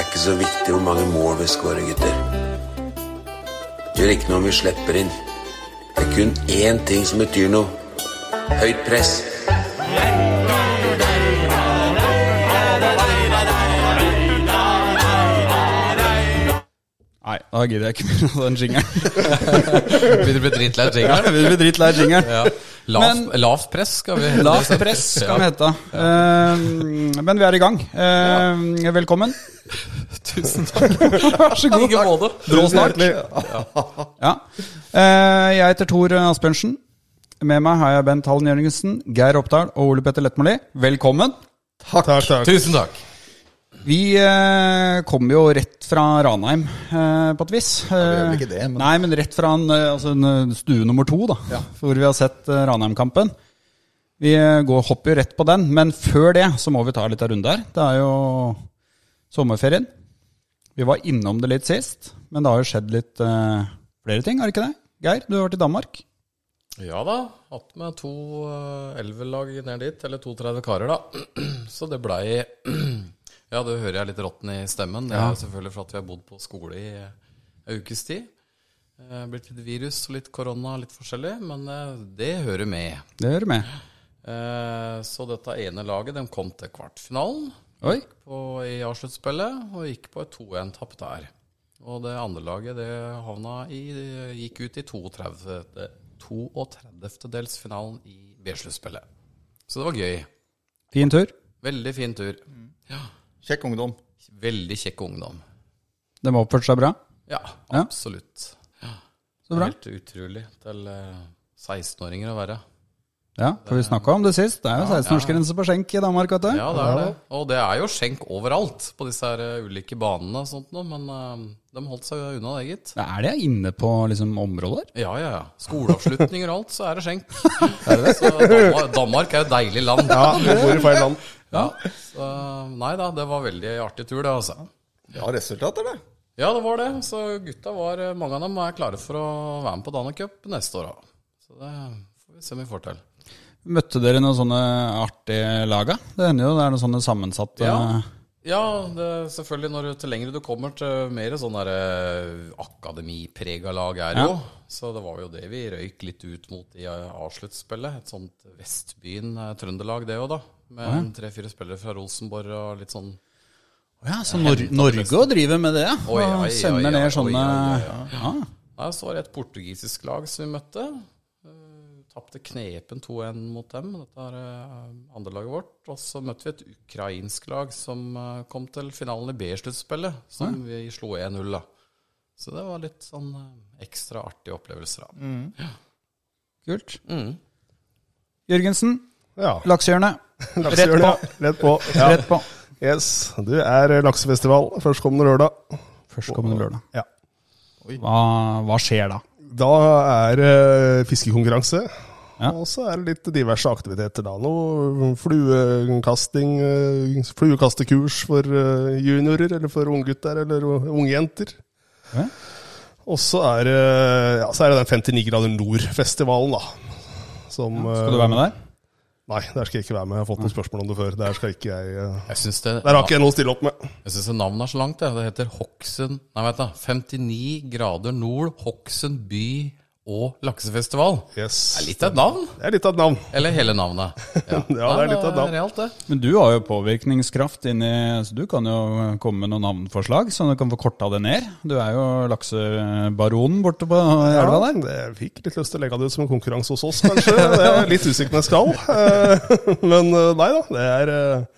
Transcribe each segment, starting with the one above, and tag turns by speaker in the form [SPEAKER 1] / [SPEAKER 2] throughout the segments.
[SPEAKER 1] ikke så viktig hvor mange mål vi skårer, gutter. Det gjør ikke noe om vi slipper inn. Det er kun én ting som betyr noe. Høyt press.
[SPEAKER 2] Nei, da gidder jeg ikke mer av den jingeren.
[SPEAKER 3] Begynner å bli dritlei av jingeren.
[SPEAKER 2] Jeg blir dritlei av jingeren.
[SPEAKER 3] Ja. Lav,
[SPEAKER 2] Men-
[SPEAKER 3] lav press skal vi
[SPEAKER 2] Lavt press kan det hete. Eh, men vi er i gang. Eh, velkommen.
[SPEAKER 3] Tusen takk.
[SPEAKER 2] Vær så
[SPEAKER 3] I
[SPEAKER 2] god.
[SPEAKER 3] like måte.
[SPEAKER 2] Brå snart. Ja. Eh, jeg heter Tor Asbjørnsen. Med meg har jeg Bent Hallen Jørgensen, Geir Oppdal og Ole Petter Lettmoli. Velkommen.
[SPEAKER 4] Takk. takk,
[SPEAKER 3] Tusen takk.
[SPEAKER 2] Vi eh, kommer jo rett fra Ranheim, eh, på et vis. Eh,
[SPEAKER 4] gjør vel ikke det, men-
[SPEAKER 2] Nei, men rett fra en, eh, altså en eh, stue nummer to, da, hvor vi har sett eh, Ranheim-kampen. Vi eh, går, hopper jo rett på den, men før det så må vi ta litt av runde her. Det er jo sommerferien. Vi var innom det litt sist, men det har jo skjedd litt eh, flere ting, har det ikke det? Geir, du har vært i Danmark.
[SPEAKER 3] Ja da. Hatt med to eh, elverlag ned dit, eller 32 karer, da. Så det blei Ja, det hører jeg litt råtten i stemmen. Det er jo selvfølgelig for at vi har bodd på skole i eh, en ukes tid. Eh, Blitt litt virus og litt korona, litt forskjellig, men eh, det hører med.
[SPEAKER 2] Det hører med.
[SPEAKER 3] Eh, Så dette ene laget, de kom til kvartfinalen.
[SPEAKER 2] Oi.
[SPEAKER 3] på, i A-sluttspillet og gikk på et 2-1-tapp der. Og det andre laget det havna i, gikk ut i 32. 32.-delsfinalen i B-sluttspillet. Så det var gøy.
[SPEAKER 2] Fin tur.
[SPEAKER 3] Veldig fin tur.
[SPEAKER 4] Kjekk ungdom.
[SPEAKER 3] Veldig kjekk ungdom.
[SPEAKER 2] De har oppført seg bra.
[SPEAKER 3] Ja,
[SPEAKER 2] Ja.
[SPEAKER 3] absolutt.
[SPEAKER 2] Så bra.
[SPEAKER 3] Helt utrolig til eh, 16-åringer å være.
[SPEAKER 2] Ja, for vi snakka om det sist. Det er jo 16-årsgrense på skjenk i Danmark, vet du.
[SPEAKER 3] Ja, det er det. Og det er jo skjenk overalt på disse her eh, ulike banene og sånt noe, men eh, de holdt seg unna det, gitt.
[SPEAKER 2] Det er det inne på liksom, områder?
[SPEAKER 3] Ja, ja, ja. Skoleavslutninger og alt, så er det skjenk. Så Danmark, Danmark er et deilig land.
[SPEAKER 4] Ja, vi bor i feil land.
[SPEAKER 3] Ja, så, nei da, det var veldig artig tur, det, altså.
[SPEAKER 4] Ja, resultater, det.
[SPEAKER 3] Ja, det var det. Så gutta var eh, Mange av dem er klare for å være med på Dana Cup neste år òg. Så det får vi se om vi får til.
[SPEAKER 2] Møtte dere noen sånne artige laga? Det hender jo det er noen sånne sammensatte
[SPEAKER 3] Ja. Ja, det, selvfølgelig. Når, du- til lengre du kommer, til mer sånn der eh, akademiprega lag er det jo. Så det var jo det vi røyk litt ut mot i eh, avsluttspillet. Et sånt Vestbyen eh, Trøndelag, det òg, da. Med en tre-fire spillere fra Rosenborg og litt sånn
[SPEAKER 2] Å ja, så Nor Norge òg driver med det? ja.
[SPEAKER 3] Oi, oi, oi,
[SPEAKER 2] Og sender
[SPEAKER 3] oi, oi,
[SPEAKER 2] ned sånne
[SPEAKER 3] oi,
[SPEAKER 2] Ja.
[SPEAKER 3] Nei, så var det et portugisisk lag som vi møtte. Eh, Tapte knepen 2-1 mot dem. Dette er eh, andrelaget vårt. Og så møtte vi et ukrainsk lag som eh, kom til finalen i B-sluttspillet, som vi slo 1-0, da. Så det var litt sånn eh, ekstra artige opplevelser, da.
[SPEAKER 5] Mm.
[SPEAKER 2] Kult.
[SPEAKER 3] Mm.
[SPEAKER 2] Jørgensen,
[SPEAKER 5] Ja.
[SPEAKER 2] laksehjørnet. Rett
[SPEAKER 5] Rett
[SPEAKER 2] på.
[SPEAKER 5] på. Rett på. Ja.
[SPEAKER 2] Rett på.
[SPEAKER 5] Yes. Du er eh, laksefestival førstkommende lørdag.
[SPEAKER 2] Førstkommende lørdag.
[SPEAKER 5] Ja.
[SPEAKER 2] Hva, hva skjer da?
[SPEAKER 5] Da er eh, fiskekonkurranse.
[SPEAKER 2] Ja.
[SPEAKER 5] Og så er det litt diverse aktiviteter da. Noe fluekasting, eh, fluekastekurs for eh, juniorer, eller for unggutter, eller unge jenter.
[SPEAKER 2] Ja.
[SPEAKER 5] Og så er, det- ja, så er det den 59 grader nord-festivalen, da. Som, eh,
[SPEAKER 2] Skal du være med der?
[SPEAKER 5] Nei, der skal jeg ikke være med. Jeg har fått noen spørsmål om det før. Der skal ikke jeg eh,
[SPEAKER 3] Jeg syns det,
[SPEAKER 5] Der har ikke jeg noe å stille opp med.
[SPEAKER 3] jeg synes det navnet er så langt, det. Det heter Hokksund Nei, vent, da. 59 grader nord, Hokksund by og laksefestival.
[SPEAKER 5] Yes.
[SPEAKER 3] Det er litt av et navn.
[SPEAKER 5] Det er litt av et navn.
[SPEAKER 3] Eller hele navnet. Ja,
[SPEAKER 5] Ja, det er litt av et navn.
[SPEAKER 3] Realt, det.
[SPEAKER 2] Men du har jo påvirkningskraft inni Så du kan jo komme med noen navnforslag, så du kan få korta det ned. Du er jo laksebaronen borte på
[SPEAKER 5] Ja,
[SPEAKER 2] elva der.
[SPEAKER 5] jeg fikk litt lyst til å legge det ut som en konkurranse hos oss, kanskje. Det er litt usikker på om jeg skal. Eh, Men eh, nei da, det er, eh,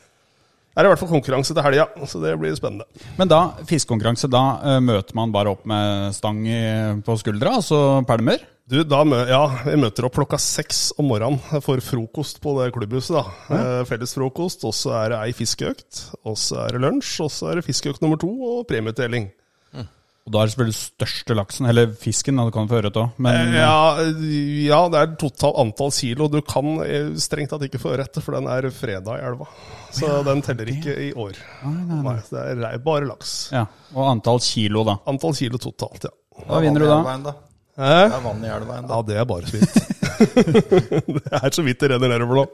[SPEAKER 5] er i hvert fall konkurranse til helga, så det blir spennende.
[SPEAKER 2] Men da, fiskekonkurranse, da eh, møter man bare opp med stang i, på skuldra, altså pælmer?
[SPEAKER 5] Du, da mø ja, vi møter opp klokka seks om morgenen for frokost på det klubbhuset. da. Eh, Felles frokost, og så er det ei fiskeøkt, og så er det lunsj, og så er det fiskeøkt nummer to og premieutdeling.
[SPEAKER 2] Og da er det selvfølgelig største laksen, eller fisken, da, du kan få øre til òg. Men
[SPEAKER 5] Eh, Ja, ja, det er totalt antall kilo. Du kan eh, strengt tatt ikke få ørret, for den er freda i elva. Så den teller ikke i år. Nei, så det er rei- bare laks.
[SPEAKER 2] ja, Og antall kilo, da.
[SPEAKER 5] Antall kilo totalt, ja.
[SPEAKER 2] Hva vinner du
[SPEAKER 4] Det er vann i
[SPEAKER 2] da?
[SPEAKER 4] elva enda.
[SPEAKER 5] Hæ?
[SPEAKER 4] Det er vann i elva ennå.
[SPEAKER 5] Ja, det er bare så vidt. det er så vidt det renner nedover nå.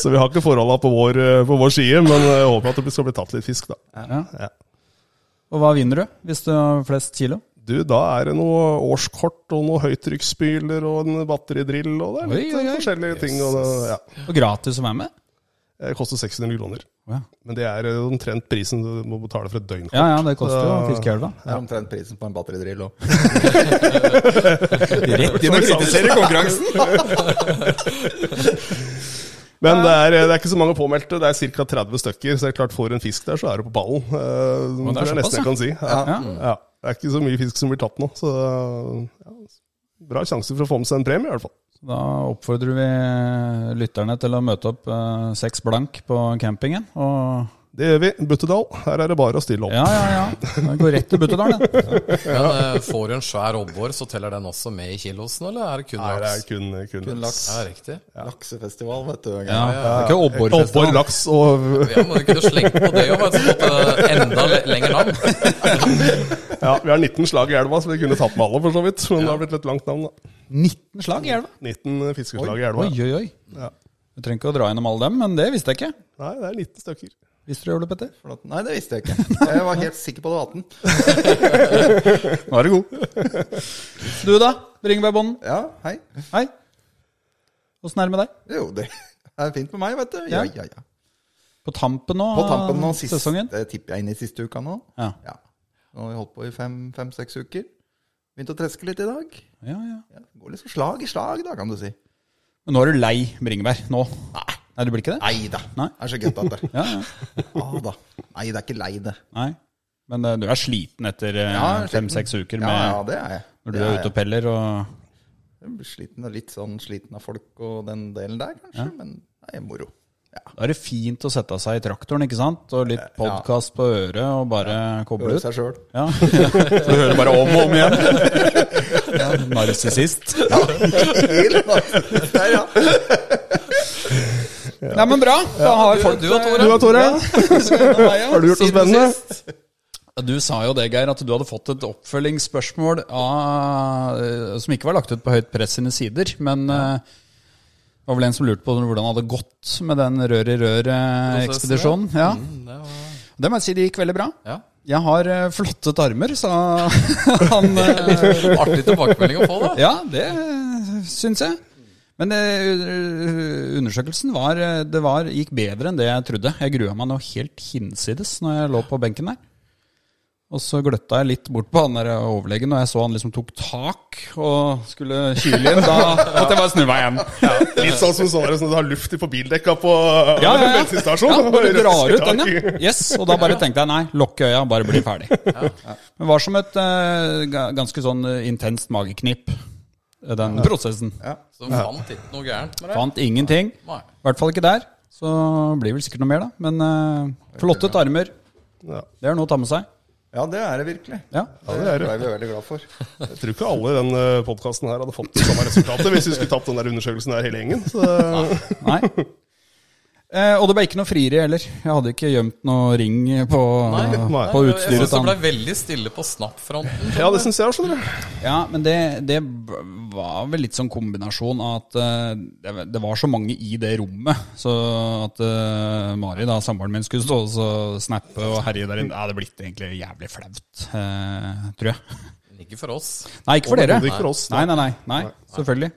[SPEAKER 5] Så vi eh, har ikke forholda på vår, eh, på vår side, men jeg håper at det skal bli tatt litt fisk, da.
[SPEAKER 2] Ja.
[SPEAKER 5] Ja.
[SPEAKER 2] Og hva vinner du hvis du har flest kilo?
[SPEAKER 5] Du, da er det noe årskort og noe høytrykksspyler og en batteridrill og det er litt
[SPEAKER 2] Oi, oi, oi.
[SPEAKER 5] forskjellige ting. Og det, ja.
[SPEAKER 2] Og gratis å være med?
[SPEAKER 5] det koster 600 kroner.
[SPEAKER 2] Ja,
[SPEAKER 5] Men det er omtrent prisen du må betale for et døgn.
[SPEAKER 2] ja, det koster jo å fiske elva.
[SPEAKER 4] Det er omtrent prisen på en batteridrill òg.
[SPEAKER 2] Rett
[SPEAKER 4] De må kritisere konkurransen!
[SPEAKER 5] Men det er, det er ikke så mange påmeldte, det er ca. 30 stykker. Så det er klart, får du en fisk der, så er du på ballen. Eh,
[SPEAKER 2] Men det er
[SPEAKER 5] det er
[SPEAKER 2] såpass,
[SPEAKER 5] nesten jeg kan si. Ja.
[SPEAKER 2] Ja.
[SPEAKER 5] Ja. Det er ikke så mye fisk som blir tatt nå, så ja, bra sjanse for å få med seg en premie i hvert fall.
[SPEAKER 2] Da oppfordrer vi lytterne til å møte opp eh, seks blank på campingen. Og
[SPEAKER 5] Det gjør vi. Buttedal, her er det bare å stille opp.
[SPEAKER 2] ja, ja, ja. Det går rett til Buttedalen. det.
[SPEAKER 3] Men eh, får du en svær obbor, så teller den også med i kilosen, eller er det kun
[SPEAKER 5] Her er
[SPEAKER 3] laks?
[SPEAKER 5] kun, kun,
[SPEAKER 4] Kun laks.
[SPEAKER 3] Ja, riktig.
[SPEAKER 4] Laksefestival, vet du.
[SPEAKER 2] Ja,
[SPEAKER 4] Ja.
[SPEAKER 2] det er ikke
[SPEAKER 5] Oppår
[SPEAKER 2] Obborfestival.
[SPEAKER 5] laks og
[SPEAKER 3] Ja, må du kunne slenge på det òg, så måtte det eh, enda le- lenger navn.
[SPEAKER 5] Ja, vi har 19 slag i elva, så vi kunne tatt med alle, for så vidt. Men det har blitt litt langt navn, da.
[SPEAKER 2] 19 slag i elva.
[SPEAKER 5] 19 fiskeslag i elva.
[SPEAKER 2] Oi, oi, oi.
[SPEAKER 5] Ja.
[SPEAKER 2] Du trenger ikke å dra gjennom alle dem, men det visste jeg ikke.
[SPEAKER 5] Nei, det er 19 stykker.
[SPEAKER 2] Visste du det, Ole Petter?
[SPEAKER 4] Flott. Nei, det visste jeg ikke. Jeg var helt sikker på det var 18.
[SPEAKER 5] Nå er du god.
[SPEAKER 2] Du da, Ringebergbonden.
[SPEAKER 4] Ja, hei.
[SPEAKER 2] Hei. Åssen er det med deg?
[SPEAKER 4] Jo, det er fint med meg, vet du. Ja, ja, ja.
[SPEAKER 2] På tampen nå
[SPEAKER 4] På tampen nå
[SPEAKER 2] av
[SPEAKER 4] sist,
[SPEAKER 2] sesongen?
[SPEAKER 4] det tipper jeg inn i siste uka nå.
[SPEAKER 2] Ja.
[SPEAKER 4] Ja. Nå har vi holdt på i fem-seks uker. Begynt å treske litt i dag.
[SPEAKER 2] Ja, ja.
[SPEAKER 4] Ja, det går liksom slag i slag, da, kan du si.
[SPEAKER 2] Men nå er du lei bringebær? Nå? Nei. Nei, du blir ikke det?
[SPEAKER 4] Nei da.
[SPEAKER 2] Nei.
[SPEAKER 4] Det er så godt at det.
[SPEAKER 2] Ja, ja.
[SPEAKER 4] Ja da. Nei, det er ikke lei det.
[SPEAKER 2] Nei. Men eh, du er sliten etter
[SPEAKER 4] Ja, jeg er sliten.
[SPEAKER 2] fem-seks uker
[SPEAKER 4] Ja,
[SPEAKER 2] med,
[SPEAKER 4] ja, det er jeg.
[SPEAKER 2] når du
[SPEAKER 4] Det
[SPEAKER 2] er
[SPEAKER 4] jeg.
[SPEAKER 2] ute og peller og
[SPEAKER 4] Jeg blir sliten, og litt sånn sliten av folk og den delen der, kanskje. Men det er moro. Ja.
[SPEAKER 2] Da er det fint å sette seg i traktoren, ikke sant? Og litt podkast på øret, og bare koble
[SPEAKER 4] Høre
[SPEAKER 2] ut.
[SPEAKER 4] seg sjøl.
[SPEAKER 2] Ja. Så du hører bare om og om igjen. Ja, Narsissist.
[SPEAKER 4] Der, ja.
[SPEAKER 2] Nei, men bra. Da har folk
[SPEAKER 3] Du og Tore.
[SPEAKER 5] Du da, Tore?
[SPEAKER 2] Har
[SPEAKER 5] Har du gjort noe spennende?
[SPEAKER 2] Du sa jo det, Geir, at du hadde fått et oppfølgingsspørsmål av, eh, som ikke var lagt ut på Høyt Press sine sider. Men eh, det var vel en som lurte på hvordan det hadde gått med den rør i rør-ekspedisjonen. Ja.
[SPEAKER 3] Mm, det var,
[SPEAKER 2] Det må jeg si det gikk veldig bra.
[SPEAKER 3] ja.
[SPEAKER 2] Jeg har eh, flottet armer, sa han. eh,
[SPEAKER 3] Artig tilbakemelding å få, da.
[SPEAKER 2] Ja, det syns jeg. Men eh, undersøkelsen var, eh, det var, gikk bedre enn det jeg trodde. Jeg grua meg noe helt hinsides når jeg lå på benken der. Og så gløtta jeg litt bort på han der overlegen, og jeg så han liksom tok tak og skulle kyle inn. Da måtte jeg bare snu meg igjen.
[SPEAKER 5] Litt sånn som sånn der, sånn at du har luft i på bildekka på
[SPEAKER 2] Ja, ja, ja.
[SPEAKER 5] bensinstasjonen.
[SPEAKER 2] Ja, bare
[SPEAKER 5] Rett
[SPEAKER 2] drar
[SPEAKER 5] i
[SPEAKER 2] ut den, ja.
[SPEAKER 5] tak.
[SPEAKER 2] Yes, og da bare tenkte jeg nei, lukke øya, bare bli ferdig. Men det var som et eh, ga- ganske sånn eh, intenst mageknip, eh, den prosessen.
[SPEAKER 3] Så de fant ikke noe gærent med det.
[SPEAKER 2] Fant ingenting.
[SPEAKER 3] Nei.
[SPEAKER 2] I hvert fall ikke der. Så blir vel sikkert noe mer, da. Men eh, flottet armer.
[SPEAKER 5] Ja.
[SPEAKER 2] Det er noe å ta med seg.
[SPEAKER 4] ja, det er det virkelig.
[SPEAKER 2] Ja.
[SPEAKER 5] Ja, det
[SPEAKER 4] Det
[SPEAKER 5] er det.
[SPEAKER 4] ble vi veldig glad for.
[SPEAKER 5] Jeg tror ikke alle i denne podkasten her hadde fått det samme resultatet hvis vi skulle tatt den der undersøkelsen her hele gjengen. Så
[SPEAKER 2] Nei. Eh, og det ble ikke noe frieri heller. Jeg hadde ikke gjemt noe ring på,
[SPEAKER 5] Nei.
[SPEAKER 2] på
[SPEAKER 3] Jeg
[SPEAKER 2] utstyret.
[SPEAKER 3] syns det ble
[SPEAKER 2] da.
[SPEAKER 3] veldig stille på snappfronten.
[SPEAKER 5] ja, det syns jeg òg, skjønner du.
[SPEAKER 2] Ja, men det, det var vel litt sånn kombinasjon av at eh, det- det var så mange i det rommet. Så at eh, Mari, da, samboeren min, skulle stå og så snappe og herje der inne. Ja, det blitt egentlig jævlig flaut, eh, tror jeg.
[SPEAKER 3] Men Ikke for oss.
[SPEAKER 2] Nei, ikke for dere.
[SPEAKER 5] Overhodet ikke for oss.
[SPEAKER 2] Nei, nei, nei. nei, Selvfølgelig.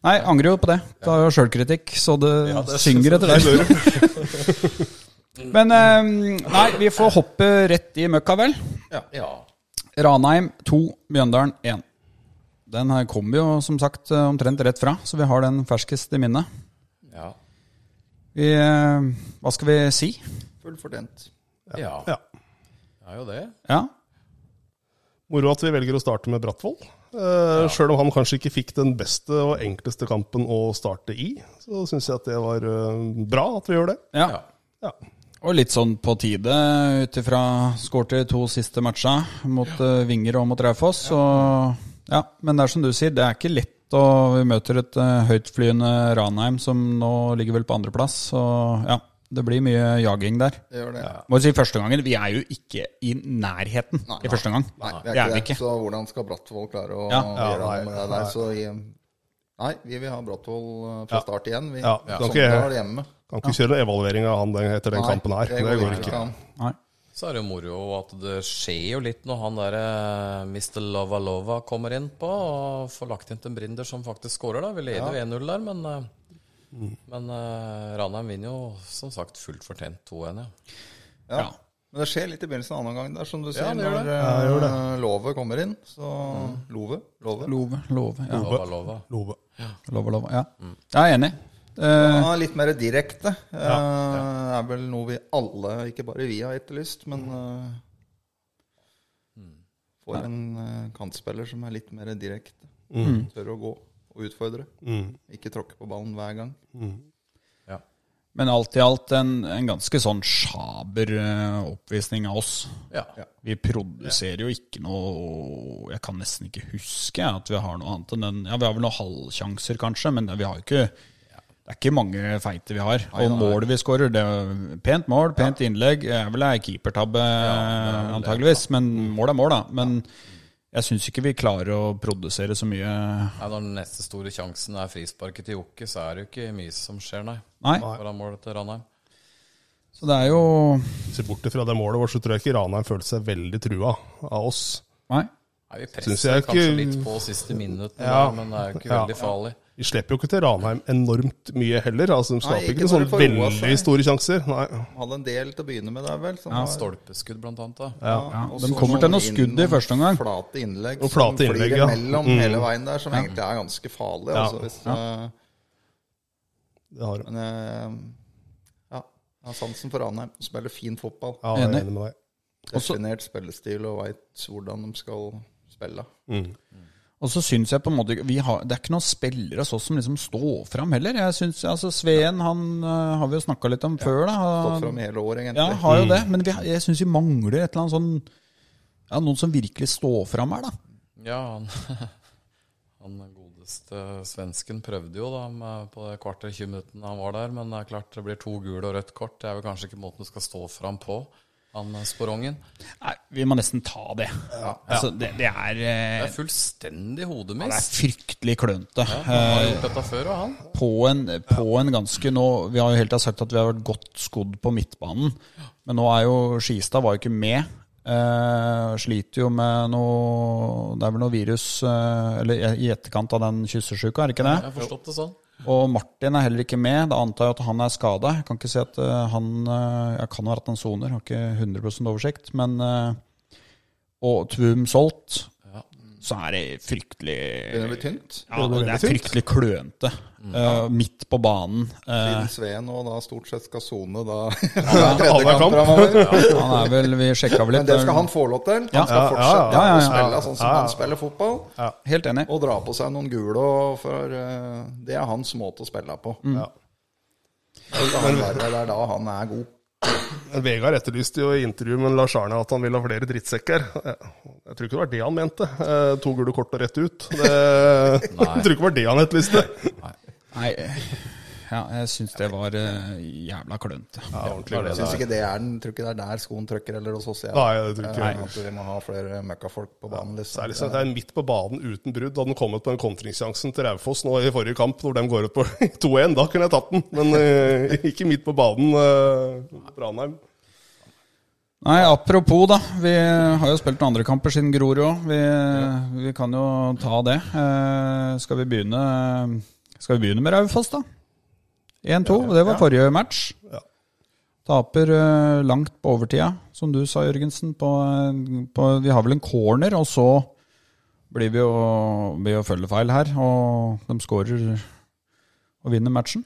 [SPEAKER 2] Nei, angrer jo på det. Ta jo sjølkritikk, så det, synger etter det. Men eh, nei, vi får hoppe rett i møkka, vel.
[SPEAKER 3] Ja.
[SPEAKER 2] Ranheim 2, Mjøndalen 1. Den her kom jo som sagt omtrent rett fra, så vi har den ferskest i minnet.
[SPEAKER 3] Ja.
[SPEAKER 2] Vi, eh, hva skal vi si?
[SPEAKER 4] Fullt fortjent.
[SPEAKER 3] Ja.
[SPEAKER 5] Ja.
[SPEAKER 3] Det er jo det.
[SPEAKER 2] Ja,
[SPEAKER 5] Moro at vi velger å starte med Brattvoll. Eh, Sjøl om han kanskje ikke fikk den beste og enkleste kampen å starte i, så syns jeg at det var eh, bra at vi gjør det.
[SPEAKER 2] ja.
[SPEAKER 3] Ja.
[SPEAKER 5] Ja.
[SPEAKER 2] Og litt sånn på tide, ut ifra skårte to siste matcha mot eh, Vinger og mot Raufoss. Og, ja, men det er som du sier, det er ikke lett. Og vi møter et eh, høytflyende Ranheim som nå ligger vel på andreplass. Så ja, det blir mye jaging der.
[SPEAKER 4] Det gjør det.
[SPEAKER 2] Må jo si første gangen, Vi er jo ikke i nærheten i første gang.
[SPEAKER 4] Nei, vi
[SPEAKER 2] det
[SPEAKER 4] er ikke det. Så hvordan skal Brattvoll klare å
[SPEAKER 2] Ja.
[SPEAKER 5] Ja,
[SPEAKER 4] gjøre
[SPEAKER 5] nei,
[SPEAKER 4] noe med det
[SPEAKER 5] nei.
[SPEAKER 4] der? Så i, nei, vi vil ha Brattvoll eh, fra
[SPEAKER 5] Ja.
[SPEAKER 4] start igjen. Vi
[SPEAKER 5] Ja,
[SPEAKER 4] ja.
[SPEAKER 5] kan ikke-
[SPEAKER 4] hjemme.
[SPEAKER 5] Kan ikke kjøre noe evaluering av han den- etter den
[SPEAKER 4] Nei,
[SPEAKER 5] kampen her. Det går ikke.
[SPEAKER 4] an.
[SPEAKER 2] Nei.
[SPEAKER 3] Så er det jo moro at det skjer jo litt når han der eh, Mr. Lovalova kommer inn på og får lagt inn til en Brinder som faktisk skårer, da. Vi leder jo 1-0 der, men, eh,
[SPEAKER 5] Mm.
[SPEAKER 3] men eh, Ranheim vinner jo som sagt fullt fortjent 2-1, ja.
[SPEAKER 4] Ja. Men det skjer litt i begynnelsen av annen gang der, som du sier.
[SPEAKER 3] det gjør
[SPEAKER 4] når
[SPEAKER 3] det. Mm.
[SPEAKER 4] eh, Love kommer inn, så Love? Love? Mm.
[SPEAKER 2] Love, love. Ja.
[SPEAKER 3] Lovalova.
[SPEAKER 5] Love.
[SPEAKER 2] Love, love. Ja. Jeg er enig. Eh,
[SPEAKER 4] Ja, litt mer direkte. Det er vel noe vi alle, ikke bare vi, har etterlyst, men
[SPEAKER 3] Mm.
[SPEAKER 4] eh, Får en eh, kantspiller som er litt mer direkte.
[SPEAKER 3] Mm.
[SPEAKER 4] Tør å gå og utfordre. Ikke tråkke på ballen hver gang.
[SPEAKER 3] Ja.
[SPEAKER 2] men alt i alt en, en ganske sånn sjaber eh, oppvisning av oss.
[SPEAKER 3] ja.
[SPEAKER 2] Vi produserer jo ikke noe Jeg kan nesten ikke huske at vi har noe annet enn den. Ja, vi har vel noen halvsjanser, kanskje, men det- vi har jo ikke det er ikke mange feite vi har. Og målet vi skårer, det er pent mål, pent innlegg. Det er vel ei keepertabbe, antageligvis, men mål er mål, da. Men jeg syns ikke vi klarer å produsere så mye.
[SPEAKER 3] Nei, når den neste store sjansen er frisparket til Jokke, så er det jo ikke mye som skjer, nei.
[SPEAKER 2] Nei.
[SPEAKER 3] Foran målet til Ranheim.
[SPEAKER 2] Så det er jo
[SPEAKER 5] Se bort fra det målet vårt, så tror jeg ikke Ranheim følte seg veldig trua av oss.
[SPEAKER 2] Nei.
[SPEAKER 3] Nei, vi
[SPEAKER 5] Synes
[SPEAKER 3] presser
[SPEAKER 5] jeg
[SPEAKER 3] kanskje
[SPEAKER 5] ikke-
[SPEAKER 3] litt på siste minutten,
[SPEAKER 5] Ja.
[SPEAKER 3] der, men det er jo ikke
[SPEAKER 5] Ja.
[SPEAKER 3] veldig farlig.
[SPEAKER 5] Vi slipper jo ikke til Ranheim enormt mye heller. altså De skaper
[SPEAKER 4] ikke
[SPEAKER 5] ikke,
[SPEAKER 4] når
[SPEAKER 5] sånne
[SPEAKER 4] de får roa seg.
[SPEAKER 5] veldig store sjanser. Nei.
[SPEAKER 4] Hadde en del til å begynne med der, vel. Som var-
[SPEAKER 3] Stolpeskudd, blant annet. da.
[SPEAKER 5] Ja.
[SPEAKER 4] Ja, og
[SPEAKER 2] de
[SPEAKER 4] så
[SPEAKER 2] kommer til
[SPEAKER 4] noen
[SPEAKER 2] noen skudd i
[SPEAKER 4] inn-
[SPEAKER 2] første omgang.
[SPEAKER 4] Flate innlegg
[SPEAKER 5] Og flate
[SPEAKER 4] som
[SPEAKER 5] innlegg,
[SPEAKER 4] flyr
[SPEAKER 5] ja.
[SPEAKER 4] imellom
[SPEAKER 5] Mm.
[SPEAKER 4] hele veien der, som egentlig er ganske farlig.
[SPEAKER 5] Ja.
[SPEAKER 4] Altså, hvis, eh,
[SPEAKER 5] Det har de.
[SPEAKER 4] men eh, ja, jeg har sansen for Ranheim. De Spiller fin fotball.
[SPEAKER 5] Ja, jeg er
[SPEAKER 2] Enig.
[SPEAKER 5] enig med deg.
[SPEAKER 4] Definert spillestil og veit hvordan de skal spille.
[SPEAKER 2] Og så syns jeg på en måte ikke- vi har, Det er ikke noen spillere hos oss som liksom står fram heller. Jeg synes, altså Sveen han øh, har vi jo snakka litt om før. da
[SPEAKER 4] Stått
[SPEAKER 2] han,
[SPEAKER 4] fram Mm. i hele år,
[SPEAKER 2] Ja,
[SPEAKER 4] egentlig.
[SPEAKER 2] har jo det. Men vi, har- jeg syns vi mangler et eller annet sånn ja, Noen som virkelig står fram her, da.
[SPEAKER 3] Ja, han, han godeste svensken prøvde jo da med, på det kvarter 20 minuttene han var der, men det er klart det blir to gule og rødt kort. Det er vel kanskje ikke måten du skal stå fram på, han eh, Sporongen.
[SPEAKER 2] Nei, vi må nesten ta det. Altså, det, det er
[SPEAKER 3] Det
[SPEAKER 2] eh,
[SPEAKER 3] er fullstendig
[SPEAKER 2] Det er
[SPEAKER 3] hodemist.
[SPEAKER 2] fryktelig klønete.
[SPEAKER 3] Han
[SPEAKER 2] Eh,
[SPEAKER 3] har gjort dette før, og han.
[SPEAKER 2] på en, på en ganske nå Vi har jo helt til sagt at vi har vært godt skodd på midtbanen, men nå er jo Skistad var jo ikke med. Eh, sliter jo med noe Det er vel noe virus eh, Eller i- i etterkant av den kyssesjuka, er det ikke
[SPEAKER 3] Jeg
[SPEAKER 2] det?
[SPEAKER 3] har forstått det sånn.
[SPEAKER 2] Og Martin er heller ikke med. Da antar jeg at han er skada. Jeg kan ikke si at eh, han eh, Jeg kan ha vært han soner, har ikke 100 oversikt. Men eh, Og Tvum solgt, så er det
[SPEAKER 4] Begynner å
[SPEAKER 2] fryktelig
[SPEAKER 4] bli tynt.
[SPEAKER 2] ja,
[SPEAKER 5] det
[SPEAKER 2] det
[SPEAKER 5] er
[SPEAKER 2] er
[SPEAKER 5] tynt.
[SPEAKER 2] fryktelig klønete. Eh, midt på banen. Eh,
[SPEAKER 4] Siden Sveen nå da stort sett skal sone da
[SPEAKER 5] Annenhver
[SPEAKER 4] tredje kamp
[SPEAKER 5] kamp.
[SPEAKER 4] framover.
[SPEAKER 2] han er vel Vi sjekka vel
[SPEAKER 4] Men
[SPEAKER 2] litt. eh,
[SPEAKER 4] det skal han få lov til. Han skal
[SPEAKER 5] Ja, ja,
[SPEAKER 4] fortsette
[SPEAKER 2] ja, ja,
[SPEAKER 4] å
[SPEAKER 2] ja.
[SPEAKER 4] spille sånn som
[SPEAKER 5] Ja, ja.
[SPEAKER 4] han spiller fotball.
[SPEAKER 2] Helt enig.
[SPEAKER 4] Og dra på seg noen gule, og for eh, det er hans måte å spille på.
[SPEAKER 2] Mm.
[SPEAKER 5] Ja.
[SPEAKER 4] Og da han være der da han er god.
[SPEAKER 5] Vegard etterlyste jo i intervju med Lars Arne at han ville ha flere drittsekker. Eh, Jeg tror ikke det var det han mente. Eh, To gule kort og rett ut. Det, jeg tror ikke det var det han etterlyste.
[SPEAKER 2] Nei, eh, ja, jeg syns det var eh, jævla klønete.
[SPEAKER 4] Jeg syns ikke det er den, tror ikke det er der skoen trykker, eller hos oss. jeg.
[SPEAKER 5] Nei, jeg tror ikke
[SPEAKER 4] Eh, At vi må ha flere møkkafolk på banen.
[SPEAKER 5] Det er,
[SPEAKER 4] Liksom.
[SPEAKER 5] liksom, det er midt på banen uten brudd. Hadde den kommet på den kontringssjansen til Raufoss nå i forrige kamp, hvor de går ut på 2-1, da kunne jeg tatt den. Men eh, ikke midt på banen eh, på Ranheim.
[SPEAKER 2] Nei, apropos, da. Vi har jo spilt noen andre kamper siden Grorud òg. Vi, vi kan jo ta det. Eh, skal vi begynne Skal vi begynne med Raufoss, da? 1-2. Det var forrige match.
[SPEAKER 5] Ja.
[SPEAKER 2] Taper eh, langt på overtida, som du sa, Jørgensen. På, en- på, vi har vel en corner, og så blir vi jo, blir jo følgefeil her. Og de skårer og vinner matchen.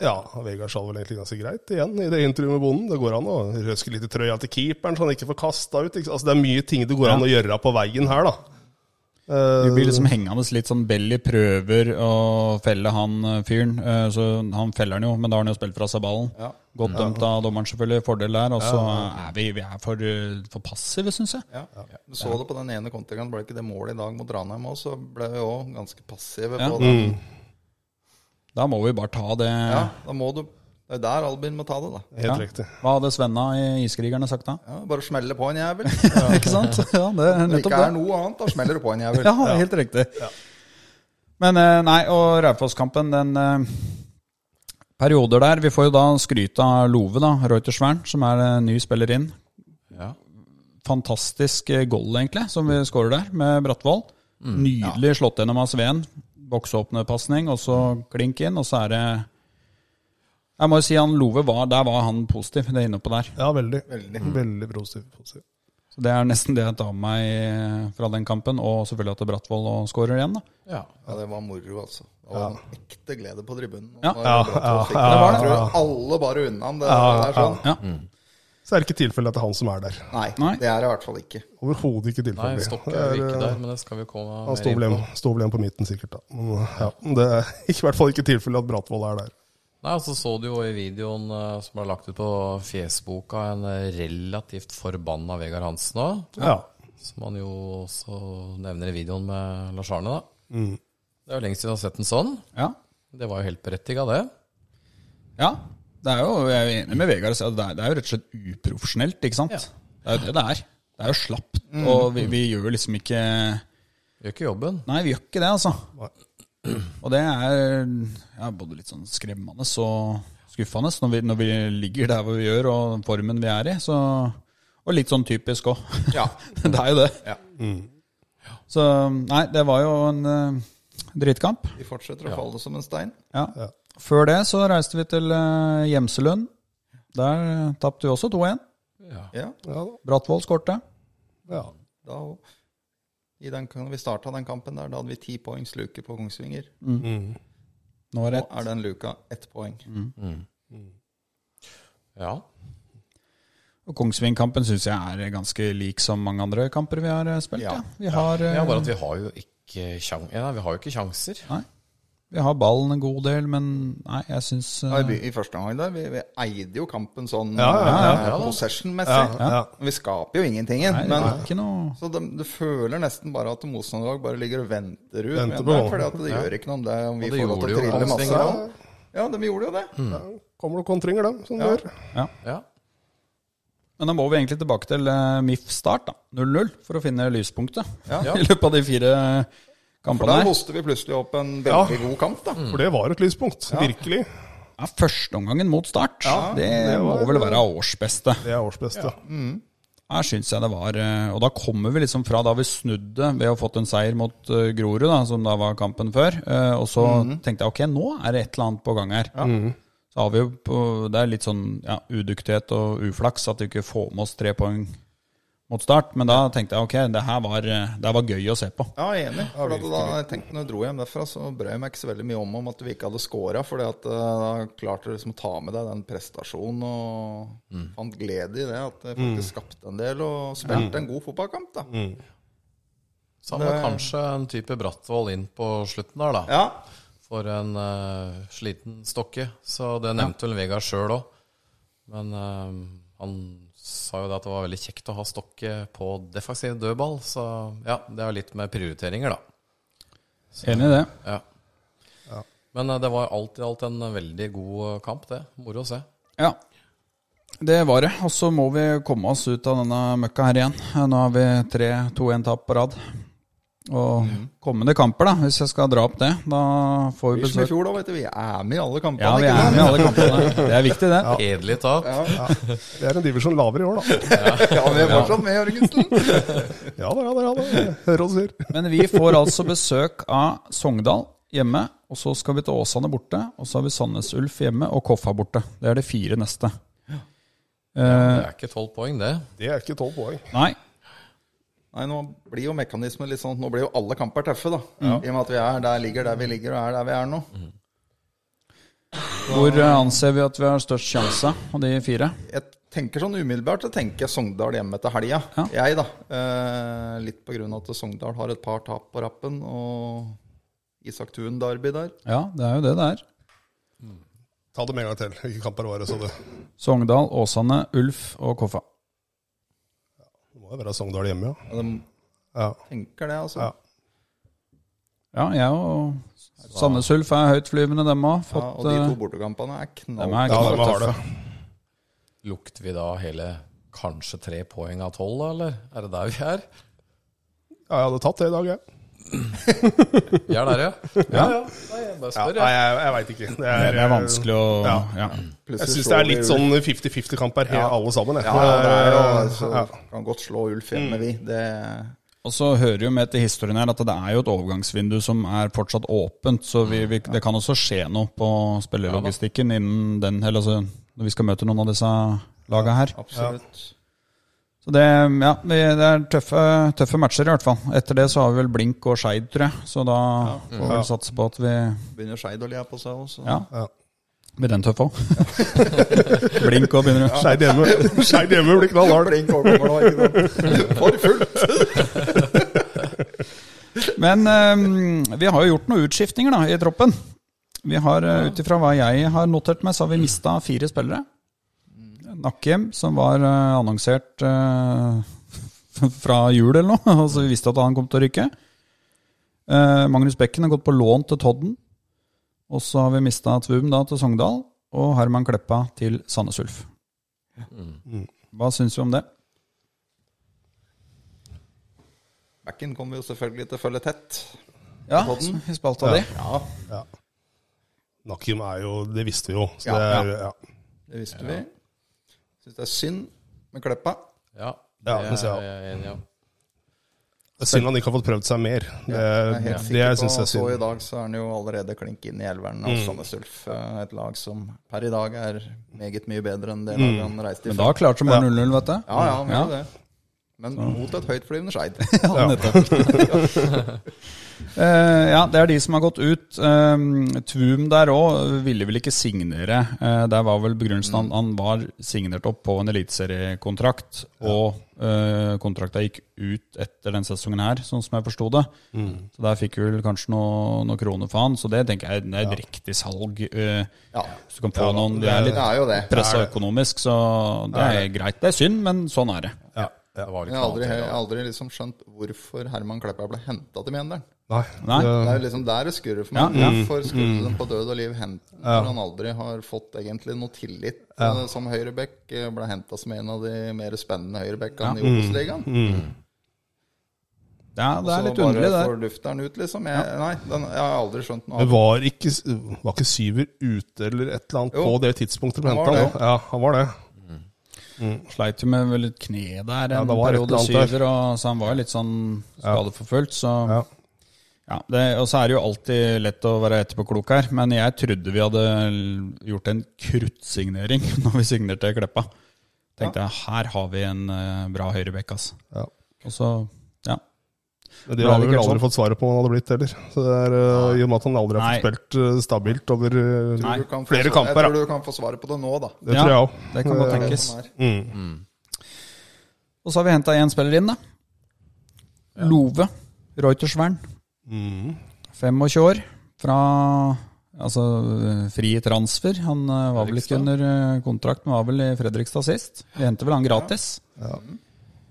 [SPEAKER 5] Ja, Vegard sa vel egentlig ganske greit igjen i det intervjuet med bonden. Det går an å røske litt i trøya til keeperen, så han ikke får kasta ut. Ikke? sant? Altså, det er mye ting det går an å gjøre på veien her, da. Eh,
[SPEAKER 2] Vi blir liksom hengende litt sånn Belly prøver å felle han eh, fyren. eh, Så han feller han jo, men da har han jo spilt fra seg ballen. Godt dømt av dommeren, selvfølgelig. Fordel der. Og så er vi, vi er for, eh, for passive, syns jeg.
[SPEAKER 4] Ja. Du så det på den ene kontringen. Ble ikke det målet i dag mot Ranheim òg, så ble vi òg ganske passive
[SPEAKER 2] Ja. Mm.
[SPEAKER 4] på den.
[SPEAKER 2] Da må vi bare ta det.
[SPEAKER 4] Ja, da må du Det er der Albin må ta det, da.
[SPEAKER 5] Helt riktig.
[SPEAKER 2] Hva hadde Svenna i Iskrigerne sagt da?
[SPEAKER 4] Ja, bare smelle på en jævel.
[SPEAKER 2] Ikke sant? Ja, det er
[SPEAKER 4] Når det
[SPEAKER 2] nettopp
[SPEAKER 4] ikke
[SPEAKER 2] det.
[SPEAKER 4] er noe annet, da smeller du på en jævel.
[SPEAKER 2] Ja, helt riktig. Men eh, nei, og Raufoss-kampen, den eh, perioder der Vi får jo da skryt av Love, da, Reutersvern, som er eh, ny spiller inn.
[SPEAKER 3] Ja.
[SPEAKER 2] fantastisk eh, goal, egentlig, som vi skårer der, med Brattvoll. Nydelig slått gjennom av Sveen. Boksåpnepasning, og så klink inn, og så er det Jeg må jo si han Love var Der var han positiv, det er inne på der.
[SPEAKER 5] Ja, veldig. Veldig, positiv. positiv.
[SPEAKER 2] Så det er nesten det jeg tar med meg eh, fra den kampen, og selvfølgelig at Brattvoll og skårer igjen, da.
[SPEAKER 3] Ja.
[SPEAKER 4] Ja, det var moro, altså. Det var en ekte glede på tribunen.
[SPEAKER 2] Ja.
[SPEAKER 4] Det var bra
[SPEAKER 5] Ja,
[SPEAKER 4] trofik.
[SPEAKER 5] ja,
[SPEAKER 4] Jeg
[SPEAKER 5] ja,
[SPEAKER 4] tror
[SPEAKER 5] ja.
[SPEAKER 4] alle bare unna ham. Det,
[SPEAKER 5] Ja,
[SPEAKER 4] det er sånn.
[SPEAKER 2] Ja.
[SPEAKER 5] Så er det ikke tilfellet at det er han som er der.
[SPEAKER 4] Nei,
[SPEAKER 2] Nei.
[SPEAKER 4] det er det i hvert fall ikke.
[SPEAKER 5] Overhodet ikke
[SPEAKER 3] Nei,
[SPEAKER 5] tilfeldig.
[SPEAKER 3] Stokke er jo
[SPEAKER 5] Det er,
[SPEAKER 3] ikke
[SPEAKER 5] eh,
[SPEAKER 3] der, men det skal vi komme
[SPEAKER 5] Han står vel igjen, står vel igjen på midten, sikkert. da. Men, ja, det er i hvert fall ikke tilfellet at Bratvold er der.
[SPEAKER 3] Nei, altså så du jo i videoen eh, som er lagt ut på Fjesboka, en eh, relativt forbanna Vegard Hansen òg.
[SPEAKER 5] Ja.
[SPEAKER 3] Som han jo også nevner i videoen med Lars Arne, da. Det er jo lenge siden jeg har sett en sånn.
[SPEAKER 2] ja.
[SPEAKER 3] Det var jo helt berettiga, det.
[SPEAKER 2] Ja, det er jo, jeg er jo enig med Vegard. så Det er, det er jo rett og slett uprofesjonelt, ikke sant? Det er jo det det er. Det er jo slapt, og vi, vi gjør jo liksom ikke
[SPEAKER 3] Gjør ikke jobben.
[SPEAKER 2] Nei, vi gjør ikke det, altså. Og det er ja, både litt sånn skremmende og skuffende når vi, når vi ligger der hvor vi gjør, og formen vi er i. Så, og litt sånn typisk òg.
[SPEAKER 4] Ja.
[SPEAKER 2] det er jo det.
[SPEAKER 4] Ja.
[SPEAKER 2] Så nei, det var jo en eh, dritkamp.
[SPEAKER 4] De fortsetter å falle som en stein.
[SPEAKER 2] Ja. Før det så reiste vi til eh, Gjemselund. Der eh, tapte vi også 2-1.
[SPEAKER 4] Ja,
[SPEAKER 5] Ja, da.
[SPEAKER 2] Brattvoll skårte.
[SPEAKER 5] ja.
[SPEAKER 4] da og i den, kan- vi starta den kampen der, da hadde vi ti poengs luke på Kongsvinger.
[SPEAKER 2] Nå er
[SPEAKER 4] Nå
[SPEAKER 2] det
[SPEAKER 4] er den luka ett poeng.
[SPEAKER 3] Ja.
[SPEAKER 2] Og Kongsvingkampen syns jeg er ganske lik som mange andre kamper vi har eh, spilt. Ja.
[SPEAKER 4] Ja.
[SPEAKER 2] Vi, har, eh,
[SPEAKER 3] ja, bare at vi har jo ikke, kjan ja, nei, vi har jo ikke sjanser.
[SPEAKER 2] nei, vi har ballen en god del, men nei, jeg eh, syns
[SPEAKER 4] Ja, I, by- I første omgang der, vi, vi eide jo kampen sånn
[SPEAKER 5] Ja, ja,
[SPEAKER 4] eh,
[SPEAKER 3] ja, ja.
[SPEAKER 4] possession-messig.
[SPEAKER 5] Ja, ja.
[SPEAKER 4] Vi skaper jo ingentingen.
[SPEAKER 2] Nei, det
[SPEAKER 4] men,
[SPEAKER 2] er ikke noe
[SPEAKER 4] Så de, du føler nesten bare at motstanderlag bare ligger og venter ut.
[SPEAKER 5] Venter
[SPEAKER 4] men
[SPEAKER 5] på
[SPEAKER 4] det
[SPEAKER 5] ballen.
[SPEAKER 4] er fordi at det gjør ikke noe om det om vi
[SPEAKER 3] Og det
[SPEAKER 4] får lov til å
[SPEAKER 3] gjorde jo
[SPEAKER 4] trille
[SPEAKER 3] Kongsvinger
[SPEAKER 4] masse. Ja, de gjorde jo det.
[SPEAKER 5] Ja, Kommer det kontringer, da, som det gjør.
[SPEAKER 2] ja.
[SPEAKER 3] Ja.
[SPEAKER 2] Men da må vi egentlig tilbake til eh, MIF start, da. 0-0, for å finne lyspunktet
[SPEAKER 4] Ja.
[SPEAKER 2] i løpet av de fire
[SPEAKER 4] For
[SPEAKER 2] kampene
[SPEAKER 4] der
[SPEAKER 2] her.
[SPEAKER 4] hoster vi plutselig opp en veldig god kamp, da.
[SPEAKER 5] For det var et lyspunkt. Virkelig.
[SPEAKER 2] Ja, Førsteomgangen mot start, det, må vel være årsbeste.
[SPEAKER 5] Det er årsbeste.
[SPEAKER 2] Her syns jeg det var eh, Og da kommer vi liksom fra da vi snudde ved å ha fått en seier mot eh, Grorud, da, som da var kampen før. eh, Og så tenkte jeg ok, nå er det et eller annet på gang her. Så har vi jo på, Det er litt sånn ja, udyktighet og uflaks at vi ikke får med oss tre poeng mot start. Men da tenkte jeg ok, det her var, eh, det her var gøy å se på.
[SPEAKER 4] Ja, jeg er enig. For at da jeg tenkte når jeg dro hjem derfra, så brød jeg meg ikke så veldig mye om om at vi ikke hadde scora. For eh, da klarte du liksom å ta med deg den prestasjonen og fant glede i det. At det
[SPEAKER 5] Mm.
[SPEAKER 4] faktisk skapte en del og spilte en god fotballkamp, da.
[SPEAKER 3] Så han var kanskje en type Brattvoll inn på slutten der, da.
[SPEAKER 4] Ja.
[SPEAKER 3] For en eh, sliten stokke. Så det nevnte vel Vegard sjøl òg. Men eh, han sa jo det at det var veldig kjekt å ha stokke på defensiv dødball. Så ja, det er jo litt med prioriteringer, da.
[SPEAKER 2] Enig i det.
[SPEAKER 3] Ja. Men eh, det var alt i alt en veldig god eh, kamp, det. Moro å se.
[SPEAKER 2] Ja. Det var det. Og så må vi komme oss ut av denne møkka her igjen. Nå har vi tre 2-1-tap på rad. Og kommende kamper, da, hvis jeg skal dra opp det, da får vi
[SPEAKER 4] Vi som i
[SPEAKER 2] besøk.
[SPEAKER 4] fjor, da, vet du. Vi er med i alle kampene.
[SPEAKER 2] Ja, vi
[SPEAKER 4] ikke
[SPEAKER 2] er
[SPEAKER 4] sant?
[SPEAKER 2] med i alle kampene. Det er viktig, det.
[SPEAKER 3] Edelig tap.
[SPEAKER 5] Det er en divisjon lavere i år, da.
[SPEAKER 4] Ja, vi er fortsatt med, Jørgensen.
[SPEAKER 5] Ja da, ja da. ja da. Jeg Hører hva du sier.
[SPEAKER 2] Men vi får altså besøk av Sogndal hjemme, og så skal vi til Åsane borte. Og så har vi Sandnes Ulf hjemme og Koffa borte. Det er de fire neste. Eh,
[SPEAKER 3] Det er ikke tolv poeng, det.
[SPEAKER 5] Det er ikke tolv poeng.
[SPEAKER 2] Nei,
[SPEAKER 4] Nei, nå blir jo mekanismen litt sånn at nå blir jo alle kamper tøffe, da. I og med at vi er der ligger der vi ligger, og er der vi er nå.
[SPEAKER 5] Mm.
[SPEAKER 2] hvor eh, anser vi at vi har størst sjanse av de fire?
[SPEAKER 4] Jeg tenker sånn umiddelbart, så tenker jeg Sogndal hjemme til helga.
[SPEAKER 2] Ja.
[SPEAKER 4] Jeg, da. Eh, litt på grunn av at Sogndal har et par tap på rappen, og Isak Thun-derby der.
[SPEAKER 2] Ja, det er jo det det er.
[SPEAKER 5] Ta det med en gang til. Hvilke kamper var det, så det?
[SPEAKER 2] Sogndal, Åsane, Ulf og Koffa.
[SPEAKER 5] Det må jo være Sogndal hjemme, ja.
[SPEAKER 4] De
[SPEAKER 5] ja.
[SPEAKER 4] tenker det, altså.
[SPEAKER 5] Ja.
[SPEAKER 2] Ja, jeg og Sandnes Ulf er høytflyvende, dem eh, òg.
[SPEAKER 4] Ja, og de
[SPEAKER 5] eh,
[SPEAKER 4] to bortekampene er knall.
[SPEAKER 2] er
[SPEAKER 5] Ja,
[SPEAKER 2] knall.
[SPEAKER 5] de har det.
[SPEAKER 3] Lukter vi da hele kanskje tre poeng av tolv, da, eller? Er det der vi er?
[SPEAKER 5] Ja, jeg hadde tatt det i dag, jeg.
[SPEAKER 3] Vi er der, ja.
[SPEAKER 5] Ja, ja.
[SPEAKER 3] Nei, jeg bare
[SPEAKER 5] ja
[SPEAKER 3] spør,
[SPEAKER 5] nei,
[SPEAKER 3] jeg.
[SPEAKER 5] jeg, jeg veit ikke. Det
[SPEAKER 2] Det er vanskelig å ja.
[SPEAKER 5] Ja.
[SPEAKER 4] Plutselig
[SPEAKER 5] Jeg syns
[SPEAKER 4] slår
[SPEAKER 5] det er
[SPEAKER 4] vi
[SPEAKER 5] litt
[SPEAKER 4] ulv.
[SPEAKER 5] sånn 50-50-kamp her, he- alle sammen. jeg.
[SPEAKER 4] Ja, ja, det er jo
[SPEAKER 5] Ja. Mm.
[SPEAKER 4] så Kan godt slå ulv hjemme, vi. Det
[SPEAKER 2] Og så hører jo med til historien her at det er jo et overgangsvindu som er fortsatt åpent, så vi, vi, det kan også skje noe på spillerlogistikken innen den, eller altså når vi skal møte noen av disse laga her.
[SPEAKER 4] absolutt.
[SPEAKER 2] Så det, ja, det det er tøffe, tøffe matcher i hvert fall. Etter det så har vi vel Blink og Skeid, tror jeg. Så da får vi vel satse på at vi
[SPEAKER 4] Begynner Skeid å le på seg også.
[SPEAKER 2] Ja,
[SPEAKER 5] Ja.
[SPEAKER 2] blir den tøff òg? Blink og begynner å
[SPEAKER 5] Skeid hjemme. Skeid hjemme blir knallhard.
[SPEAKER 4] Blink over nå, ikke sant? For fullt!
[SPEAKER 2] Men eh, vi har jo gjort noen utskiftninger da, i troppen. Vi har, eh, Ut ifra hva jeg har notert meg, så har vi mista fire spillere. Nakkim, som var eh, annonsert eh, fra jul eller noe, altså vi visste at han kom til å rykke. Eh, Magnus Bekken har gått på lån til Todden. Og så har vi mista Tvum da, til Sogndal, og Herman Kleppa til Sandnes Ulf.
[SPEAKER 4] Mm.
[SPEAKER 2] Hva syns vi om det?
[SPEAKER 4] Bekken kommer jo selvfølgelig til å følge tett.
[SPEAKER 2] Ja,
[SPEAKER 4] Todden?
[SPEAKER 2] i spalta di.
[SPEAKER 4] Ja,
[SPEAKER 5] Ja. Nakim er jo Det visste vi jo. Så
[SPEAKER 4] Ja,
[SPEAKER 5] det er,
[SPEAKER 4] ja.
[SPEAKER 5] ja.
[SPEAKER 4] det visste vi. Syns det er synd med Kleppa.
[SPEAKER 3] Ja,
[SPEAKER 5] Ja,
[SPEAKER 3] det
[SPEAKER 5] det ser jeg.
[SPEAKER 3] er jeg enig om.
[SPEAKER 5] Det er Synd han ikke har fått prøvd seg mer. Det,
[SPEAKER 4] Jeg er helt
[SPEAKER 5] Eh, det
[SPEAKER 4] sikker
[SPEAKER 5] jeg
[SPEAKER 4] på
[SPEAKER 5] synes jeg er
[SPEAKER 4] så i
[SPEAKER 5] synd.
[SPEAKER 4] dag så er han jo allerede klink inn i elveren
[SPEAKER 2] Mm.
[SPEAKER 4] av Sandnes Ulf. eh, Et lag som per i dag er meget mye bedre enn det laget han reiste i.
[SPEAKER 2] Mm. Men da klarte de bare 0-0, vet du.
[SPEAKER 4] Ja, ja, han
[SPEAKER 2] Ja.
[SPEAKER 4] gjorde det. Men mot et høytflyvende Skeid.
[SPEAKER 2] Ja, nettopp. Eh, ja, det er de som har gått ut. Um, Tvum der òg ville vel ikke signere. Eh, der var vel begrunnelsen
[SPEAKER 4] Mm.
[SPEAKER 2] han, han var signert opp på en eliteseriekontrakt, og uh, kontrakta gikk ut etter den sesongen her, sånn som jeg forsto det.
[SPEAKER 4] Mm.
[SPEAKER 2] Så der fikk vi vel kanskje noen noe kroner for han, så det tenker jeg det er et riktig salg. eh,
[SPEAKER 4] Ja.
[SPEAKER 2] så du kan få noen Det er
[SPEAKER 4] Det
[SPEAKER 2] litt
[SPEAKER 4] er jo det.
[SPEAKER 2] pressa økonomisk, så det er greit. Det er synd, men sånn er det.
[SPEAKER 5] Ja. Ja.
[SPEAKER 3] Det var
[SPEAKER 4] Jeg
[SPEAKER 3] litt
[SPEAKER 4] har
[SPEAKER 3] knall
[SPEAKER 4] aldri,
[SPEAKER 3] til,
[SPEAKER 4] jeg
[SPEAKER 3] ja.
[SPEAKER 4] har aldri liksom skjønt hvorfor Herman Kleppa ble henta til Mjøndalen.
[SPEAKER 5] Nei.
[SPEAKER 2] Nei.
[SPEAKER 5] Det,
[SPEAKER 4] Det er jo liksom der det skurrer for meg.
[SPEAKER 2] Ja, Mm. ja.
[SPEAKER 4] Hvorfor skulle den på død og liv hente den når han aldri har fått egentlig noe tillit eh, som høyrebekk? eh, Ble henta som en av de mer spennende
[SPEAKER 2] Mm.
[SPEAKER 4] høyrebekkene i Obos-ligaen.
[SPEAKER 2] Det er, det er litt
[SPEAKER 4] Så bare
[SPEAKER 2] underlig, det. der.
[SPEAKER 4] får lufteren ut, liksom. Jeg, nei, den, jeg har aldri skjønt noe av
[SPEAKER 5] det
[SPEAKER 4] det.
[SPEAKER 5] var ikke, var ikke Syver ute eller et eller annet
[SPEAKER 4] Jo.
[SPEAKER 5] på det tidspunktet?
[SPEAKER 4] Han
[SPEAKER 5] Han
[SPEAKER 4] var
[SPEAKER 5] var det.
[SPEAKER 4] det.
[SPEAKER 5] Ja, han var det.
[SPEAKER 2] Sleit jo med vel et kne der
[SPEAKER 5] Ja,
[SPEAKER 2] en
[SPEAKER 5] det var et
[SPEAKER 2] periode,
[SPEAKER 5] eller annet der.
[SPEAKER 2] syver, og, så han var jo litt sånn skadeforfulgt. Så, ja.
[SPEAKER 5] Ja.
[SPEAKER 2] det, og så er det jo alltid lett å være etterpåklok her, men jeg trodde vi hadde gjort en kruttsignering når vi signerte Kleppa. Tenkte jeg her har vi en eh, bra høyrebekk, altså.
[SPEAKER 5] Ja.
[SPEAKER 2] Og så, ja.
[SPEAKER 5] Men
[SPEAKER 2] det
[SPEAKER 5] Det har vi
[SPEAKER 2] ikke
[SPEAKER 5] vel
[SPEAKER 2] helt
[SPEAKER 5] aldri
[SPEAKER 2] sånn.
[SPEAKER 5] fått svaret på om han hadde blitt heller. Så det er, eh, I og med at han aldri har fått
[SPEAKER 2] Nei.
[SPEAKER 5] spilt eh, stabilt over eh,
[SPEAKER 2] Nei.
[SPEAKER 4] Du kan få
[SPEAKER 5] flere
[SPEAKER 4] svar-
[SPEAKER 5] kamper.
[SPEAKER 4] Jeg
[SPEAKER 5] da.
[SPEAKER 4] tror du kan få svaret på det nå, da.
[SPEAKER 5] Det
[SPEAKER 2] Ja,
[SPEAKER 5] tror jeg Mm. òg.
[SPEAKER 2] Det kan godt tenkes.
[SPEAKER 4] Som er.
[SPEAKER 2] Og så har vi henta én spiller inn, da. Love Reutersvern.
[SPEAKER 5] Mm.
[SPEAKER 2] 25 år. Fra altså eh, fri transfer. Han eh, var vel ikke under eh, kontrakt, men var vel i Fredrikstad sist. Vi henter vel han gratis.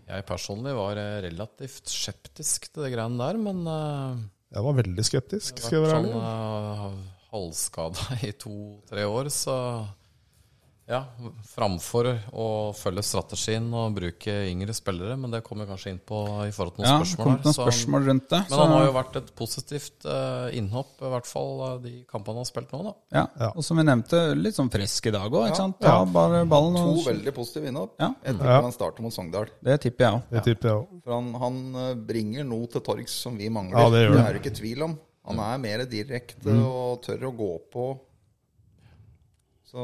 [SPEAKER 3] Jeg personlig var eh, relativt skeptisk til det greiene der, men eh,
[SPEAKER 5] Jeg var veldig skeptisk, skal
[SPEAKER 3] jeg
[SPEAKER 5] jeg
[SPEAKER 3] har
[SPEAKER 5] være
[SPEAKER 3] vært
[SPEAKER 5] ærlig.
[SPEAKER 4] eh,
[SPEAKER 3] sånn uh, halvskada i to-tre år, så ja, framfor å følge strategien og bruke yngre spillere, men det kommer vi kanskje inn på i forhold til noen
[SPEAKER 2] Ja,
[SPEAKER 3] spørsmål.
[SPEAKER 2] kom
[SPEAKER 3] her,
[SPEAKER 2] til noen
[SPEAKER 3] så-
[SPEAKER 2] spørsmål rundt det.
[SPEAKER 3] Men han har jo vært et positivt eh, innhopp, i hvert fall eh, de kampene han har spilt nå, da.
[SPEAKER 2] ja.
[SPEAKER 5] Ja.
[SPEAKER 2] Og som vi nevnte, litt sånn frisk i dag òg. ikke sant? Ta bare ballen
[SPEAKER 4] To
[SPEAKER 2] og
[SPEAKER 4] veldig positive innhopp.
[SPEAKER 2] Ja.
[SPEAKER 4] Jeg tipper
[SPEAKER 5] Ja.
[SPEAKER 4] han starter mot Sogndal.
[SPEAKER 2] Det tipper jeg òg.
[SPEAKER 5] Det tipper jeg òg.
[SPEAKER 4] For han, han eh, bringer noe til torgs som vi mangler.
[SPEAKER 5] Ja, det Mm. gjør
[SPEAKER 4] det
[SPEAKER 5] han.
[SPEAKER 4] er det ikke tvil om. Han er mer direkte og tør å gå på. Så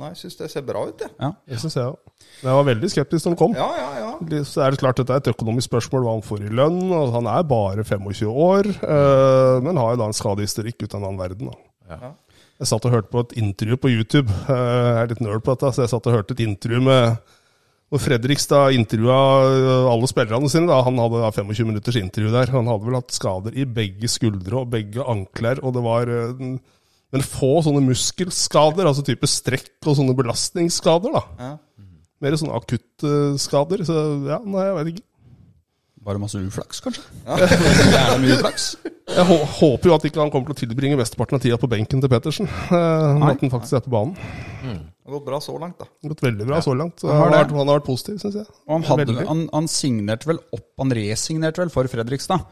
[SPEAKER 4] nei, jeg syns det ser bra ut, jeg.
[SPEAKER 5] Det synes jeg òg. Men jeg var veldig skeptisk når han kom.
[SPEAKER 4] Ja, ja, ja.
[SPEAKER 5] Så er det klart dette er et økonomisk spørsmål hva han får i lønn. og Han er bare 25 år, eh, men har jo da en skadehistorikk uten annen verden. Da.
[SPEAKER 3] Ja.
[SPEAKER 5] Jeg satt og hørte på et intervju på YouTube. eh, Jeg er litt nerd på dette, så jeg satt og hørte et intervju med hvor Fredrikstad intervjua alle spillerne sine. Da. Han hadde da 25 minutters intervju der. Han hadde vel hatt skader i begge skuldre og begge ankler, og det var eh, en- men få sånne muskelskader, altså type strekk og sånne belastningsskader. da.
[SPEAKER 4] ja.
[SPEAKER 5] Mer sånne akutte skader. Så ja, nei, jeg vet ikke.
[SPEAKER 2] Bare masse uflaks, kanskje.
[SPEAKER 5] Jeg hå- håper jo at ikke han kommer til å tilbringe mesteparten av tida på benken til Pettersen. eh, Men at han faktisk er på banen.
[SPEAKER 4] Det har gått bra så langt, da.
[SPEAKER 5] Det har gått veldig bra så langt. Så
[SPEAKER 2] Han har
[SPEAKER 5] han, har
[SPEAKER 2] det.
[SPEAKER 5] vært, han har vært positiv, syns jeg.
[SPEAKER 2] Og han, hadde,
[SPEAKER 5] Veldig.
[SPEAKER 2] han, han signerte vel opp, han resignerte vel for Fredrikstad.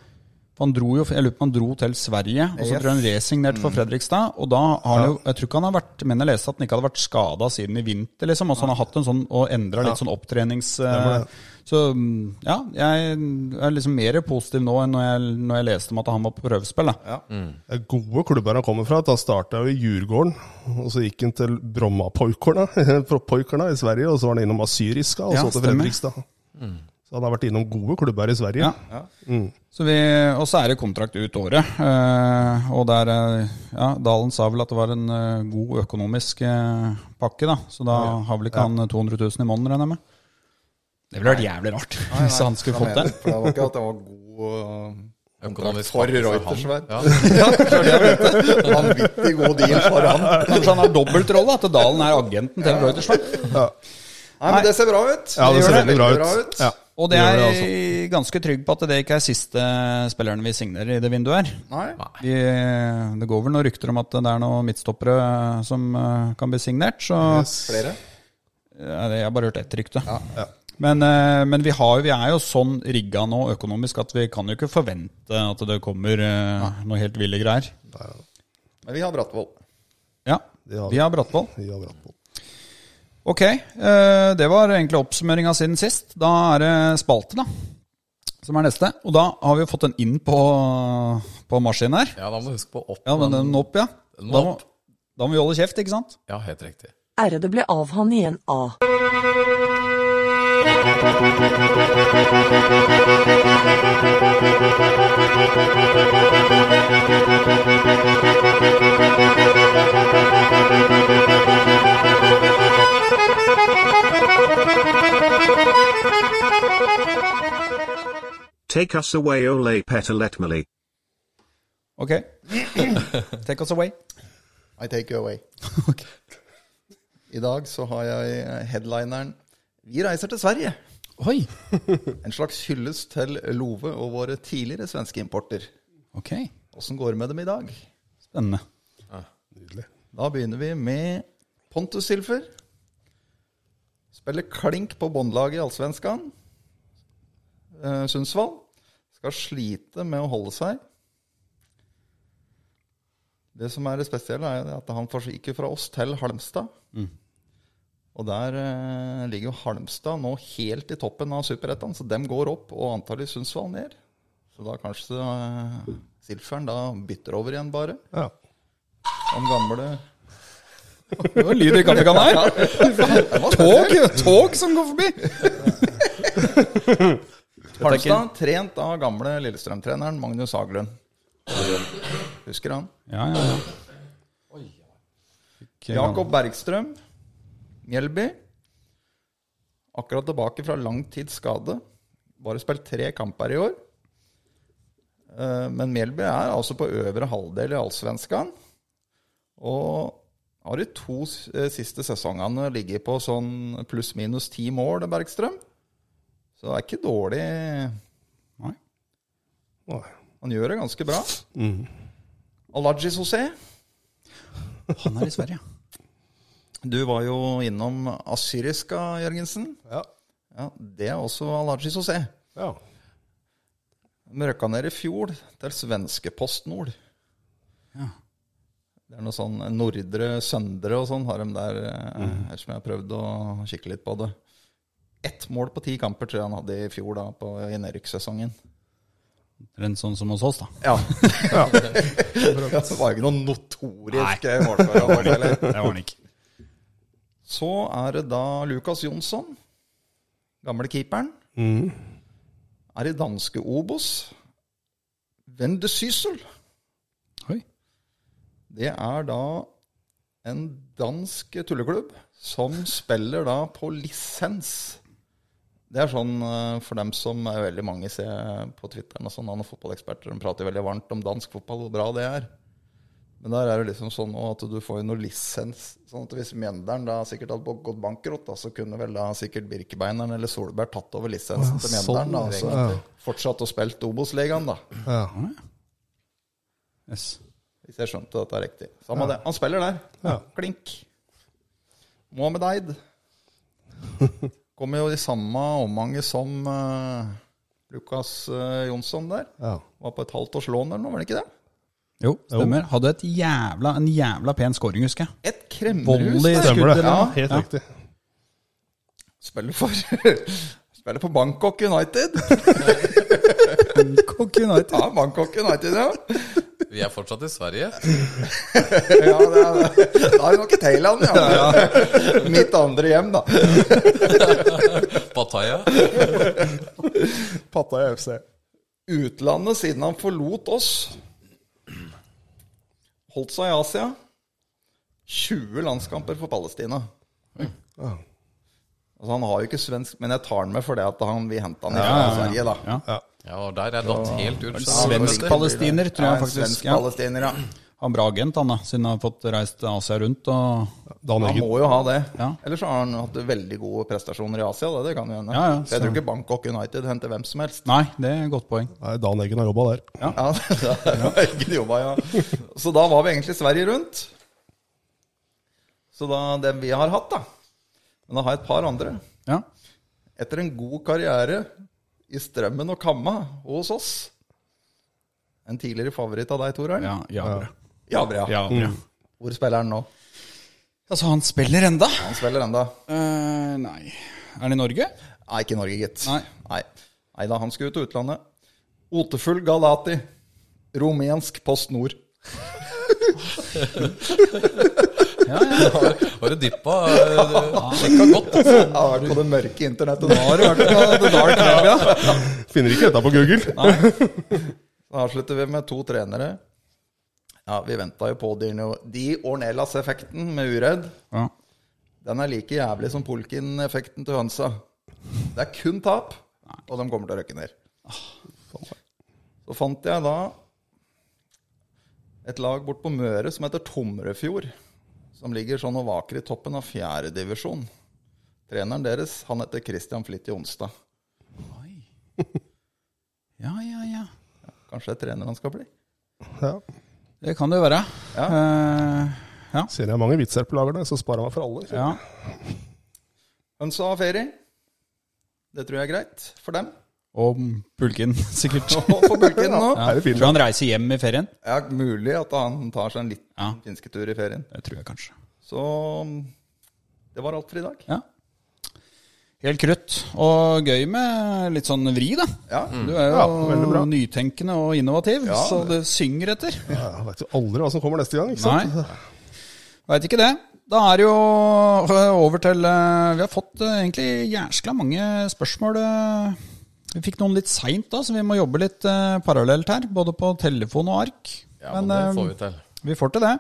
[SPEAKER 2] For han dro jo, jeg lurer på om han dro til Sverige, og så
[SPEAKER 4] Yes.
[SPEAKER 2] tror jeg han resignerte
[SPEAKER 5] Mm.
[SPEAKER 2] for Fredrikstad. Og da har han jo, jeg tror ikke han har vært, men jeg leste at han ikke hadde vært skada siden i vinter, liksom. Og så han har hatt en sånn, og endra litt sånn opptrenings...
[SPEAKER 5] var
[SPEAKER 2] eh,
[SPEAKER 5] det.
[SPEAKER 2] Så mm, ja, jeg er liksom mer positiv nå enn når jeg, når jeg leste om at han var på prøvespill. da.
[SPEAKER 4] Ja.
[SPEAKER 5] Det er gode klubber han kommer fra. Han starta i Djurgården, og så gikk han til Brommapoikorna Poikorna i Sverige, og så var han innom Asyriska, og
[SPEAKER 2] Ja,
[SPEAKER 5] så til
[SPEAKER 2] stemmer.
[SPEAKER 5] Fredrikstad. Så han har vært innom gode klubber i Sverige.
[SPEAKER 2] Ja. Så vi, og så er det kontrakt ut året. eh, og der, eh, ja, Dalen sa vel at det var en eh, god økonomisk eh, pakke, da. Så da har vel ikke han eh, 200 000 i måneden, regner jeg med. Det ville vært jævlig rart hvis han skulle fått det.
[SPEAKER 4] For det var ikke at det var god øh, kontrakt
[SPEAKER 3] Økonomisk
[SPEAKER 4] for
[SPEAKER 3] pakke for
[SPEAKER 4] Reuters,
[SPEAKER 3] han.
[SPEAKER 4] vel?
[SPEAKER 3] Ja.
[SPEAKER 4] Vanvittig god deal for han.
[SPEAKER 2] Kanskje han har dobbeltrolle, at Dalen er agenten til Reuters. da.
[SPEAKER 4] Nei, men det ser bra ut.
[SPEAKER 5] Ja, det
[SPEAKER 4] gjør
[SPEAKER 5] ser veldig bra ut. Ja.
[SPEAKER 2] Og det er
[SPEAKER 5] gjør
[SPEAKER 2] jeg
[SPEAKER 5] altså.
[SPEAKER 2] ganske trygg på at det ikke er siste spilleren vi signerer i det vinduet her.
[SPEAKER 4] Nei.
[SPEAKER 2] Vi, eh, det går vel noen rykter om at det er noen midtstoppere som eh, kan bli signert, så
[SPEAKER 4] Flere?
[SPEAKER 2] Ja, det- Jeg har bare hørt ett rykte. Men, eh, men vi, har, jo- vi er jo sånn rigga nå økonomisk at vi kan jo ikke forvente at det kommer eh, noe helt ville greier.
[SPEAKER 4] Men vi har Brattvoll.
[SPEAKER 2] Ja,
[SPEAKER 5] Det har
[SPEAKER 2] vi
[SPEAKER 5] vi.
[SPEAKER 2] har Brattvoll.
[SPEAKER 5] Ja, bra.
[SPEAKER 2] Ok, eh, det var egentlig oppsummeringa siden sist. Da er det spalte, da. Som er neste. Og da har vi jo fått den inn på, på maskinen her.
[SPEAKER 3] ja, da må du huske på opp.
[SPEAKER 2] Ja, men den opp, ja.
[SPEAKER 3] Den
[SPEAKER 2] Da må,
[SPEAKER 3] opp.
[SPEAKER 2] da må vi holde kjeft, ikke sant?
[SPEAKER 3] Ja, helt riktig.
[SPEAKER 6] Ærede ble av han i en A.
[SPEAKER 7] Take us away, Ole Petaletmali.
[SPEAKER 2] Ok. Take us away.
[SPEAKER 4] I take you away. I dag så har jeg headlineren Vi reiser til Sverige.
[SPEAKER 2] Oi.
[SPEAKER 4] En slags hyllest til Love og våre tidligere svenske importer.
[SPEAKER 2] Ok,
[SPEAKER 4] Åssen går det med dem i dag?
[SPEAKER 2] spennende.
[SPEAKER 4] Da begynner vi med Pontus Silfer. Spiller klink på båndlaget i Allsvenskan. Eh, Sundsvall. Skal slite med å holde seg. Det som er det spesielle, er jo at han forsviker fra oss til Halmstad. Og der eh, ligger jo Halmstad nå helt i toppen av Superettan, så dem går opp, og antallet i Sundsvall ned. Så da kanskje eh, Silferen da bytter over igjen, bare.
[SPEAKER 5] Ja.
[SPEAKER 4] Om gamle
[SPEAKER 2] Det var lyd i kaffekannen her. Tog, tog som går forbi.
[SPEAKER 4] Halmstad, trent av gamle Lillestrøm-treneren Magnus Haglund. Husker han?
[SPEAKER 2] Ja, ja, ja. Ikke
[SPEAKER 4] Jakob Bergstrøm, Mjelby. Akkurat tilbake fra lang tids skade. Bare spilt tre kamper i år. Eh, Men Mjelby er altså på øvre halvdel i Allsvenskan. Og har de to s- eh, siste sesongene ligget på sånn pluss-minus ti mål, Bergstrøm. Så det er ikke dårlig
[SPEAKER 2] Nei.
[SPEAKER 5] Nei.
[SPEAKER 4] Han gjør det ganske bra. Alajis José,
[SPEAKER 2] Han er i Sverige.
[SPEAKER 4] du var jo innom Asyriska, Jørgensen.
[SPEAKER 5] Ja.
[SPEAKER 4] Ja, Det er også Alajis José.
[SPEAKER 5] Ja.
[SPEAKER 4] De røkka ned i fjor til svenske Postnord.
[SPEAKER 2] Ja.
[SPEAKER 4] Det er noe sånn Nordre Søndre og sånn har de der, eh, her som jeg har prøvd å kikke litt på det. Ett mål på ti kamper tror jeg han hadde i fjor da, på, i nedrykkssesongen.
[SPEAKER 2] Rent sånn som hos oss, da.
[SPEAKER 4] Ja. det var jo ikke noen notoriske målskårer. eller?
[SPEAKER 2] Det var han ikke.
[SPEAKER 4] Så er det da Lukas Jonsson, gamle keeperen. Er i danske Obos. Wende Syssel.
[SPEAKER 2] Oi.
[SPEAKER 4] Det er da en dansk tulleklubb som spiller da på lisens. Det er sånn eh, for dem som er veldig mange ser på Twitteren og sånn, han er fotballeksperter, de prater veldig varmt om dansk fotball, hvor bra det er. Men der er det liksom sånn nå at du får jo noe lisens. Sånn at hvis Mjøndalen da sikkert hadde gått bankerott, da, så kunne vel da sikkert Birkebeineren eller Solberg tatt over lisensen til
[SPEAKER 5] sånn,
[SPEAKER 4] Mjøndalen, da, og så
[SPEAKER 5] ja.
[SPEAKER 4] fortsatt å spille Obos-ligaen, da.
[SPEAKER 5] Ja.
[SPEAKER 2] Yes.
[SPEAKER 4] Hvis jeg skjønte dette riktig. Samme det. Han spiller der.
[SPEAKER 5] Ja.
[SPEAKER 4] Klink. Mohammed Eid. Kommer jo i samme omhanget som eh, Lukas eh, Jonsson der.
[SPEAKER 5] Ja.
[SPEAKER 4] Var på et halvt års lån eller noe, var det ikke det?
[SPEAKER 2] Jo, stemmer. Hadde et jævla, en jævla pen scoring, husker jeg.
[SPEAKER 4] Et kremmerhus
[SPEAKER 2] Volley,
[SPEAKER 4] der.
[SPEAKER 5] Stemmer det.
[SPEAKER 2] skudd, eller?
[SPEAKER 5] Helt
[SPEAKER 2] Ja.
[SPEAKER 5] riktig.
[SPEAKER 4] Spiller for Spiller for Bangkok United.
[SPEAKER 2] Cook United.
[SPEAKER 4] Ja, Bangkok United, ja.
[SPEAKER 3] Vi er fortsatt i Sverige.
[SPEAKER 4] ja det er, da er det nok i Thailand, ja. Mitt andre hjem, da.
[SPEAKER 3] Pattaya.
[SPEAKER 5] Pattaya FC.
[SPEAKER 4] Utlandet siden han forlot oss. Holdt seg i Asia. 20 landskamper for Palestina. Altså, han har jo ikke svensk, men jeg tar han med fordi at han, vi henta han fra Sverige, da.
[SPEAKER 2] Ja.
[SPEAKER 3] Ja, og der er datt helt ut.
[SPEAKER 2] Svensk-palestiner, tror jeg
[SPEAKER 4] Ja, en
[SPEAKER 2] faktisk.
[SPEAKER 4] Svensk
[SPEAKER 2] Ja.
[SPEAKER 4] palestiner, ja.
[SPEAKER 2] Han bra agent, han da, siden han har fått reist Asia rundt. Og...
[SPEAKER 5] Dan
[SPEAKER 4] Han
[SPEAKER 5] Eggen.
[SPEAKER 4] må jo ha det.
[SPEAKER 2] Ja.
[SPEAKER 4] Ellers har han hatt veldig gode prestasjoner i Asia. Da. Det kan jo hende.
[SPEAKER 2] Ja, ja,
[SPEAKER 4] Så jeg
[SPEAKER 2] så-
[SPEAKER 4] tror ikke Bangkok United henter hvem som helst.
[SPEAKER 2] Nei, det er et godt poeng.
[SPEAKER 5] Nei, Dan Eggen har jobba der.
[SPEAKER 4] Ja, det var egen jobba, ja. Så da var vi egentlig Sverige rundt. Så da det vi har hatt, da. Men da har jeg et par andre.
[SPEAKER 2] Ja.
[SPEAKER 4] Etter en god karriere i Strømmen og Kamma og hos oss En tidligere favoritt av deg, Torheim.
[SPEAKER 2] Ja, ja, Mm. bra.
[SPEAKER 4] Ja, bra.
[SPEAKER 2] Ja, bra.
[SPEAKER 4] Hvor spiller han nå?
[SPEAKER 2] Altså, han spiller enda?
[SPEAKER 4] Han spiller enda.
[SPEAKER 2] Eh, nei. Er han i Norge?
[SPEAKER 4] Nei, ikke i Norge, gitt.
[SPEAKER 2] Nei.
[SPEAKER 4] Nei. Nei da, han skulle ut til utlandet. Otefull Galati. Rumensk Post Nord.
[SPEAKER 3] Var det dyppa? Sjekka eh, godt. altså.
[SPEAKER 4] Jeg har vært på det mørke internettet nå. Har du vært på det dark web, ja.
[SPEAKER 5] Finner ikke dette på Google.
[SPEAKER 4] Da avslutter vi med to trenere. Ja, Vi venta jo på Dino- Di Ornelas-effekten med Uredd.
[SPEAKER 2] Ja.
[SPEAKER 4] Den er like jævlig som Polkin-effekten til hønsa. Det er kun tap, og de kommer til å røkke ned.
[SPEAKER 2] Ah,
[SPEAKER 4] Så fant jeg da et lag bort på Møre som heter Tomrefjord. Som ligger sånn og vaker i toppen av fjerdedivisjon. Treneren deres han heter Christian Flitt Jonstad.
[SPEAKER 2] ja, ja, ja.
[SPEAKER 4] Kanskje det er trener han skal bli?
[SPEAKER 5] Ja.
[SPEAKER 2] Det kan det jo være.
[SPEAKER 4] Ja.
[SPEAKER 2] Eh,
[SPEAKER 5] Ser jeg mange vitser på lagerne, så sparer jeg meg for alle.
[SPEAKER 2] ja.
[SPEAKER 4] Hønsa har ferie. Det tror jeg er greit for dem.
[SPEAKER 2] Og pulken, sikkert.
[SPEAKER 4] Og for Bulken nå.
[SPEAKER 2] Ja. Tror han reiser hjem i ferien?
[SPEAKER 4] Ja, mulig at han tar seg en liten
[SPEAKER 2] Ja.
[SPEAKER 4] finsketur i ferien.
[SPEAKER 2] Det tror jeg kanskje.
[SPEAKER 4] Så um, det var alt for i dag.
[SPEAKER 2] Ja. Helt krutt. Og gøy med litt sånn vri, da.
[SPEAKER 4] Ja.
[SPEAKER 2] Du er
[SPEAKER 5] Ja,
[SPEAKER 2] jo
[SPEAKER 5] veldig bra.
[SPEAKER 2] nytenkende og innovativ,
[SPEAKER 4] Ja.
[SPEAKER 2] så det synger etter.
[SPEAKER 5] Ja, jeg vet jo aldri hva som kommer neste gang. ikke sant?
[SPEAKER 2] Nei. Veit ikke det. Da er det jo over til eh, Vi har fått eh, egentlig jæskla mange spørsmål. eh. Vi fikk noen litt seint, da, så vi må jobbe litt eh, parallelt her. Både på telefon og ark.
[SPEAKER 3] Ja, men
[SPEAKER 2] eh,
[SPEAKER 3] det får vi til.
[SPEAKER 2] Vi får til det.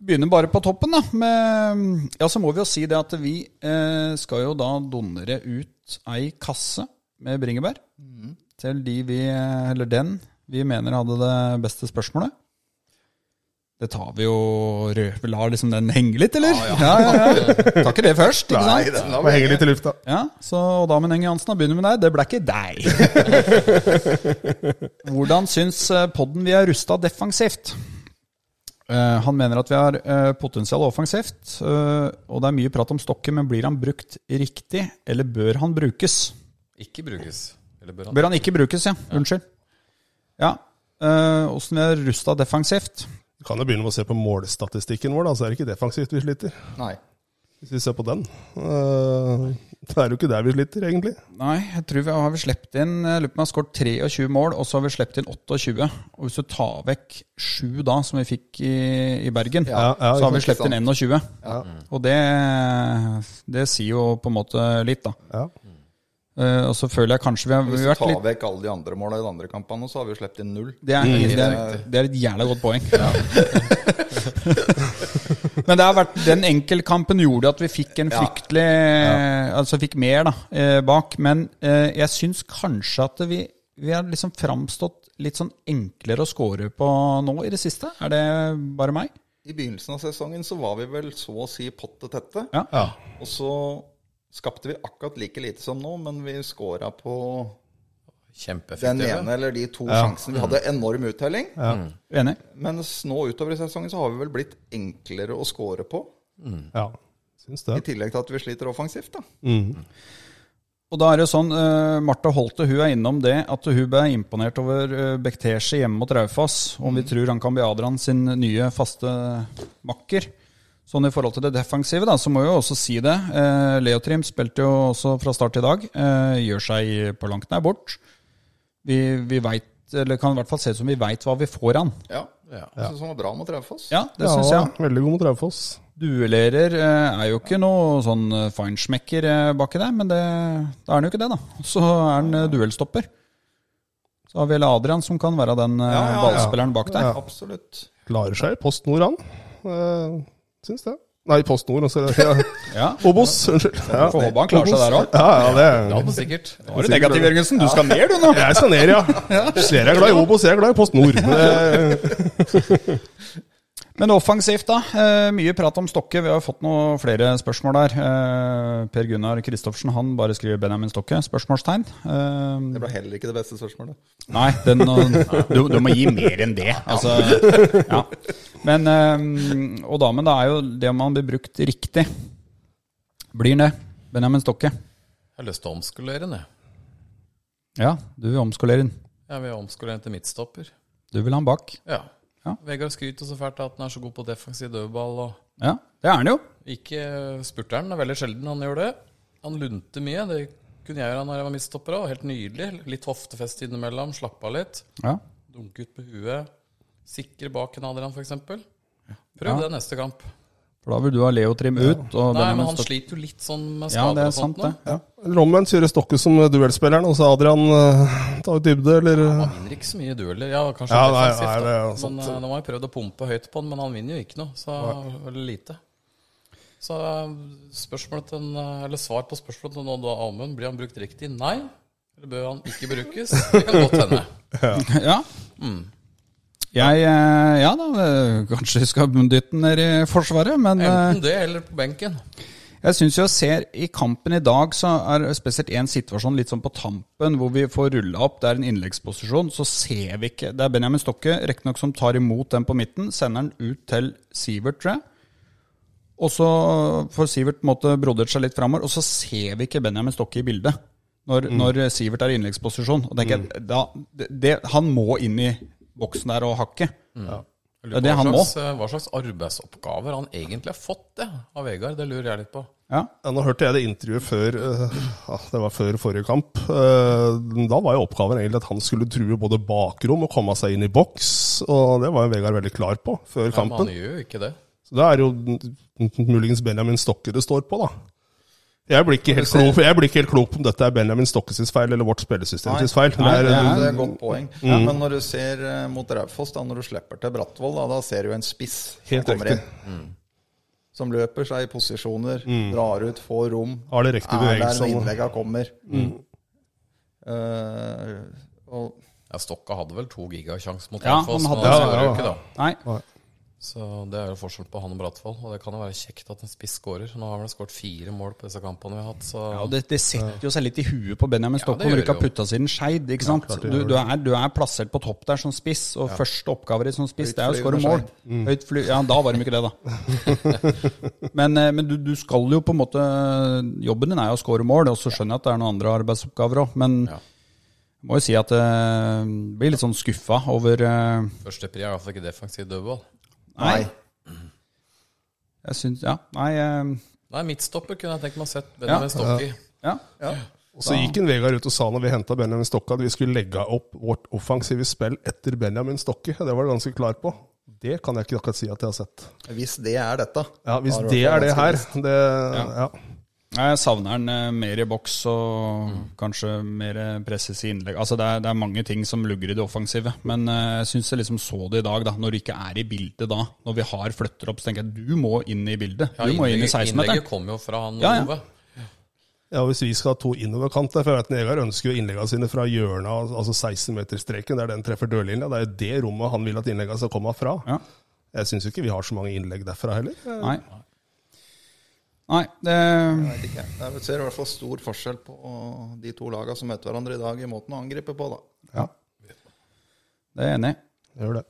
[SPEAKER 2] Begynner bare på toppen, da. Med, ja, så må vi jo si det at vi eh, skal jo da donere ut ei kasse med bringebær Mm. til de vi, eller den, vi mener hadde det beste spørsmålet. Det tar vi jo rød. Vi lar liksom den henge litt, eller? Ja, ja, ja. Tar ikke det først, ikke sant?
[SPEAKER 4] den
[SPEAKER 5] Må henge litt i lufta.
[SPEAKER 2] Ja, så og Damen Enge Jansen, da begynner vi med deg. Det ble ikke deg. Hvordan syns eh, podden vi er rusta defensivt? Eh, han mener at vi har eh, potensial offensivt, eh, og det er mye prat om stokken, men blir han brukt riktig, eller bør han brukes?
[SPEAKER 3] Ikke brukes. Eller bør han?
[SPEAKER 2] Bør han ikke brukes, ja. Unnskyld. Ja. eh, Åssen vi er rusta defensivt?
[SPEAKER 5] Du kan jo begynne med å se på målstatistikken vår, da, så er det ikke defensivt vi sliter.
[SPEAKER 4] Nei.
[SPEAKER 5] Hvis vi ser på den. Eh, det er jo ikke der vi sliter, egentlig.
[SPEAKER 2] Nei, jeg tror vi har vi slept inn jeg lurer på om vi har skåret 23 mål, og så har vi slept inn 28. Og hvis du tar vekk 7 da, som vi fikk i, i Bergen,
[SPEAKER 5] Ja, ja,
[SPEAKER 2] så har vi
[SPEAKER 5] ikke
[SPEAKER 2] slept inn 21. Og det, det sier jo på en måte litt, da.
[SPEAKER 5] Ja.
[SPEAKER 2] Eh, og så føler jeg kanskje vi har, vi
[SPEAKER 4] Hvis
[SPEAKER 2] har
[SPEAKER 4] du
[SPEAKER 2] vært
[SPEAKER 4] tar
[SPEAKER 2] litt
[SPEAKER 4] vekk alle de andre måla i de andre kampene, så har vi jo sluppet inn null.
[SPEAKER 2] det er, Mm. det, er, det er et jævla godt poeng. Men det har vært, den enkeltkampen gjorde at vi fikk en fryktelig Altså fikk mer da, eh, bak. Men eh, jeg syns kanskje at vi, vi har liksom framstått litt sånn enklere å score på nå i det siste. Er det bare meg?
[SPEAKER 4] I begynnelsen av sesongen så var vi vel så å si potte tette.
[SPEAKER 2] Ja.
[SPEAKER 4] Og så skapte vi akkurat like lite som nå, men vi scora på den ene
[SPEAKER 3] Kjempeeffektive.
[SPEAKER 4] eller de to sjansene. Vi hadde enorm uttelling.
[SPEAKER 2] Enig?
[SPEAKER 4] Mens nå utover i sesongen så har vi vel blitt enklere å score på.
[SPEAKER 5] Ja, syns det.
[SPEAKER 4] I tillegg til at vi sliter offensivt, da.
[SPEAKER 2] Og da er det jo sånn, uh, Marte Holte hun er innom det at hun ble imponert over uh, Bekhteshe hjemme mot Raufoss. Om vi tror han kan bli Adrian sin nye faste makker. Sånn i forhold til det defensive, da, så må jeg jo også si det. Uh, Leotrim spilte jo også fra start i dag. eh, gjør seg på langt nær bort. Vi, vi vet, eller kan i hvert fall se ut som vi veit hva vi får han.
[SPEAKER 4] Ja. Jeg syns han var bra mot Raufoss.
[SPEAKER 2] Ja, det syns jeg.
[SPEAKER 5] Veldig god mot Raufoss.
[SPEAKER 2] Duellerer eh, er jo ikke noe sånn eh, feinschmecker eh, baki der, men det, da er han jo ikke det, da. Så er han eh, duellstopper. Så har vi vel Adrian som kan være den eh,
[SPEAKER 4] ja, ja.
[SPEAKER 2] ballspilleren bak der.
[SPEAKER 4] Absolutt.
[SPEAKER 5] Klarer seg i Post Nord, han. Eh, syns det. Nei, Post Nord. altså, Ja.
[SPEAKER 2] Ja.
[SPEAKER 5] Obos, unnskyld. Ja.
[SPEAKER 2] Får håpe han klarer seg der òg.
[SPEAKER 5] Ja, ja, det
[SPEAKER 3] Ja, men sikkert.
[SPEAKER 2] Nå er du negativ, Jørgensen. Du skal ned, du nå!
[SPEAKER 5] Jeg skal ned, ja. Ser jeg er glad i Obos, jeg er glad i Post Nord. Men eh, det,
[SPEAKER 2] Men offensivt, da. Eh, mye prat om Stokke. Vi har jo fått noen flere spørsmål der. Eh, per Gunnar Kristoffersen han bare skriver Benjamin Stokke? Spørsmålstegn. Eh,
[SPEAKER 4] Det ble heller ikke det beste spørsmålet.
[SPEAKER 2] Nei, den, eh, du, du må gi mer enn det. Altså, ja. Men, eh, og damen, da er jo det om han blir brukt riktig. Blir det. Benjamin Stokke.
[SPEAKER 3] Jeg har lyst til å omskolere den, jeg.
[SPEAKER 2] Ja, du vil omskolere den.
[SPEAKER 3] Jeg vil omskolere den til midtstopper.
[SPEAKER 2] Du vil ha han bak.
[SPEAKER 3] Ja.
[SPEAKER 2] Ja.
[SPEAKER 3] Vegard skryter så fælt av at han er så god på defensiv dødball. og...
[SPEAKER 2] Ja, det er han jo.
[SPEAKER 3] Ikke spurteren, det er veldig sjelden han gjør det. Han lunte mye, det kunne jeg gjøre når jeg var midtstopper òg. Helt nydelig. Litt hoftefest innimellom, slappe av litt.
[SPEAKER 2] Ja.
[SPEAKER 3] Dunke ut på huet. Sikre bak en Adrian, f.eks. Prøv det neste kamp.
[SPEAKER 2] For da vil du ha Leotrim ut. Og
[SPEAKER 3] Nei, men
[SPEAKER 2] Benjamin
[SPEAKER 3] han
[SPEAKER 2] Stokke.
[SPEAKER 3] sliter jo litt sånn med
[SPEAKER 2] Ja,
[SPEAKER 3] skader
[SPEAKER 2] det er
[SPEAKER 3] og
[SPEAKER 2] sant,
[SPEAKER 3] sånt. nå.
[SPEAKER 2] det. Ja.
[SPEAKER 5] eller omvendt kjører Stokke som duellspilleren, og så Adrian uh, tar ut dybde, eller eh,
[SPEAKER 3] Han vinner ikke så mye dueller. Ja, kanskje
[SPEAKER 5] Ja, nei,
[SPEAKER 3] defensivt,
[SPEAKER 5] nei,
[SPEAKER 3] da.
[SPEAKER 5] det er jo sant.
[SPEAKER 3] men eh, nå har jeg prøvd å pumpe høyt på han, men han vinner jo ikke noe. Så veldig lite. Så eh, spørsmålet til en, eh, eller svar på spørsmålet til Odd Amund blir han brukt riktig? Nei. Eller bør han ikke brukes? Det kan godt hende.
[SPEAKER 2] Ja.
[SPEAKER 3] Mm.
[SPEAKER 2] Jeg, eh, ja da, eh, kanskje skal dytte den ned i forsvaret, men eh,
[SPEAKER 3] Enten det eller på benken.
[SPEAKER 2] Jeg syns jo jeg ser i kampen i dag, så er spesielt én situasjon litt sånn på tampen, hvor vi får rulla opp. Det er en innleggsposisjon, så ser vi ikke Det er Benjamin Stokke, riktignok, som tar imot den på midten. Sender den ut til Sivert, tror jeg. Og så får Sivert på en måte brodert seg litt framover, og så ser vi ikke Benjamin Stokke i bildet. Når,
[SPEAKER 3] Mm.
[SPEAKER 2] når Sivert er i innleggsposisjon. Og tenker jeg, da, det, det- han må inn i boksen der og hakke.
[SPEAKER 3] Jeg
[SPEAKER 2] Ja,
[SPEAKER 3] lurer
[SPEAKER 2] det
[SPEAKER 3] på
[SPEAKER 2] han
[SPEAKER 3] Mm. hva, slags, eh, hva slags arbeidsoppgaver han egentlig har fått det, av Vegard. Det lurer jeg litt på.
[SPEAKER 2] Ja.
[SPEAKER 5] Ja, nå hørte jeg det intervjuet før eh, ja, Det var før forrige kamp. Eh, da var jo oppgaven egentlig at han skulle true både bakrom og komme seg inn i boks. Og det var jo Vegard veldig klar på
[SPEAKER 3] Ja,
[SPEAKER 5] før
[SPEAKER 3] men han
[SPEAKER 5] kampen.
[SPEAKER 3] gjør jo ikke det.
[SPEAKER 5] Så da er det jo muligens Benjamin Stokke det står på, da. Jeg blir ikke helt klok, jeg blir ikke helt klok på om dette er Benjamin Stokke sin feil eller vårt spillesystem sin feil.
[SPEAKER 2] Nei,
[SPEAKER 5] Det
[SPEAKER 2] det
[SPEAKER 5] er,
[SPEAKER 4] Det er et godt poeng.
[SPEAKER 5] Mm.
[SPEAKER 4] Men når du ser eh, mot Raufoss, da, når du slipper til Brattvoll, da, da ser du jo en spiss som
[SPEAKER 5] Helt
[SPEAKER 4] kommer
[SPEAKER 5] riktig. Mm.
[SPEAKER 4] inn. Som løper seg i posisjoner, drar ut, får rom.
[SPEAKER 5] Har det altså. riktige
[SPEAKER 4] er der
[SPEAKER 5] bevegelsene.
[SPEAKER 4] innlegga kommer.
[SPEAKER 5] Mm.
[SPEAKER 4] Eh, og
[SPEAKER 3] Ja, Stokka hadde vel to gigasjanse mot
[SPEAKER 2] Ja,
[SPEAKER 3] Raufoss
[SPEAKER 2] han
[SPEAKER 3] nå
[SPEAKER 2] hadde
[SPEAKER 5] det.
[SPEAKER 3] forrige
[SPEAKER 5] Ja, ja,
[SPEAKER 3] uke, da.
[SPEAKER 2] Nei.
[SPEAKER 3] Så det er jo forskjell på han og Bratvoll. Og det kan jo være kjekt at en spiss skårer. Nå har vel han skåret fire mål på disse kampene vi har hatt, så
[SPEAKER 2] Ja, og det, det setter jo seg litt i huet på Benjamin Stokke
[SPEAKER 3] det
[SPEAKER 2] når du
[SPEAKER 3] gjør
[SPEAKER 2] ikke har
[SPEAKER 3] det jo.
[SPEAKER 2] putta siden skeid. ikke sant? du, du, er, du er plassert på topp der som spiss, og første oppgaver i som spiss det er å skåre
[SPEAKER 4] Høytflyvende
[SPEAKER 2] mål.
[SPEAKER 3] Mm.
[SPEAKER 2] Høyt fly, ja, da var de ikke det, da. men eh, men du, du skal jo på en måte Jobben din er jo å skåre mål, og så skjønner jeg at det er noen andre arbeidsoppgaver òg, men
[SPEAKER 3] Ja.
[SPEAKER 2] jeg må jo si at jeg blir litt sånn skuffa over eh,
[SPEAKER 3] Første pri er iallfall ikke defensiv dødball.
[SPEAKER 2] Nei. Jeg syns Ja, nei eh,
[SPEAKER 3] Nei, midtstopper kunne jeg tenkt meg å sett Benjamin Stokke i.
[SPEAKER 2] Ja.
[SPEAKER 5] Og så gikk en Vegard ut og sa når vi henta Benjamin Stokke at vi skulle legge opp vårt offensive spill etter Benjamin Stokke. Det var han ganske klar på. Det kan jeg ikke akkurat si at jeg har sett.
[SPEAKER 4] hvis det er dette
[SPEAKER 5] Ja, Hvis
[SPEAKER 4] da
[SPEAKER 5] det
[SPEAKER 4] i hvert
[SPEAKER 5] er
[SPEAKER 4] fall
[SPEAKER 5] det her
[SPEAKER 4] vanskelig.
[SPEAKER 5] det, ja.
[SPEAKER 2] Nei, Jeg savner han eh, mer i boks og
[SPEAKER 3] Mm.
[SPEAKER 2] kanskje mer eh, presses i innlegg. Altså det er, det er mange ting som lugger i det offensive, men eh, jeg syns jeg liksom så det i dag, da, når du ikke er i bildet da. Når vi har flytter opp, så tenker jeg du må inn i bildet.
[SPEAKER 3] Ja,
[SPEAKER 2] Du må inn i
[SPEAKER 3] innlegget,
[SPEAKER 2] 16-meteren.
[SPEAKER 3] innlegget kom jo fra han
[SPEAKER 2] Ja, ja.
[SPEAKER 3] Ove.
[SPEAKER 5] ja, Hvis vi skal ha to innoverkanter For jeg vet at Vegard ønsker jo innleggene sine fra hjørnet, altså 16-meterstreken, der den treffer dørlinja. Det er jo det rommet han vil at innleggene skal komme fra.
[SPEAKER 2] Ja.
[SPEAKER 5] Jeg syns jo ikke vi har så mange innlegg derfra heller.
[SPEAKER 2] Nei. Nei, det
[SPEAKER 4] Jeg vet ikke. Jeg ser i hvert fall stor forskjell på eh, de to lagene som møter hverandre i dag, i måten å angripe på. da.
[SPEAKER 2] det er jeg enig i.
[SPEAKER 5] Gjør det.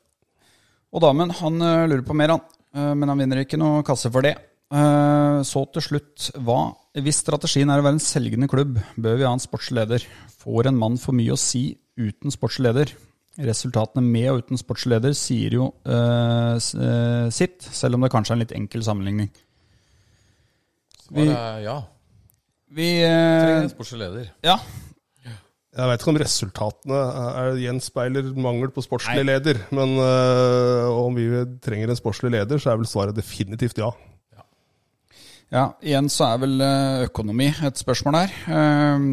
[SPEAKER 2] Og damen, han eh, lurer på mer, han. Eh, Men han vinner ikke noe kasse for det. Eh, Så til slutt, hva, hvis strategien er å være en selgende klubb, bør vi ha en sportsleder. Får en mann for mye å si uten sportsleder? Resultatene med og uten sportsleder sier jo eh, s- eh, sitt, selv om det kanskje er en litt enkel sammenligning. Vi,
[SPEAKER 3] Svaret er ja.
[SPEAKER 2] vi
[SPEAKER 3] Trenger
[SPEAKER 2] eh,
[SPEAKER 3] en sportslig leder.
[SPEAKER 2] Ja.
[SPEAKER 5] Jeg veit ikke om resultatene er, gjenspeiler mangel på sportslig leder, men øh, om vi trenger en sportslig leder, så er vel svaret definitivt ja.
[SPEAKER 2] ja. Igjen så er vel eh, økonomi et spørsmål her. Eh,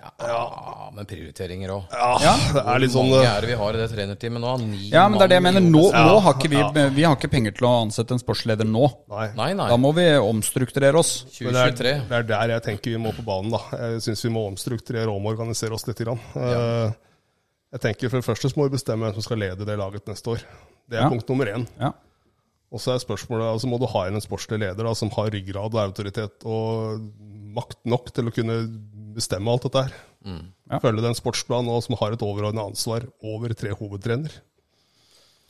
[SPEAKER 3] Ja, men prioriteringer òg.
[SPEAKER 5] Ja, det er litt
[SPEAKER 3] Hvor
[SPEAKER 5] sånn
[SPEAKER 3] mange
[SPEAKER 5] øh,
[SPEAKER 3] er det vi har i det trenerteamet nå? Ni
[SPEAKER 2] Ja, men det er det jeg
[SPEAKER 3] mann.
[SPEAKER 2] mener. Nå, nå har ikke vi,
[SPEAKER 5] Ja,
[SPEAKER 2] vi har ikke penger til å ansette en sportsleder nå.
[SPEAKER 5] Nei.
[SPEAKER 3] Nei, nei.
[SPEAKER 2] Da må vi omstrukturere oss.
[SPEAKER 5] Men det er,
[SPEAKER 3] 2023.
[SPEAKER 5] det er der jeg tenker vi må på banen, da. Jeg syns vi må omstrukturere og omorganisere oss litt. Grann. Eh, Jeg tenker for det første så må vi bestemme hvem som skal lede det laget neste år. Det er
[SPEAKER 2] Ja.
[SPEAKER 5] punkt nummer én.
[SPEAKER 2] Ja.
[SPEAKER 5] Og så er spørsmålet, altså må du ha inn en sportslig leder da, som har ryggrad og autoritet og makt nok til å kunne bestemme alt dette her. Følge den sportsplanen og som har et overordnet ansvar over tre hovedtrener.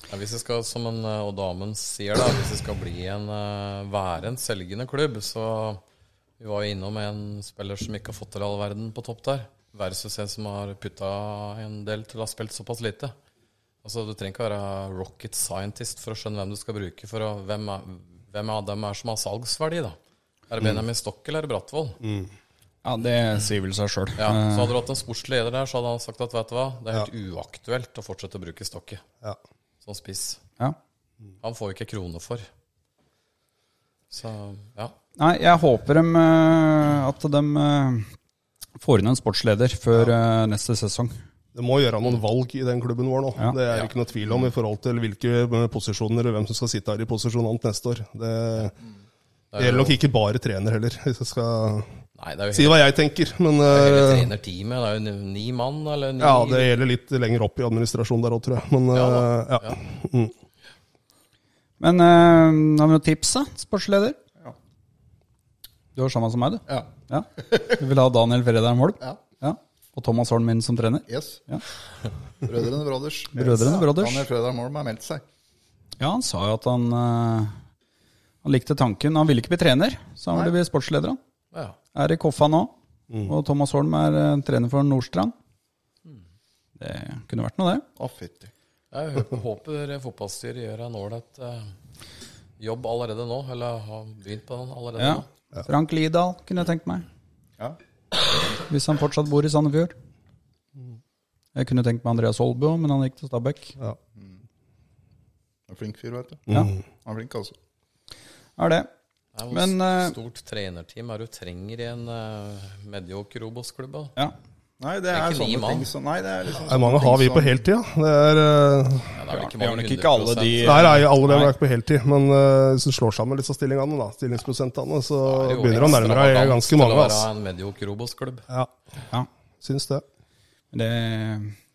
[SPEAKER 3] Ja, hvis det skal, som en, eh, og damen sier da, hvis det skal bli en, eh, være en selgende klubb, så vi var jo innom en spiller som ikke har fått til all verden på topp der. Versus en som har putta en del til å ha spilt såpass lite. Altså, Du trenger ikke være rocket scientist for å skjønne hvem du skal bruke. for å, Hvem, er, hvem av dem er som har salgsverdi, da? Er det Benjamin Stokk eller er det Brattvoll?
[SPEAKER 2] Ja, det sier vel seg sjøl.
[SPEAKER 3] Ja, så hadde du hatt en sportslig leder der, så hadde han sagt at vet du hva, det er helt uaktuelt å fortsette å bruke Stokke
[SPEAKER 5] Ja.
[SPEAKER 3] som spiss.
[SPEAKER 2] Ja.
[SPEAKER 3] Han får jo ikke kroner for. Så ja.
[SPEAKER 2] Nei, jeg håper dem, eh, at de får inn en sportsleder før eh, neste sesong.
[SPEAKER 5] Det må gjøre noen valg i den klubben vår nå.
[SPEAKER 2] Ja.
[SPEAKER 5] Det er ikke noe tvil om i forhold til hvilke eh, posisjoner og hvem som skal sitte her i posisjon annet neste år. Det, det gjelder nok ikke bare trener heller, hvis jeg skal
[SPEAKER 3] Nei, det er jo
[SPEAKER 5] si
[SPEAKER 3] hele,
[SPEAKER 5] hva jeg tenker. Men
[SPEAKER 3] hele
[SPEAKER 5] eh,
[SPEAKER 3] trenerteamet. Det er jo ni- ni mann, eller ni
[SPEAKER 5] ja, det gjelder litt lenger opp i administrasjonen der òg, tror jeg. Men
[SPEAKER 3] Ja
[SPEAKER 5] eh, ja.
[SPEAKER 2] Men eh, har vi noen tips, da? Sportsleder? Du har samme som meg, du?
[SPEAKER 4] Ja.
[SPEAKER 2] Ja. Du vil ha Daniel Fredheim Holm?
[SPEAKER 4] Ja.
[SPEAKER 2] Ja. Og Thomas Holm inn som trener?
[SPEAKER 4] Yes.
[SPEAKER 2] Ja.
[SPEAKER 4] Brødrene Brothers.
[SPEAKER 2] Brødrene Brothers.
[SPEAKER 4] Daniel Fredheim Holm har meldt seg.
[SPEAKER 2] Ja, han sa jo at han eh, Han likte tanken. Han ville ikke bli trener, så han ville bli sportsleder. Han.
[SPEAKER 3] Ja.
[SPEAKER 2] er i Koffa nå. Og Thomas Holm er eh, trener for Nordstrand. Det kunne vært noe, det.
[SPEAKER 4] Å, fytti.
[SPEAKER 3] Jeg håper, håper fotballstyret gjør en ålreit eh, jobb allerede nå, eller har begynt på den allerede
[SPEAKER 2] Ja.
[SPEAKER 3] nå.
[SPEAKER 2] Frank Lidahl kunne jeg tenkt meg.
[SPEAKER 4] Ja.
[SPEAKER 2] Hvis han fortsatt bor i Sandefjord. Jeg kunne tenkt meg Andreas Holbo, men han gikk til Stabæk.
[SPEAKER 5] ja.
[SPEAKER 4] En flink fyr, vet du.
[SPEAKER 2] Ja,
[SPEAKER 4] Han er flink, altså.
[SPEAKER 2] er det.
[SPEAKER 3] Det er jo
[SPEAKER 2] Men, eh,
[SPEAKER 3] et stort trenerteam er det du trenger i en uh, medioker Obos-klubb. da.
[SPEAKER 2] Ja.
[SPEAKER 4] Nei, det
[SPEAKER 3] er
[SPEAKER 4] er,
[SPEAKER 3] ikke ni
[SPEAKER 4] sånne
[SPEAKER 3] mann.
[SPEAKER 4] ting som Nei, det er liksom
[SPEAKER 5] Nei, mange har vi på heltid, ja. Det er, eh,
[SPEAKER 3] Ja, det er vel ikke
[SPEAKER 2] vi har
[SPEAKER 3] mange
[SPEAKER 2] nok ikke alle
[SPEAKER 3] 100%
[SPEAKER 2] de-
[SPEAKER 5] der er jo alle dem er ikke på heltid, men eh, hvis du slår sammen litt av stillingene, da, stillingsprosentene, så
[SPEAKER 3] er jo
[SPEAKER 5] begynner det å nærme deg
[SPEAKER 3] ekstravagant
[SPEAKER 5] ganske mange.
[SPEAKER 3] Til å
[SPEAKER 5] ass.
[SPEAKER 3] være en medioker Obos-klubb.
[SPEAKER 5] Ja,
[SPEAKER 2] ja.
[SPEAKER 5] syns det.
[SPEAKER 2] Det,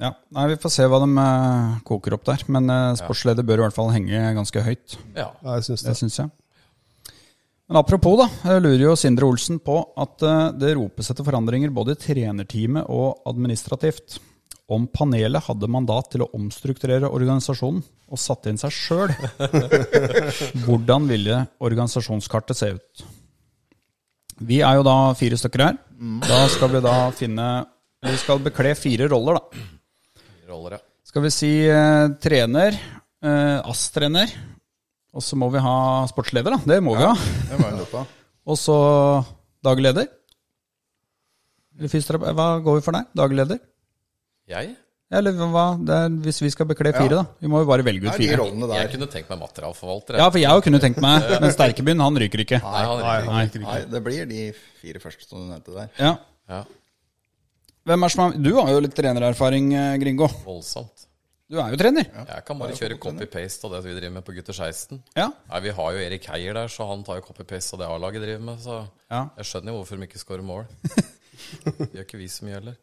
[SPEAKER 2] ja. Nei, vi får se hva de eh, koker opp der. Men eh, sportsleder bør i hvert fall henge ganske høyt.
[SPEAKER 3] Ja.
[SPEAKER 5] Ja, jeg syns
[SPEAKER 2] Det
[SPEAKER 5] det.
[SPEAKER 2] syns jeg. Men apropos, da. Jeg lurer jo Sindre Olsen på at eh, det ropes etter forandringer både i trenerteamet og administrativt. Om panelet hadde mandat til å omstrukturere organisasjonen og satte inn seg sjøl, hvordan ville organisasjonskartet se ut? Vi er jo da fire stykker her. Da skal vi da finne Vi skal bekle fire roller, da.
[SPEAKER 3] Roller, ja.
[SPEAKER 2] Skal vi si eh, trener, eh, ASS-trener, og så må vi ha sportsleder, da. Det må vi ha.
[SPEAKER 4] Det var jo dette.
[SPEAKER 2] Og så dagleder. Eller fysioterapeut Hva går vi for der? Dagleder?
[SPEAKER 3] Jeg?
[SPEAKER 2] Eller hva? Det er, hvis vi skal bekle fire, da. Vi må jo bare velge
[SPEAKER 4] Det
[SPEAKER 2] ut
[SPEAKER 4] er de
[SPEAKER 2] fire.
[SPEAKER 4] rollene
[SPEAKER 3] Jeg
[SPEAKER 4] der.
[SPEAKER 3] kunne tenkt meg materialforvalter.
[SPEAKER 2] Ja,
[SPEAKER 3] jeg.
[SPEAKER 2] for jeg kunne tenkt meg Men Sterkebyen, han ryker ikke.
[SPEAKER 3] Nei, han er ikke-
[SPEAKER 2] Nei.
[SPEAKER 4] Nei, det blir de fire første som du nevnte der.
[SPEAKER 2] Ja.
[SPEAKER 3] ja,
[SPEAKER 2] Hvem er som har Du har jo litt trenererfaring, eh, Gringo.
[SPEAKER 3] voldsomt.
[SPEAKER 2] Du er jo trener.
[SPEAKER 3] Jeg kan bare kjøre copy-paste av det vi driver med på Gutter 16.
[SPEAKER 2] Ja.
[SPEAKER 3] Nei, Vi har jo Erik Heier der, så han tar jo copy-paste av det A-laget driver med. Så
[SPEAKER 2] Ja.
[SPEAKER 3] jeg skjønner jo hvorfor de ikke scorer mål. Det gjør ikke vi så mye heller.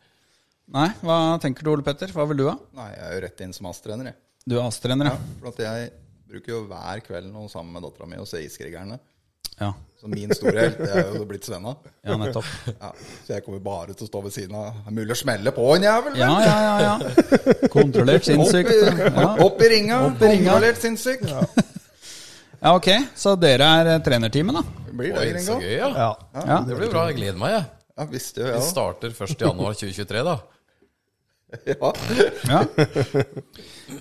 [SPEAKER 2] Nei, hva tenker du, Ole Petter? Hva vil du ha?
[SPEAKER 4] Nei, jeg er jo rett inn som AS-trener, jeg.
[SPEAKER 2] Du er ASS-trener, ja.
[SPEAKER 4] For at jeg bruker jo hver kveld noe sammen med dattera mi og ser Iskrigerne.
[SPEAKER 2] ja.
[SPEAKER 4] Så min store helt det er jo blitt Svenna.
[SPEAKER 2] Ja, nettopp.
[SPEAKER 4] Ja, så jeg kommer bare til å stå ved siden av. Det er mulig å smelle på en jævel!
[SPEAKER 2] Ja, ja, ja. ja. Kontrollert
[SPEAKER 4] Opp, i,
[SPEAKER 2] sinnssykt. Ja.
[SPEAKER 4] opp i ringa!
[SPEAKER 2] i ringa.
[SPEAKER 4] Kontrollert sinnssyk!
[SPEAKER 2] Ja, ok. Så dere er eh, trenerteamet, da?
[SPEAKER 4] Det blir
[SPEAKER 3] Oi,
[SPEAKER 4] det,
[SPEAKER 3] så
[SPEAKER 4] Gringo.
[SPEAKER 3] gøy, ja.
[SPEAKER 5] Ja.
[SPEAKER 2] Ja.
[SPEAKER 3] Det blir bra. Jeg gleder meg, jeg.
[SPEAKER 4] Ja, visste jo
[SPEAKER 3] Vi
[SPEAKER 4] jeg òg.
[SPEAKER 3] starter 1. januar 2023, da.
[SPEAKER 4] Ja.
[SPEAKER 2] Ja.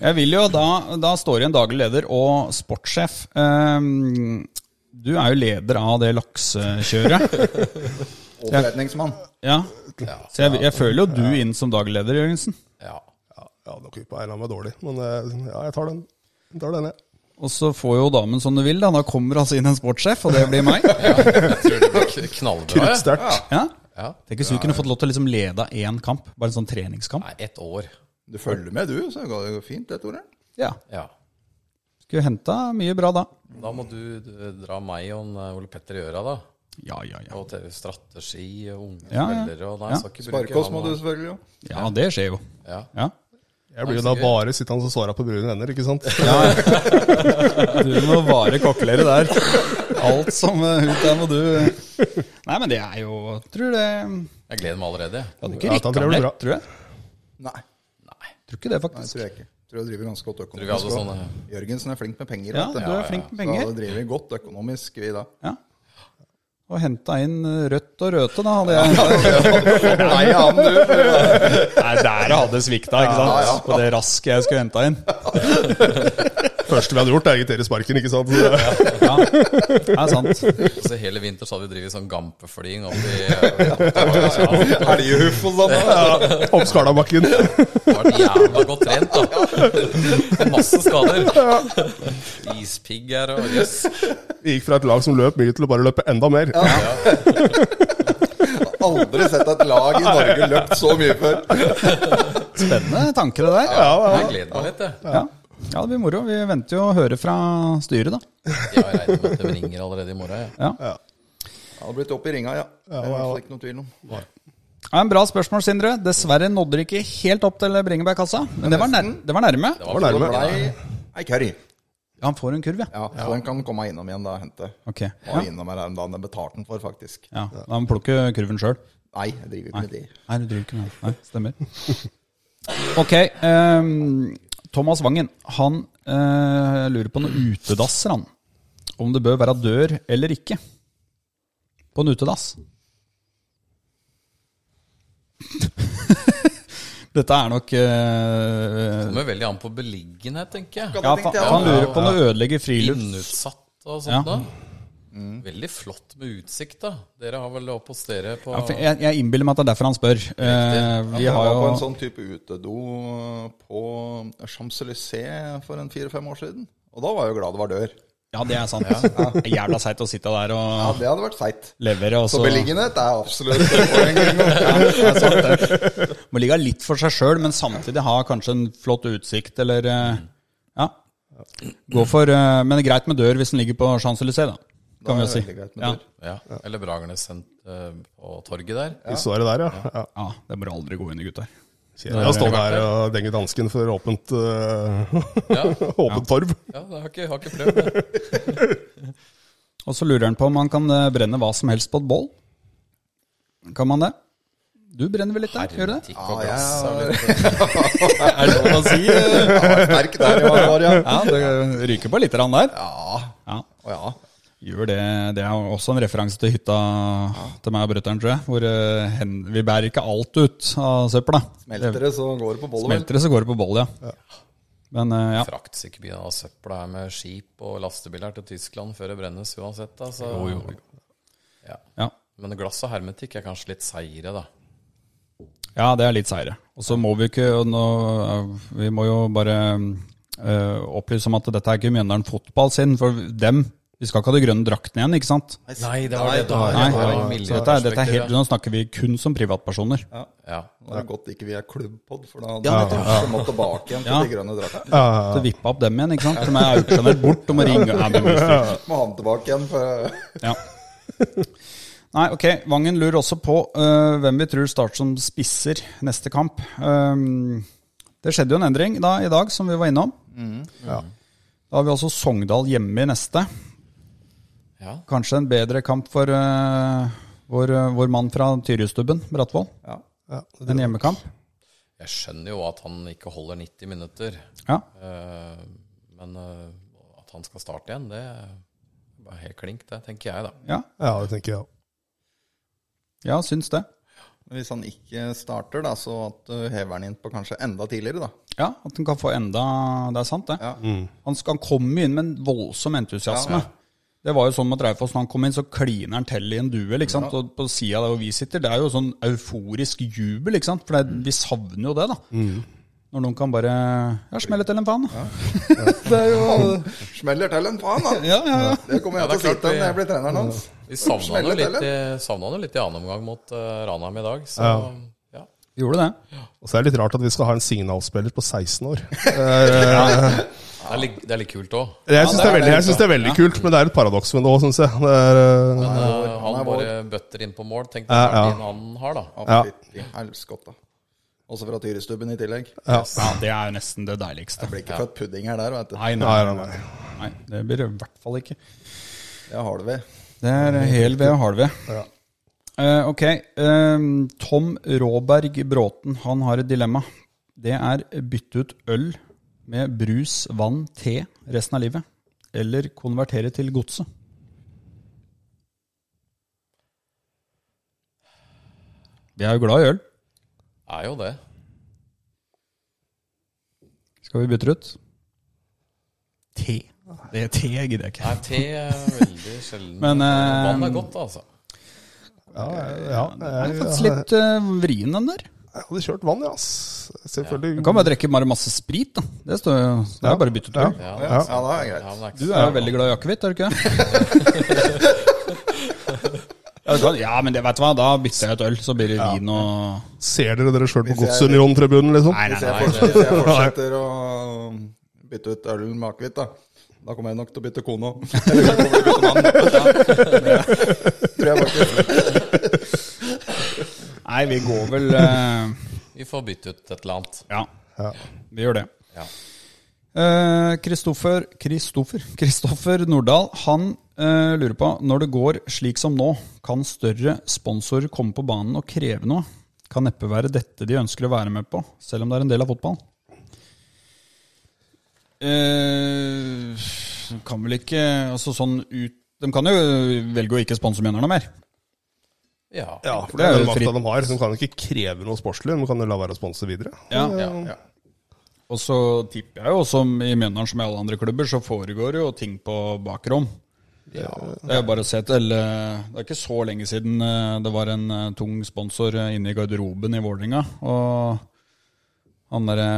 [SPEAKER 2] Jeg vil jo da Da står det en daglig leder og sportssjef. Ehm, du er jo leder av det laksekjøret.
[SPEAKER 4] Og forretningsmann.
[SPEAKER 2] Ja. Så jeg, jeg føler jo du inn som daglig leder, Jørgensen.
[SPEAKER 3] Ja.
[SPEAKER 5] Ja, ja nok på en av meg dårlig, men eh, ja, jeg tar den. Jeg tar den, jeg.
[SPEAKER 2] Og så får jo damen som du vil, da. Da kommer altså inn en sportssjef, og det blir meg.
[SPEAKER 3] Jeg tror det blir k- knallbra. jeg.
[SPEAKER 5] Kruttsterkt.
[SPEAKER 2] Ja.
[SPEAKER 3] Ja.
[SPEAKER 2] Tenk hvis du kunne fått lov til å liksom lede én kamp, bare en sånn treningskamp.
[SPEAKER 3] Nei, ett år.
[SPEAKER 4] Du følger med, du, så går det jo fint, det, Tore.
[SPEAKER 2] Ja.
[SPEAKER 3] Ja.
[SPEAKER 2] Skulle henta mye bra da.
[SPEAKER 3] Da må du eh, dra meg og en, eh, Ole Petter i øra, da.
[SPEAKER 2] Ja, ja, ja.
[SPEAKER 3] Og til strategi og unge
[SPEAKER 2] Ja, ja.
[SPEAKER 3] spillere og Nei,
[SPEAKER 2] Ja.
[SPEAKER 3] jeg skal ikke bruke
[SPEAKER 4] Sparkås
[SPEAKER 3] han
[SPEAKER 4] må
[SPEAKER 3] og-
[SPEAKER 4] du selvfølgelig jo.
[SPEAKER 2] Ja, det skjer jo.
[SPEAKER 3] Ja.
[SPEAKER 2] Ja.
[SPEAKER 5] Jeg blir jo da bare sittende og svare på brune venner, ikke sant?
[SPEAKER 2] Du må vare kokkelæret der. Alt som eh, ut der må du Nei, men det er jo Tror det Kan
[SPEAKER 3] Jeg gleder meg allerede. jeg.
[SPEAKER 2] du
[SPEAKER 5] Ja,
[SPEAKER 2] ikke
[SPEAKER 5] da
[SPEAKER 2] rikke av
[SPEAKER 5] tror jeg
[SPEAKER 2] det,
[SPEAKER 5] det blir bra.
[SPEAKER 2] tror jeg.
[SPEAKER 4] Nei,
[SPEAKER 2] Tror ikke det,
[SPEAKER 4] nei,
[SPEAKER 2] faktisk.
[SPEAKER 4] tror jeg ikke. Tror jeg driver ganske godt
[SPEAKER 3] Tror vi sånn, hadde
[SPEAKER 4] økonomisk. også.
[SPEAKER 3] sånne
[SPEAKER 4] Jørgensen er flink med penger.
[SPEAKER 2] Ja,
[SPEAKER 4] vet
[SPEAKER 2] du
[SPEAKER 4] du.
[SPEAKER 2] er flink med
[SPEAKER 4] Så
[SPEAKER 2] penger.
[SPEAKER 4] da driver vi godt økonomisk, vi da.
[SPEAKER 2] Ja. Og henta inn eh, rødt og røte, da, hadde jeg.
[SPEAKER 4] Nei, han, du.
[SPEAKER 2] Nei, der hadde det svikta, ikke
[SPEAKER 4] Ja, ja.
[SPEAKER 2] På det raske jeg skulle henta inn.
[SPEAKER 5] første vi hadde gjort, er å irritere sparken, ikke sant? Så, eh,
[SPEAKER 2] Ja, det er sant.
[SPEAKER 3] Altså, hele vinter så hadde vi drevet sånn gampeflying opp i ja, ja, ja.
[SPEAKER 4] Elghuff og sånn. da.
[SPEAKER 5] Opp Skalabakken.
[SPEAKER 3] Det har vært jævla godt trent, da. Masse skader. Ispigg her og jøss.
[SPEAKER 5] Vi gikk fra et lag som løp mye, til å bare løpe enda mer.
[SPEAKER 4] Aldri sett et lag i Norge løpt så mye før.
[SPEAKER 2] Spennende tanke, det der.
[SPEAKER 3] Jeg gleder meg litt, jeg.
[SPEAKER 2] Ja. ja, det blir moro. Vi venter jo å høre fra styret, da.
[SPEAKER 3] Jeg regner med at de ringer allerede i morgen. Jeg.
[SPEAKER 2] Ja.
[SPEAKER 4] Han har blitt opp i ringa, ja. Det er det ikke noe tvil om.
[SPEAKER 2] Ja, en bra spørsmål, Sindre. Dessverre nådde det ikke helt opp til Bringebærkassa. Men det var, nær, det var nærme.
[SPEAKER 3] Det var
[SPEAKER 4] Så
[SPEAKER 5] var nærme.
[SPEAKER 4] det blei ei curry.
[SPEAKER 2] Ja, han får en kurv, ja.
[SPEAKER 4] Ja, så den kan komme innom igjen da og hente.
[SPEAKER 2] Ok.
[SPEAKER 4] Og
[SPEAKER 2] Ja,
[SPEAKER 4] innom her er den da den betalte den for, faktisk.
[SPEAKER 2] ja. Da må han plukke kurven sjøl.
[SPEAKER 4] Nei, jeg driver ikke med det.
[SPEAKER 2] Nei, du driver ikke med det. Nei, stemmer. Ok. ehm, Thomas Wangen, han eh, lurer på noen utedasser, han. Om det bør være dør eller ikke på en utedass. Dette er nok eh,
[SPEAKER 3] Kommer veldig an på beliggenhet, tenker jeg.
[SPEAKER 2] Ja, for, for han lurer på om det ødelegger friluft.
[SPEAKER 3] Innutsatt og
[SPEAKER 2] Ja.
[SPEAKER 3] sånt da. Veldig flott med utsikt, da. Dere har vel oppe hos dere på
[SPEAKER 2] Ja, for jeg, jeg innbiller meg at det er derfor han spør. Eh, vi
[SPEAKER 4] Jeg
[SPEAKER 2] har
[SPEAKER 4] var på en
[SPEAKER 2] jo
[SPEAKER 4] sånn type utedo på Champs-Élysées for en fire-fem år siden. Og da var jeg jo glad det var dør.
[SPEAKER 2] Ja, det er sant. Det er Jævla seigt å sitte der
[SPEAKER 4] Ja,
[SPEAKER 2] og
[SPEAKER 4] Det hadde vært seigt.
[SPEAKER 2] levere, og
[SPEAKER 4] Så
[SPEAKER 2] så
[SPEAKER 4] beliggenhet er absolutt et poeng. Ja,
[SPEAKER 2] må ligge litt for seg sjøl, men samtidig ha kanskje en flott utsikt, eller eh, Ja. Gå for eh, Men det er greit med dør hvis den ligger på Champs-Élysées, da. Kan vi jo
[SPEAKER 4] er
[SPEAKER 2] si.
[SPEAKER 4] det veldig greit med
[SPEAKER 2] Ja.
[SPEAKER 4] dør.
[SPEAKER 3] ja. Eller Bragernes sent- eh, på torget der.
[SPEAKER 5] Vi så det der, ja. ja.
[SPEAKER 2] ja, det bør aldri gå inn i, gutter.
[SPEAKER 5] Kjedelig å stå der og denge dansken for åpent, eh, åpent torv.
[SPEAKER 3] Ja, det har ikke, har ikke prøvd. det.
[SPEAKER 2] Og så lurer han på om han kan eh, brenne hva som helst på et bål. Kan man det? Du brenner vel litt der? Gjør du det?
[SPEAKER 3] Hermetikk og glass og litt
[SPEAKER 2] Er det lov å si? eh?
[SPEAKER 4] Sterk der i mange år, ja.
[SPEAKER 2] Ja, det ryker på litt rann der. Ja.
[SPEAKER 4] Å, ja.
[SPEAKER 2] Gjør det. Det er også en referanse til hytta til meg og brutter'n, tror jeg. Hvor eh, hen, vi bærer ikke alt ut av søpla.
[SPEAKER 4] Smelter
[SPEAKER 2] det,
[SPEAKER 4] det, så går det på bollet. vel?
[SPEAKER 2] smelter det, så går det på boll, ja. Men eh, ja.
[SPEAKER 3] fraktsikker by av søpla her med skip og lastebiler til Tyskland før det brennes uansett. Da, så. Ja.
[SPEAKER 2] ja.
[SPEAKER 3] Men glass og hermetikk er kanskje litt seigere, da.
[SPEAKER 2] Ja, det er litt seire. Og så må vi ikke og nå, eh, Vi må jo bare eh, opplyse om at dette er ikke Mjøndalen fotball sin, for dem Vi skal ikke ha de grønne draktene igjen, ikke sant?
[SPEAKER 3] Nei, det var det. Da,
[SPEAKER 2] Nei,
[SPEAKER 3] det var
[SPEAKER 2] så dette, er- dette er helt, Nå snakker vi kun som privatpersoner.
[SPEAKER 3] Ja.
[SPEAKER 4] Nå er det godt ikke vi er klubbpod, for da hadde vi kanskje måttet tilbake igjen til
[SPEAKER 2] Ja.
[SPEAKER 4] de grønne draktene.
[SPEAKER 5] Ja,
[SPEAKER 2] Så vippe opp dem igjen, ikke sant? Som er auksjonert bort og må ringe. Ja, vi må styre.
[SPEAKER 4] Må ha den tilbake igjen, for
[SPEAKER 2] Ja. Nei, ok. Vangen lurer også på øh, hvem vi tror starter som spisser neste kamp. Ehm, det skjedde jo en endring da, i dag, som vi var innom. Da har vi også Sogndal hjemme i neste.
[SPEAKER 3] Ja.
[SPEAKER 2] Kanskje en bedre kamp for øh, vår, øh, vår mann fra Tyrjustubben, Brattvoll.
[SPEAKER 4] ja.
[SPEAKER 2] En hjemmekamp.
[SPEAKER 3] Jeg skjønner jo at han ikke holder 90 minutter,
[SPEAKER 2] Ja.
[SPEAKER 3] eh, men eh, at at han skal starte igjen, det er helt klink, det, tenker jeg, da.
[SPEAKER 2] Ja,
[SPEAKER 5] Ja, det tenker jeg.
[SPEAKER 2] ja syns det.
[SPEAKER 4] Men Hvis han ikke starter, da, så at du hever han inn på kanskje enda tidligere, da.
[SPEAKER 2] Ja, At han kan få enda Det er sant, det.
[SPEAKER 4] Ja.
[SPEAKER 2] Han, skal, han kom jo inn med en voldsom entusiasme. Det var jo sånn med Dreifoss. Når han kom inn, så kliner han til i en duell. ikke sant? Og på sida der hvor vi sitter, det er jo sånn euforisk jubel, ikke sant? For det, vi savner jo det, da. Når noen kan bare ja, smelle til en faen. da. det er jo
[SPEAKER 4] Smeller til en faen, da!
[SPEAKER 2] Ja, ja, ja.
[SPEAKER 4] Det kommer jeg
[SPEAKER 3] Ja, det er
[SPEAKER 4] til å si
[SPEAKER 3] klart
[SPEAKER 4] til ham
[SPEAKER 3] vi-
[SPEAKER 4] når jeg blir treneren hans.
[SPEAKER 3] Vi savna han jo
[SPEAKER 4] Smellet,
[SPEAKER 3] litt,
[SPEAKER 4] eller?
[SPEAKER 3] i- savnet han jo litt i annen omgang mot eh, Ranheim i dag, så
[SPEAKER 5] Ja.
[SPEAKER 3] ja.
[SPEAKER 2] Gjorde det.
[SPEAKER 5] Og så er det litt rart at vi skal ha en signalspiller på 16 år.
[SPEAKER 3] Det, er litt, det er litt kult òg.
[SPEAKER 5] Jeg syns det, er veldig- jeg synes det er veldig kult, men det er et paradoks med det òg, syns jeg. Det er, eh,
[SPEAKER 3] Men eh,
[SPEAKER 4] han
[SPEAKER 3] han
[SPEAKER 4] er
[SPEAKER 3] bare bøtter inn på mål. Tenk på
[SPEAKER 5] Ja, ja.
[SPEAKER 3] verdien han har, da.
[SPEAKER 5] Ja.
[SPEAKER 4] Fytti helskotta. Også fra Tyrestubben i tillegg.
[SPEAKER 5] ja.
[SPEAKER 2] Ja, Det er jo nesten det deiligste.
[SPEAKER 4] Blir ikke født pudding her der, vet du.
[SPEAKER 2] Nei, nei,
[SPEAKER 5] Nei,
[SPEAKER 2] nei,
[SPEAKER 5] nei, nei.
[SPEAKER 2] nei. Det blir det i hvert fall ikke.
[SPEAKER 4] Det har vi.
[SPEAKER 2] Det er hel ved og halv ved. Eh, ok. ehm, Tom Råberg Bråten han har et dilemma. Det er bytte ut øl med brus, vann, te resten av livet. Eller konvertere til godset. Vi er jo glad i øl.
[SPEAKER 3] Er jo det.
[SPEAKER 2] Skal vi bytte ut? Te. Det er te gidder jeg ikke.
[SPEAKER 3] Nei, te er veldig sjelden.
[SPEAKER 2] Men, eh,
[SPEAKER 3] Vann er godt, altså.
[SPEAKER 5] Ja, ja,
[SPEAKER 2] Det er
[SPEAKER 5] jeg,
[SPEAKER 2] faktisk litt eh, vrien, den der.
[SPEAKER 5] jeg hadde kjørt vann, ja. ass.
[SPEAKER 2] Du
[SPEAKER 5] Selvfølgelig.
[SPEAKER 2] kan bare drikke bare masse sprit, da. Det står jo Det er jo bare å bytte ut
[SPEAKER 5] Ja.
[SPEAKER 2] øl.
[SPEAKER 3] Ja,
[SPEAKER 5] Ja.
[SPEAKER 4] Ja, det er greit.
[SPEAKER 3] ja, men det er ikke
[SPEAKER 2] Du
[SPEAKER 3] så-
[SPEAKER 2] er jo veldig glad i akevitt, er du ikke det? Ja, vet du hva? ja, men det vet du hva, da bytter jeg et øl, så blir det vin og
[SPEAKER 5] Ser dere dere sjøl på Godsunionen-tribunen, liksom?
[SPEAKER 2] Nei, nei,
[SPEAKER 4] Hvis
[SPEAKER 2] nei.
[SPEAKER 4] jeg fortsetter, hvis jeg fortsetter å bytte ut ølen med akevitt, da. Da kommer jeg nok til å bytte kone òg. Eller jeg kommer til å bytte mann. Det tror jeg faktisk.
[SPEAKER 2] Nei, vi går vel eh,
[SPEAKER 3] Vi får bytte ut et eller annet.
[SPEAKER 2] Ja,
[SPEAKER 5] Ja.
[SPEAKER 2] vi gjør det.
[SPEAKER 3] Ja.
[SPEAKER 2] Eh, Kristoffer Kristoffer Kristoffer Nordahl han eh, lurer på Når det går slik som nå, kan større sponsorer komme på banen og kreve noe? Kan neppe være dette de ønsker å være med på, selv om det er en del av fotball. Eh, kan vel ikke altså sånn ut, De kan jo velge å ikke sponse Mjøndalen mer.
[SPEAKER 3] Ja.
[SPEAKER 5] Ja, for
[SPEAKER 2] Det
[SPEAKER 5] det
[SPEAKER 2] er
[SPEAKER 5] er den
[SPEAKER 2] jo fritt.
[SPEAKER 5] makta de har. så De kan jo ikke kreve noe sportslig, men de kan jo la være å sponse videre.
[SPEAKER 2] Ja.
[SPEAKER 3] Ja.
[SPEAKER 2] Og så tipper jeg jo, som i Mjøndalen som i alle andre klubber, så foregår jo ting på bakrom. Det er jo bare å se til eh, Det er ikke så lenge siden eh, det var en eh, tung sponsor eh, inne i garderoben i Vålerenga. Og han derre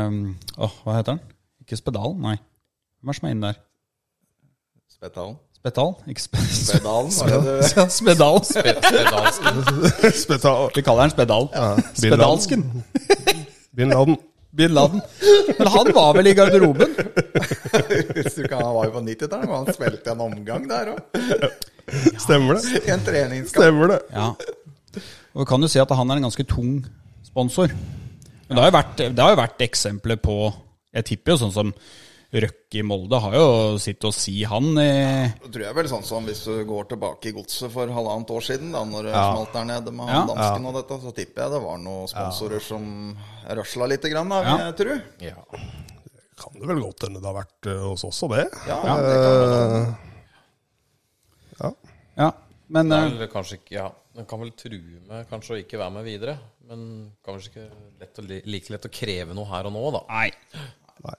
[SPEAKER 2] Åh, hva heter han? Ikke Spedalen, nei. Hvem er det som er inne der?
[SPEAKER 4] Spetalen.
[SPEAKER 2] Spetalen? Ikke spe
[SPEAKER 4] Spedalen, var det det?
[SPEAKER 2] Spedalen.
[SPEAKER 3] Spedalsken.
[SPEAKER 5] Speta-
[SPEAKER 2] Vi kaller han Spedalen. Spedalsken.
[SPEAKER 5] Bin Laden.
[SPEAKER 2] Bin Laden. Men han var vel i garderoben?
[SPEAKER 4] Hvis du kan, han var jo på 90-tallet, men han spilte en omgang der òg.
[SPEAKER 5] Stemmer det?
[SPEAKER 4] I en treningskamp.
[SPEAKER 5] Stemmer det.
[SPEAKER 2] Ja. Og vi kan jo si at han er en ganske tung sponsor. Men det har jo vært, det har jo vært eksempler på Jeg tipper jo sånn som Røkke i Molde har jo sitt å si, han. I,
[SPEAKER 4] Det tror jeg vel sånn som hvis du går tilbake i godset for halvannet år siden, da når det smalt der nede med han
[SPEAKER 2] Ja.
[SPEAKER 4] dansken og dette, så tipper jeg det var noen sponsorer som rasla lite grann, da, vil
[SPEAKER 2] Ja.
[SPEAKER 4] jeg tro.
[SPEAKER 3] Ja.
[SPEAKER 5] Kan det vel godt hende det har vært eh, hos oss og det.
[SPEAKER 4] Ja, det kan være det.
[SPEAKER 2] ja, men
[SPEAKER 3] Det er
[SPEAKER 2] eh,
[SPEAKER 3] vel kanskje ikke Ja, den kan vel true med kanskje å ikke være med videre. Men kanskje ikke lett å, li- like lett å kreve noe her og nå, da.
[SPEAKER 2] Nei.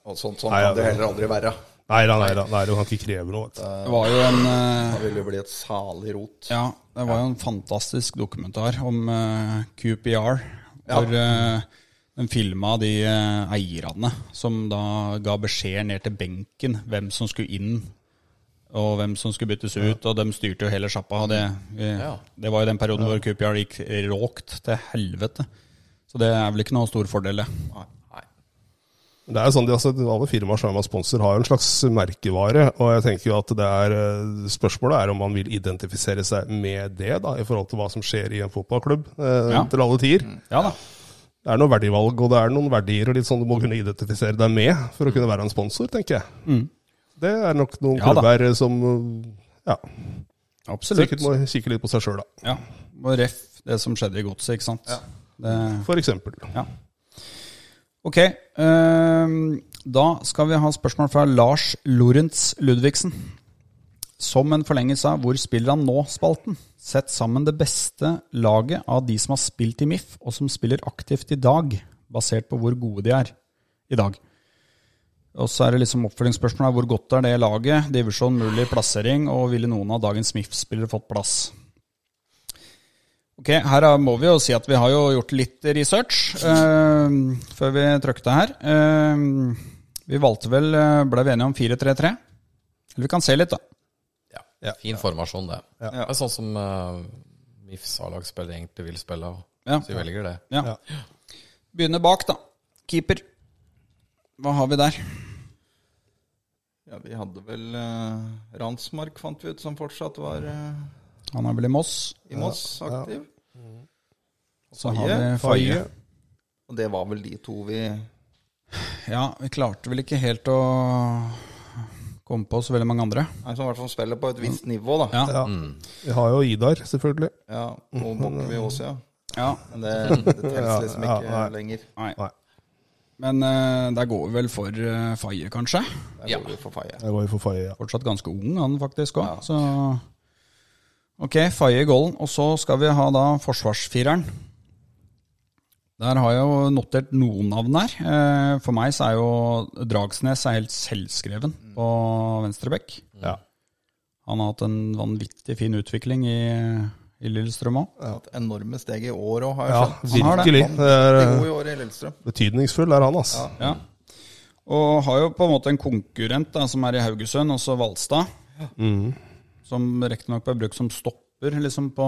[SPEAKER 4] Og sånt, sånt
[SPEAKER 5] Nei, ja,
[SPEAKER 4] kan det
[SPEAKER 5] det-
[SPEAKER 4] heller aldri være.
[SPEAKER 5] Nei da, nei da. Nei, du kan ikke kreve noe. Vet du.
[SPEAKER 2] Det var jo en eh,
[SPEAKER 4] Da vil det bli et salig rot.
[SPEAKER 2] Ja, det var jo en fantastisk dokumentar om eh, QPR. Hvor eh, den filma de eh, eierne som da ga beskjed ned til benken hvem som skulle inn, og hvem som skulle byttes ut. Og de styrte jo hele sjappa. Og det, eh,
[SPEAKER 3] Ja.
[SPEAKER 2] det var jo den perioden hvor QPR gikk råkt til helvete. Så det er vel ikke noe stor fordel, det.
[SPEAKER 3] Nei.
[SPEAKER 5] Det er jo sånn, de, altså, Alle firmaer som er med sponsor, har jo en slags merkevare. Og jeg tenker jo at det er, eh, spørsmålet er om man vil identifisere seg med det, da, i forhold til hva som skjer i en fotballklubb eh,
[SPEAKER 2] Ja.
[SPEAKER 5] til alle tider.
[SPEAKER 2] Ja da.
[SPEAKER 5] Det er noen verdivalg, og det er noen verdier og litt sånn du må kunne identifisere deg med for å kunne være en sponsor, tenker jeg. Det er nok noen
[SPEAKER 2] Mm. Ja da.
[SPEAKER 5] klubber eh, som ja,
[SPEAKER 2] Absolutt.
[SPEAKER 5] sikkert må kikke litt på seg sjøl, da.
[SPEAKER 2] Ja. Og ref det som skjedde i godset, ikke sant. Det,
[SPEAKER 5] For eksempel.
[SPEAKER 2] Ja. Ok. ehm, Da skal vi ha spørsmål fra Lars Lorentz Ludvigsen. Som en forlengelse av Hvor spiller han nå?-spalten. Sett sammen det beste laget av de som har spilt i MIF, og som spiller aktivt i dag, basert på hvor gode de er i dag. Og så er det liksom oppfølgingsspørsmålet hvor godt er det laget, divisjon, mulig plassering, og ville noen av dagens MIF-spillere fått plass? Ok, her er- må vi jo si at vi har jo gjort litt research eh, før vi trykte her. Eh, vi valgte vel, eh, ble vi enige om 4-3-3? Eller vi kan se litt, da.
[SPEAKER 3] Ja. Fin formasjon, det. Det er sånn som eh, MIFs A-lag spiller egentlig vil spille. og-
[SPEAKER 2] Ja.
[SPEAKER 3] Så vi velger det.
[SPEAKER 2] Ja. Begynner bak, da. Keeper. Hva har vi der?
[SPEAKER 4] Ja, vi hadde vel eh, Randsmark, fant vi ut, som fortsatt var eh,
[SPEAKER 2] Han er vel i Moss.
[SPEAKER 4] i Moss aktiv.
[SPEAKER 2] Så har vi Faye.
[SPEAKER 5] Faye.
[SPEAKER 4] Og det var vel de to vi
[SPEAKER 2] Ja, vi klarte vel ikke helt å komme på så veldig mange andre.
[SPEAKER 4] nei, som i hvert fall spiller på et visst nivå, da.
[SPEAKER 2] Ja.
[SPEAKER 5] Ja. Vi har jo Idar, selvfølgelig.
[SPEAKER 4] Ja, og Mokkvi også, ja.
[SPEAKER 2] ja.
[SPEAKER 4] Men det, det telles liksom
[SPEAKER 5] Ja,
[SPEAKER 4] ikke
[SPEAKER 5] ja, nei.
[SPEAKER 4] lenger.
[SPEAKER 2] Nei.
[SPEAKER 5] Nei.
[SPEAKER 2] Men eh, der går vi vel for eh, Faye, kanskje.
[SPEAKER 4] Der går vi for Faye.
[SPEAKER 5] Jeg går jo for Faye, ja.
[SPEAKER 2] Fortsatt ganske ung, han faktisk òg. Så Ok, Faye i golden. Og så skal vi ha da forsvarsfireren. Der har jeg jo notert noen navn her. Eh, For meg så er jo Dragsnes er helt selvskreven på venstrebekk.
[SPEAKER 5] ja.
[SPEAKER 2] Han har hatt en vanvittig fin utvikling i, i Lillestrøm òg.
[SPEAKER 4] Hatt enorme steg i år òg, har jeg
[SPEAKER 5] Ja,
[SPEAKER 4] skjønt.
[SPEAKER 2] har det.
[SPEAKER 5] virkelig. Det
[SPEAKER 4] Veldig
[SPEAKER 5] er eh,
[SPEAKER 4] god i år i Lillestrøm.
[SPEAKER 5] betydningsfull er han, altså.
[SPEAKER 2] Ja. Og har jo på en måte en konkurrent da, som er i Haugesund, også Valstad. Som riktignok ble brukt som stopper, liksom på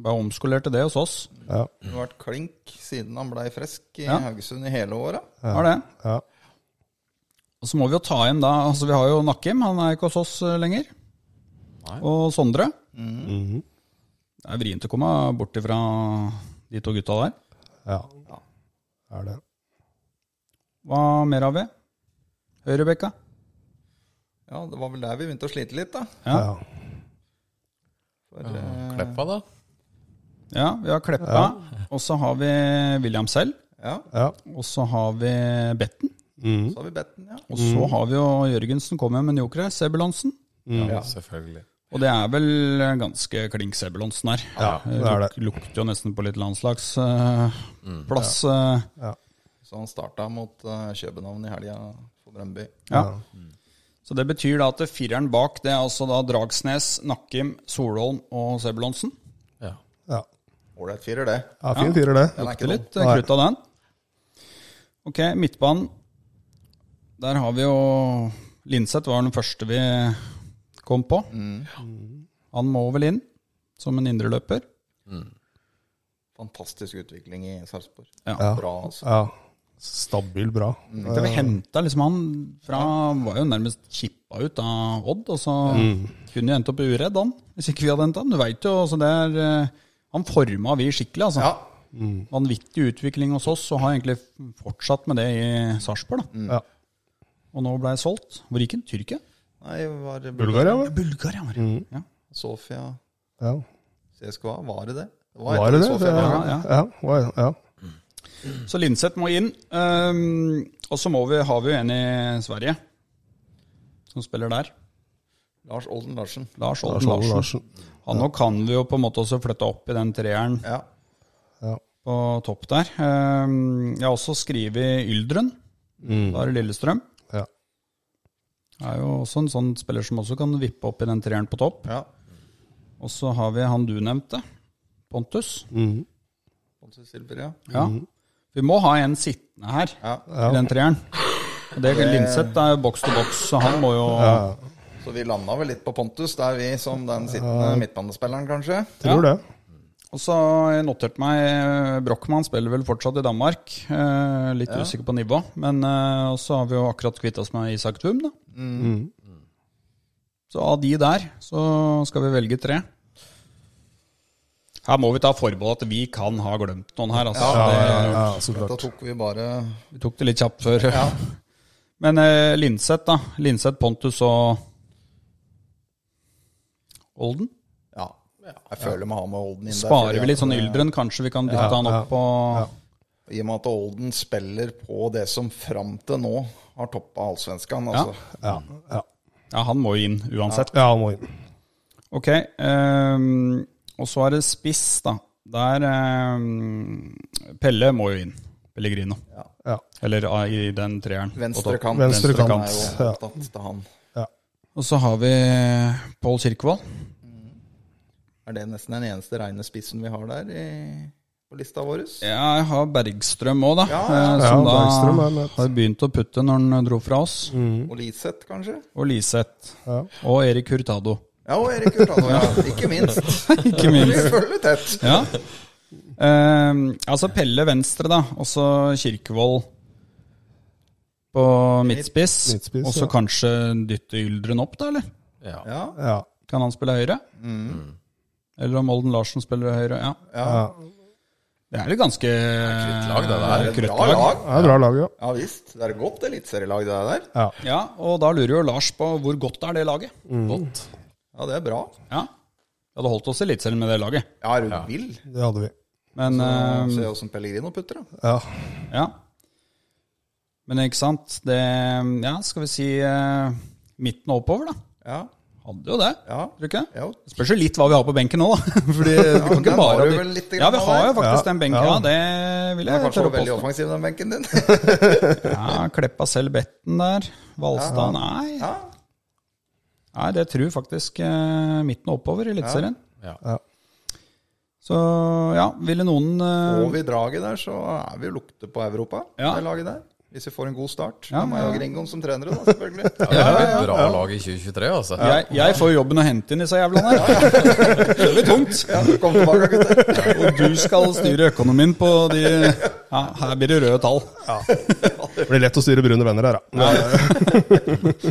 [SPEAKER 2] Ble omskolert til det hos oss.
[SPEAKER 5] Ja.
[SPEAKER 4] Han har vært klink siden han blei frisk i
[SPEAKER 2] Ja.
[SPEAKER 4] Haugesund i hele året.
[SPEAKER 2] Har det.
[SPEAKER 5] Ja.
[SPEAKER 2] Og så må vi jo ta hjem da Altså vi har jo Nakkim, han er ikke hos oss eh, lenger. Og Sondre. Det er vrient å komme bort ifra de to gutta der.
[SPEAKER 5] ja. Er det.
[SPEAKER 2] Hva mer har vi? Høyrebekka.
[SPEAKER 4] Ja, det var vel der vi begynte å slite litt, da.
[SPEAKER 2] Ja.
[SPEAKER 5] Ja.
[SPEAKER 4] For, eh,
[SPEAKER 3] Kleppa, da.
[SPEAKER 2] Ja, vi har Kleppa. Og så har vi William selv.
[SPEAKER 4] ja,
[SPEAKER 5] ja.
[SPEAKER 2] Og så har vi Betten.
[SPEAKER 5] Mm.
[SPEAKER 4] så har vi Betten, ja.
[SPEAKER 2] Og så har vi jo Jørgensen kom jo med en joker her, Sebulonsen.
[SPEAKER 3] Ja, selvfølgelig.
[SPEAKER 2] Og det er vel ganske klink Sebulonsen her.
[SPEAKER 5] Ja, det er det. Mm.
[SPEAKER 2] Luk- Lukter jo nesten på litt eh, landslagsplass. ja.
[SPEAKER 4] Så han starta mot eh, København i helga for Brøndby.
[SPEAKER 2] Ja. Mm. Så det betyr da at det fireren bak det er altså da Dragsnes, Nakkim, Solholm og Sebulonsen.
[SPEAKER 3] Ja.
[SPEAKER 5] Ja.
[SPEAKER 4] Ålreit firer, det.
[SPEAKER 5] ja, fin fyrer, det.
[SPEAKER 4] Den er
[SPEAKER 2] Det
[SPEAKER 4] ikke
[SPEAKER 2] er
[SPEAKER 4] dum.
[SPEAKER 2] litt eh, krutt av den. Ok, midtbanen. Der har vi jo Linseth var den første vi kom på.
[SPEAKER 5] Mm.
[SPEAKER 2] Han må vel inn som en indreløper.
[SPEAKER 4] Fantastisk utvikling i Sarpsborg.
[SPEAKER 2] Ja.
[SPEAKER 4] Bra, altså.
[SPEAKER 5] Ja. Stabil, bra.
[SPEAKER 2] Da vi henta liksom han fra Han var jo nærmest kippa ut av Odd, og så
[SPEAKER 5] Mm.
[SPEAKER 2] kunne jo endt opp i uredd, han. Hvis ikke vi hadde henta han. Du veit jo, altså det er eh, Han forma vi skikkelig, altså.
[SPEAKER 4] Ja.
[SPEAKER 5] Mm.
[SPEAKER 2] Vanvittig utvikling hos oss, og har egentlig fortsatt med det i Sarpsborg, da.
[SPEAKER 5] Ja.
[SPEAKER 2] Og nå ble jeg solgt. Hvor gikk han? Tyrkia?
[SPEAKER 4] Nei, var det
[SPEAKER 5] Bulgaria, vel?
[SPEAKER 2] Bulgaria, var det.
[SPEAKER 5] Mm.
[SPEAKER 2] Ja.
[SPEAKER 4] Sofia
[SPEAKER 5] Ja.
[SPEAKER 4] CSKA, var det det? Det
[SPEAKER 5] Var det det?
[SPEAKER 4] Sofia
[SPEAKER 5] det ja,
[SPEAKER 4] Bulgaria.
[SPEAKER 5] ja. Ja. var- ja.
[SPEAKER 2] Så Linseth må inn. ehm, og så må vi, har vi jo en i Sverige som spiller der.
[SPEAKER 4] Lars Olden Larsen.
[SPEAKER 2] Lars Olden
[SPEAKER 5] Lars Olden
[SPEAKER 2] Larsen.
[SPEAKER 5] Larsen.
[SPEAKER 2] Han nå kan vi jo på en måte også flytte opp i den treeren
[SPEAKER 4] Ja.
[SPEAKER 2] på topp der. Ehm, jeg har også skrevet Yldren. Da er det Lillestrøm.
[SPEAKER 5] Ja.
[SPEAKER 2] Er jo også en sånn spiller som også kan vippe opp i den treeren på topp.
[SPEAKER 4] ja.
[SPEAKER 2] Og så har vi han du nevnte, Pontus.
[SPEAKER 4] Pontus Silber, ja.
[SPEAKER 2] Ja. Vi må ha en sittende her
[SPEAKER 4] Ja.
[SPEAKER 2] i den treeren. Og det Linseth er jo boks til boks, så han må jo
[SPEAKER 4] Så vi landa vel litt på Pontus, der vi som den sittende midtbanespilleren, kanskje.
[SPEAKER 5] Tror det.
[SPEAKER 2] Og så har jeg notert meg eh, Brochmann spiller vel fortsatt i Danmark. Eh, litt usikker på nivå. Men eh, og så har vi jo akkurat kvitta oss med Isak Thum, da. Så av de der, så skal vi velge tre. Her må vi ta forbehold at vi kan ha glemt noen her, altså.
[SPEAKER 5] Ja,
[SPEAKER 2] Det-
[SPEAKER 5] ja, ja, så
[SPEAKER 4] Da
[SPEAKER 5] klart.
[SPEAKER 4] tok vi bare
[SPEAKER 2] Vi tok det litt kjapt før. Men eh, Linseth, da. Linseth, Pontus og Olden.
[SPEAKER 4] Ja. Jeg føler vi har med Olden inn der.
[SPEAKER 2] Sparer
[SPEAKER 4] fordi
[SPEAKER 2] vi litt
[SPEAKER 4] at
[SPEAKER 2] sånn
[SPEAKER 4] det-
[SPEAKER 2] Yldren, kanskje vi kan dytte han opp på
[SPEAKER 4] I og med at Olden spiller på det som fram til nå har toppa allsvenskan. Altså.
[SPEAKER 5] Ja, ja.
[SPEAKER 2] Ja, han må jo inn uansett.
[SPEAKER 5] ja han må inn.
[SPEAKER 2] Ok. ehm, og så er det spiss, da. Der ehm, Pelle må jo inn. Pellegrino.
[SPEAKER 5] Ja.
[SPEAKER 2] Eller ah, i den treeren.
[SPEAKER 4] Venstre kant.
[SPEAKER 5] Venstre
[SPEAKER 4] Han
[SPEAKER 5] kant,
[SPEAKER 4] er jo
[SPEAKER 5] ja.
[SPEAKER 4] opptatt til han.
[SPEAKER 2] Og så har vi Pål Kirkevold.
[SPEAKER 4] Er det nesten den eneste reine spissen vi har der i, på lista vår?
[SPEAKER 2] Ja, jeg har Bergstrøm òg, da. eh,
[SPEAKER 5] Ja,
[SPEAKER 2] Som
[SPEAKER 5] Bergstrøm er
[SPEAKER 2] da
[SPEAKER 5] med.
[SPEAKER 2] har begynt å putte når han dro fra oss.
[SPEAKER 4] Og Liseth, kanskje?
[SPEAKER 2] Og Liseth.
[SPEAKER 5] Ja.
[SPEAKER 2] Og Erik Hurtado.
[SPEAKER 4] Ja, og Erik Hurtado, ja. Ikke minst.
[SPEAKER 2] Ikke
[SPEAKER 4] Vi
[SPEAKER 2] minst.
[SPEAKER 4] følger tett.
[SPEAKER 2] Ja. Ehm, altså Pelle venstre, da. Og så Kirkevold på midtspiss.
[SPEAKER 5] Midtspiss,
[SPEAKER 2] Og så
[SPEAKER 5] ja.
[SPEAKER 2] kanskje dytte Yldren opp, da, eller?
[SPEAKER 3] Ja.
[SPEAKER 4] Ja,
[SPEAKER 5] Ja.
[SPEAKER 2] Kan han spille høyre? Eller om Olden Larsen spiller høyre? Ja.
[SPEAKER 5] Mm. Ja.
[SPEAKER 2] Det er et ganske
[SPEAKER 3] lag, det der.
[SPEAKER 4] det er et bra
[SPEAKER 2] Krøttlag.
[SPEAKER 4] lag.
[SPEAKER 5] Det er bra lag, ja.
[SPEAKER 4] Ja visst. Det er et godt eliteserielag, det der.
[SPEAKER 5] ja.
[SPEAKER 2] Ja, og da lurer jo Lars på hvor godt er det laget?
[SPEAKER 3] Godt.
[SPEAKER 4] Ja, det er bra.
[SPEAKER 2] Ja. Vi hadde holdt oss i Eliteserien med det laget.
[SPEAKER 4] Ja, er du vill?
[SPEAKER 5] Det hadde vi.
[SPEAKER 2] Men,
[SPEAKER 4] Så
[SPEAKER 2] eh,
[SPEAKER 4] Se åssen Pellegrino putter, da.
[SPEAKER 5] Ja.
[SPEAKER 2] ja. Men ikke sant, det Ja, skal vi si eh, midten og oppover, da.
[SPEAKER 4] Ja.
[SPEAKER 2] Hadde jo det,
[SPEAKER 4] Ja.
[SPEAKER 2] tror du ikke? det?
[SPEAKER 4] Jo.
[SPEAKER 2] Det Spørs jo litt hva vi har på benken nå, da. Fordi vi kan
[SPEAKER 4] der
[SPEAKER 2] ikke
[SPEAKER 4] har
[SPEAKER 2] bare
[SPEAKER 4] du vel litt grann
[SPEAKER 2] Ja, vi
[SPEAKER 4] av
[SPEAKER 2] har jo
[SPEAKER 4] det.
[SPEAKER 2] faktisk
[SPEAKER 5] Ja,
[SPEAKER 2] den benken. Ja,
[SPEAKER 5] ja.
[SPEAKER 2] det vil
[SPEAKER 4] Den er
[SPEAKER 2] jeg
[SPEAKER 4] kanskje
[SPEAKER 2] tørre å
[SPEAKER 4] veldig
[SPEAKER 2] påstå.
[SPEAKER 4] offensiv, den benken din.
[SPEAKER 2] Ja, Kleppa selv betten der. Valstad, nei.
[SPEAKER 4] Ja.
[SPEAKER 2] Nei, det tror faktisk eh, midten og oppover i Eliteserien.
[SPEAKER 3] Ja.
[SPEAKER 5] Ja.
[SPEAKER 2] Så ja, ville noen eh,
[SPEAKER 4] Får vi draget der, så er vi jo lukte på Europa,
[SPEAKER 2] Ja.
[SPEAKER 4] det laget der. Hvis vi får en god start.
[SPEAKER 2] Ja,
[SPEAKER 4] Da må jeg
[SPEAKER 2] ja.
[SPEAKER 4] ha Gringoen som trener, da, selvfølgelig.
[SPEAKER 3] Det er et bra lag i 2023, altså.
[SPEAKER 2] jeg, jeg får jobben å hente inn disse jævlene her. Det blir tungt.
[SPEAKER 4] Ja, kom tilbake, gutter.
[SPEAKER 2] Og du skal styre økonomien på de Ja, her blir det røde tall.
[SPEAKER 5] Det blir lett å styre brune venner her, da.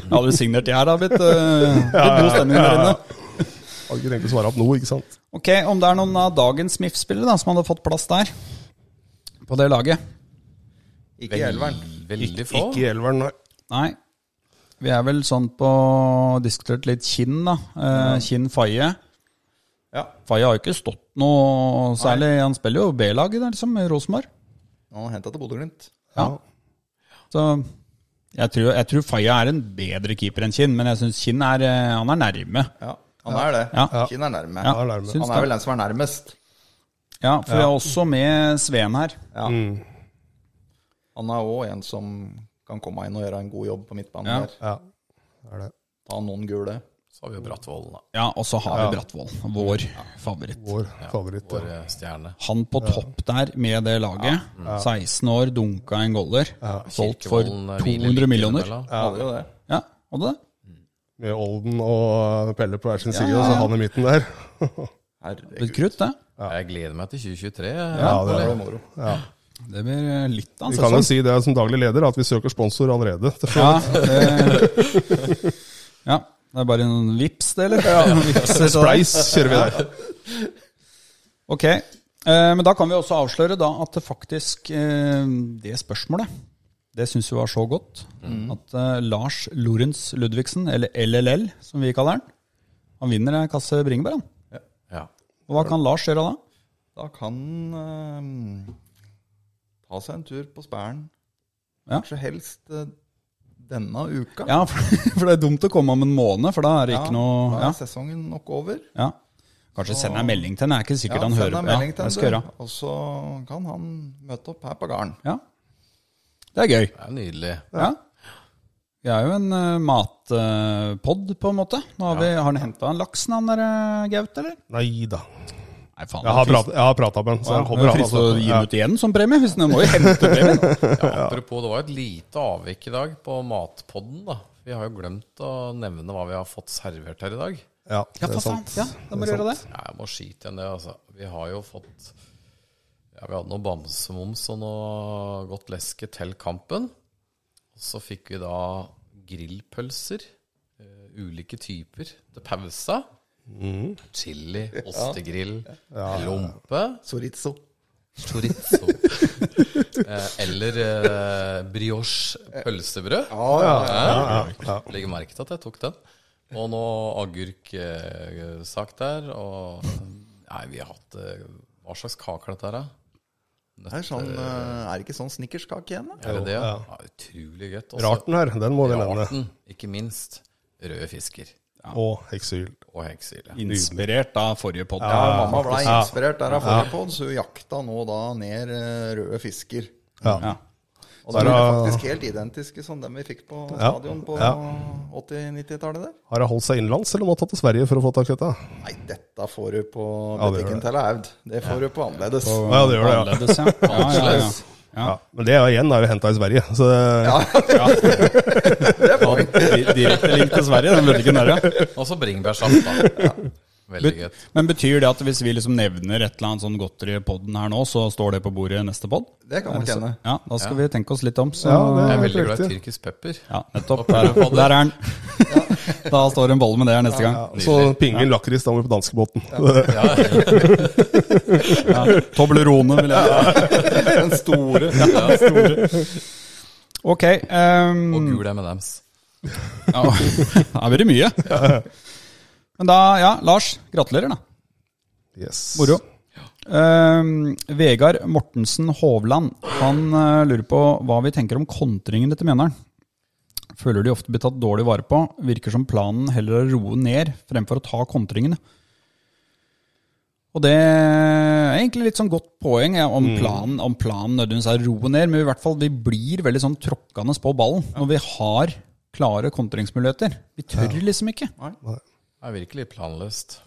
[SPEAKER 2] Ja, du signert de her, da, blitt, eh, blitt god stemning der inne.
[SPEAKER 5] Hadde ikke tenkt å svare opp noe, ikke sant.
[SPEAKER 2] Ok, om det er noen av dagens MIF-spillere da, som hadde fått plass der, på det laget?
[SPEAKER 4] Ikke i elveren.
[SPEAKER 3] Veldig få.
[SPEAKER 5] Ikke i elveren, nei.
[SPEAKER 2] Nei. Vi er vel sånn på diskutert litt Kinn, da. Eh, Kinn Faye.
[SPEAKER 4] Ja.
[SPEAKER 2] Faye har jo ikke stått noe særlig. Han spiller jo B-laget der, liksom, i Rosenborg.
[SPEAKER 4] Han har henta til Bodø-Glimt.
[SPEAKER 2] Ja. Så jeg tror, jeg tror Faye er en bedre keeper enn Kinn, men jeg syns Kinn er, eh, han er nærme.
[SPEAKER 4] Ja, han er det.
[SPEAKER 2] Ja.
[SPEAKER 4] Kinn er nærme.
[SPEAKER 2] Ja,
[SPEAKER 5] Han er nærme.
[SPEAKER 2] syns
[SPEAKER 4] Han er
[SPEAKER 2] det.
[SPEAKER 4] vel den som er nærmest.
[SPEAKER 2] Ja, for vi har også med Sveen her.
[SPEAKER 4] Ja. Han er òg en som kan komme inn og gjøre en god jobb på midtbanen
[SPEAKER 2] Ja.
[SPEAKER 4] der.
[SPEAKER 5] Ja. Det er det.
[SPEAKER 4] Ta noen gule.
[SPEAKER 3] Så har vi jo Brattvoll, da.
[SPEAKER 2] Ja, og så har vi Brattvoll, vår favoritt.
[SPEAKER 5] Vår favoritt.
[SPEAKER 3] Vår
[SPEAKER 5] Ja.
[SPEAKER 3] eh, stjerne.
[SPEAKER 2] Han på topp der med det laget.
[SPEAKER 3] Mm.
[SPEAKER 2] 16 år, dunka en goller. Solgt for
[SPEAKER 3] Kirkevollen, eh, hviler
[SPEAKER 2] 200
[SPEAKER 3] litt
[SPEAKER 2] millioner.
[SPEAKER 3] innimellom.
[SPEAKER 4] Hadde jo det.
[SPEAKER 2] Ja, hadde det?
[SPEAKER 5] Med Olden og Pelle på hver sin side, og så han i midten der.
[SPEAKER 2] Det blir
[SPEAKER 4] Herregud,
[SPEAKER 2] krutt, det.
[SPEAKER 3] Jeg gleder meg til 2023.
[SPEAKER 5] Ja, det
[SPEAKER 4] det var
[SPEAKER 5] er det.
[SPEAKER 4] moro.
[SPEAKER 2] Det blir eh, litt av en
[SPEAKER 5] Vi kan jo
[SPEAKER 2] sesong.
[SPEAKER 5] si det som daglig leder, at vi søker sponsor allerede.
[SPEAKER 2] Ja, det, ja, det er bare en vips, det, eller? Vipser, så-
[SPEAKER 5] Spleis kjører vi der.
[SPEAKER 2] Ok, eh, men da kan vi også avsløre da at det faktisk eh, det spørsmålet, det syns vi var så godt
[SPEAKER 3] Mm.
[SPEAKER 2] at eh, Lars Lorentz Ludvigsen, eller LLL som vi kaller han, han vinner en kasse bringebær. han.
[SPEAKER 3] Ja.
[SPEAKER 2] Og hva kan Lars gjøre da?
[SPEAKER 4] Da kan eh, ta seg en tur på Spæren.
[SPEAKER 2] Ja.
[SPEAKER 4] Kanskje helst eh, denne uka.
[SPEAKER 2] Ja, for, for det er dumt å komme om en måned, for da er det ikke noe
[SPEAKER 4] Da
[SPEAKER 2] ja,
[SPEAKER 4] er sesongen nok over.
[SPEAKER 2] ja. Kanskje send en melding til han, det er ikke sikkert han
[SPEAKER 4] send
[SPEAKER 2] hører på.
[SPEAKER 4] en melding
[SPEAKER 2] Ja,
[SPEAKER 4] til
[SPEAKER 2] jeg skal
[SPEAKER 4] han,
[SPEAKER 2] gjøre.
[SPEAKER 4] du. Og så kan han møte opp her på gården.
[SPEAKER 2] Ja. Det er gøy.
[SPEAKER 3] Det er nydelig.
[SPEAKER 2] Ja. Vi er jo en eh, matpod, eh, på en måte. Nå har, vi, har han henta en laks, han der eh, Gaut, eller?
[SPEAKER 5] Nei da.
[SPEAKER 2] Nei, faen.
[SPEAKER 5] Jeg har prat- jeg har prata med han, så han kommer. han,
[SPEAKER 2] frist å
[SPEAKER 5] altså.
[SPEAKER 2] gi
[SPEAKER 5] Ja.
[SPEAKER 2] den ut igjen som premie, hvis den må jo hente premien.
[SPEAKER 3] Ja, apropos, det var et lite avvik i dag på matpodden. da. Vi har jo glemt å nevne hva vi har fått servert her i dag.
[SPEAKER 5] Ja, det
[SPEAKER 2] Ja,
[SPEAKER 5] er
[SPEAKER 2] for faen.
[SPEAKER 5] sant.
[SPEAKER 2] Ja, da må du gjøre det.
[SPEAKER 3] Ja, Jeg må skyte igjen det, altså. Vi har jo fått ja, Vi hadde noe bamsemums og noe godt leske til kampen. Og så fikk vi da grillpølser. eh, Ulike typer til pausa. Chili, ostegrill, lompe.
[SPEAKER 4] Sorizzo.
[SPEAKER 3] Chorizo. eh, eller eh, brioche pølsebrød.
[SPEAKER 5] ja.
[SPEAKER 3] Legger merke til at jeg tok den. Og nå eh, agurksak der. Og nei, vi har hatt eh, Hva slags kake er dette her, da?
[SPEAKER 4] Det er, sånn, eh, er det ikke sånn snickerskake igjen, da?
[SPEAKER 3] Er det det? Ja.
[SPEAKER 5] Ja.
[SPEAKER 3] utrolig godt. også.
[SPEAKER 5] Rarten her, den må vi nevne.
[SPEAKER 3] Rarten, ikke minst. Røde fisker
[SPEAKER 5] Og heksehyl.
[SPEAKER 3] og heksehylle.
[SPEAKER 2] Inspirert av forrige podd.
[SPEAKER 4] Ja, mamma ble inspirert der av forrige podd, så hun jakta nå da ned eh, røde fisker.
[SPEAKER 5] Ja.
[SPEAKER 4] Og
[SPEAKER 5] Så er
[SPEAKER 4] de er
[SPEAKER 5] det-
[SPEAKER 4] faktisk helt identiske som dem vi fikk på
[SPEAKER 5] Ja.
[SPEAKER 4] stadion på
[SPEAKER 5] Ja.
[SPEAKER 4] 80-90-tallet der.
[SPEAKER 5] Har hun holdt seg innenlands, eller må hun ta til Sverige for å få tak i dette?
[SPEAKER 4] Nei, dette får du på
[SPEAKER 5] Ja, det gjør
[SPEAKER 4] butikken
[SPEAKER 5] det.
[SPEAKER 4] til Aud. Det får du på annerledes.
[SPEAKER 5] Ja, det gjør det, ja.
[SPEAKER 2] Annerledes, ja. Ja, ja, ja.
[SPEAKER 5] ja. Men det er jo igjen er jo henta i Sverige, så
[SPEAKER 2] Direkte link til Sverige, den burde ikke nære.
[SPEAKER 3] Og så bringebærsaft, da. Veldig godt.
[SPEAKER 2] Men betyr det at hvis vi liksom nevner et eller annet sånn godteri i podden her nå, så står det på bordet i neste podd?
[SPEAKER 4] Det kan man kjenne.
[SPEAKER 2] Ja, da skal vi tenke oss litt om. Så,
[SPEAKER 5] ja,
[SPEAKER 3] Jeg
[SPEAKER 5] det er
[SPEAKER 3] er
[SPEAKER 5] helt
[SPEAKER 3] veldig glad i
[SPEAKER 5] riktig.
[SPEAKER 3] tyrkisk pepper.
[SPEAKER 2] Ja, nettopp. Der, der er den. Da står det en bolle med det her neste gang.
[SPEAKER 5] Så pingvin lakris, da må vi på danskebåten.
[SPEAKER 3] Ja,
[SPEAKER 2] Toblerone, vil jeg
[SPEAKER 4] Den store.
[SPEAKER 3] ja.
[SPEAKER 2] Ok. ehm,
[SPEAKER 3] Og gul M&M's.
[SPEAKER 2] ja, da blir det mye. Men da, ja, Lars. Gratulerer, da.
[SPEAKER 5] Yes.
[SPEAKER 2] Moro. Ehm, Vegard Mortensen Hovland Han eh, lurer på hva vi tenker om kontringene til Mjøndalen. Føler de ofte blir tatt dårlig vare på. Virker som planen heller er å roe ned fremfor å ta kontringene. Og det er egentlig litt sånn godt poeng ja, om, planen, om planen nødvendigvis er å roe ned, men i hvert fall vi blir veldig sånn tråkkende på ballen når vi har klare kontringsmuligheter. Vi tør liksom ikke.
[SPEAKER 3] Det er virkelig planløst.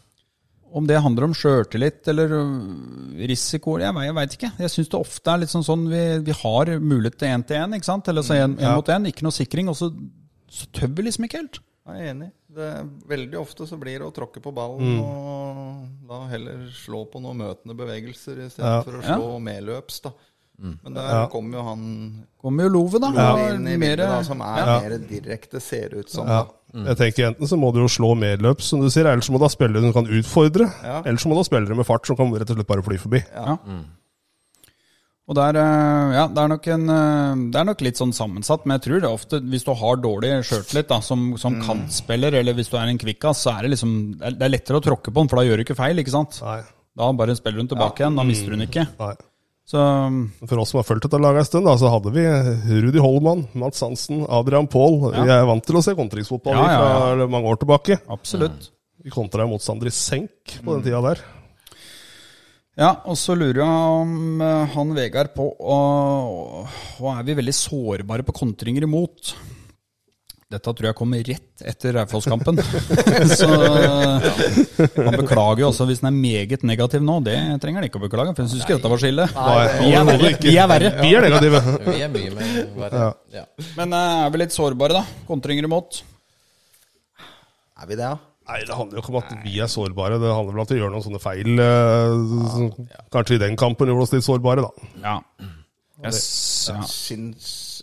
[SPEAKER 2] Om det handler om sjøltillit eller øh, risiko, jeg, vet- jeg veit ikke. Jeg syns det ofte er litt sånn sånn vi, vi har mulighet til én til én, ikke sant? Eller så
[SPEAKER 4] Mm,
[SPEAKER 2] én én mot én, ikke noe sikring, og så, så tør vi liksom ikke helt.
[SPEAKER 4] Jeg er enig. Det, veldig ofte så blir det å tråkke på ballen
[SPEAKER 5] Mm.
[SPEAKER 4] og da heller slå på noen møtende bevegelser
[SPEAKER 5] Ja.
[SPEAKER 4] istedenfor for å slå medløps, da. Men der kommer jo han
[SPEAKER 2] Kommer jo lovet, da. og
[SPEAKER 4] inn i
[SPEAKER 2] mere-
[SPEAKER 4] bildet, da, som er mer direkte, ser ut som.
[SPEAKER 5] Ja.
[SPEAKER 4] da.
[SPEAKER 5] Jeg tenker Enten så må du jo slå medløp, som du sier, eller så må du ha spillere som kan utfordre.
[SPEAKER 4] Ja.
[SPEAKER 5] Eller så må du ha spillere med fart som kan rett og slett bare fly forbi.
[SPEAKER 2] Ja. Og der, eh, ja, det er, nok en, eh, det er nok litt sånn sammensatt, men jeg tror det er ofte hvis du har dårlig sjøltillit da, som,
[SPEAKER 4] Mm.
[SPEAKER 2] som kantspiller, eller hvis du er en kvikkas, så er det liksom det er- det er lettere å tråkke på den, for da gjør du ikke feil, ikke sant?
[SPEAKER 5] Nei.
[SPEAKER 2] Da bare spiller hun tilbake igjen, da mister
[SPEAKER 4] Mm.
[SPEAKER 2] hun ikke.
[SPEAKER 5] Nei.
[SPEAKER 2] Så
[SPEAKER 5] For oss som har fulgt dette laget en stund, da, så hadde vi Rudi Holman, Mats Hansen, Adrian Paul. Vi er vant til å se kontringsfotball
[SPEAKER 2] Ja, ja,
[SPEAKER 5] fra mange år tilbake.
[SPEAKER 2] absolutt.
[SPEAKER 5] Vi kontra jo motstandere i senk på den tida der.
[SPEAKER 2] Ja, og så lurer jeg om eh, han Vegard på å- Hva er vi veldig sårbare på kontringer imot? Dette tror jeg kommer rett etter Raufoss-kampen. så eh, han beklager jo også hvis den er meget negativ nå. Det trenger han ikke å beklage, for han syns ikke dette var så ille. Vi er verre.
[SPEAKER 5] overhodet ikke.
[SPEAKER 2] Vi er verre.
[SPEAKER 5] Vi er negative.
[SPEAKER 3] Vi er mye mer verre. Ja.
[SPEAKER 2] Men eh, er vi litt sårbare, da? Kontringer imot?
[SPEAKER 4] Er vi det, ja?
[SPEAKER 5] Nei, det handler jo ikke om at vi er sårbare. Det handler vel om at vi gjør noen sånne feil eh, som kanskje i den kampen gjorde oss litt sårbare, da.
[SPEAKER 2] Ja. Yes, ja.
[SPEAKER 4] Syns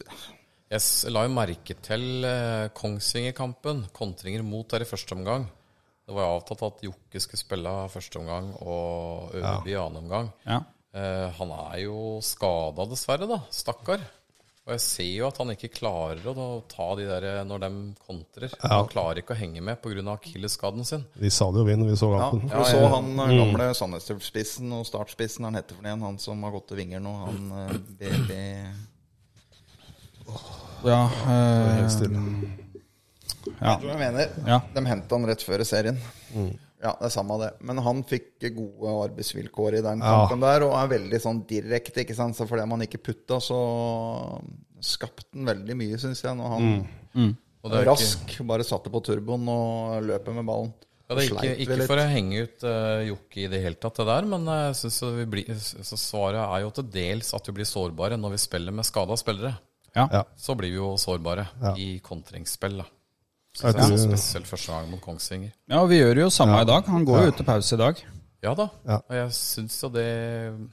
[SPEAKER 3] Jeg s- la jo merke til eh, Kongsvinger-kampen. Kontringer mot der i første omgang. Det var jo avtalt at Jokke skulle spille første omgang og Øverby i annen omgang.
[SPEAKER 2] Ja.
[SPEAKER 3] Eh, han er jo skada, dessverre, da. Stakkar. Og jeg ser jo at han ikke klarer å da, ta de der eh, når de kontrer. Han klarer ikke å henge med pga. akilleskaden sin.
[SPEAKER 5] Vi sa det jo vi når vi så
[SPEAKER 4] Ja,
[SPEAKER 5] kampen.
[SPEAKER 4] for du så han eh, gamle Sandnes-spissen og startspissen, han heter for det igjen, han som har gått til vinger nå, han eh, BB
[SPEAKER 2] ja, eh,
[SPEAKER 5] Helt stille.
[SPEAKER 2] ja.
[SPEAKER 4] Hva jeg mener?
[SPEAKER 2] Ja.
[SPEAKER 4] De henta han rett før serien.
[SPEAKER 3] Mm.
[SPEAKER 4] Ja, det er samme det. Men han fikk gode arbeidsvilkår i den
[SPEAKER 5] Ja.
[SPEAKER 4] kampen der, og er veldig sånn direkte, ikke sant. Så fordi man ikke putta, så skapte han veldig mye, syns jeg, når han
[SPEAKER 3] Mm. Og det er jo ikke-
[SPEAKER 4] rask bare satte på turboen og løp med ballen.
[SPEAKER 3] Ja, det er
[SPEAKER 4] Sleit
[SPEAKER 3] ikke,
[SPEAKER 4] vi
[SPEAKER 3] ikke
[SPEAKER 4] litt.
[SPEAKER 3] for å henge ut eh, Jokke i det hele tatt, det der, men eh, jeg synes jo vi blir, så svaret er jo til dels at vi blir sårbare når vi spiller med skada spillere.
[SPEAKER 2] Ja.
[SPEAKER 5] Ja.
[SPEAKER 3] Så blir vi jo sårbare
[SPEAKER 5] Ja.
[SPEAKER 3] i kontringsspill. da.
[SPEAKER 5] Jeg
[SPEAKER 3] Det er
[SPEAKER 5] tror-
[SPEAKER 3] så spesielt første gang mot Kongsvinger.
[SPEAKER 2] ja, og vi gjør jo samme i dag. Han går jo ut til pause i dag.
[SPEAKER 3] Ja da,
[SPEAKER 5] Ja.
[SPEAKER 3] og jeg syns jo det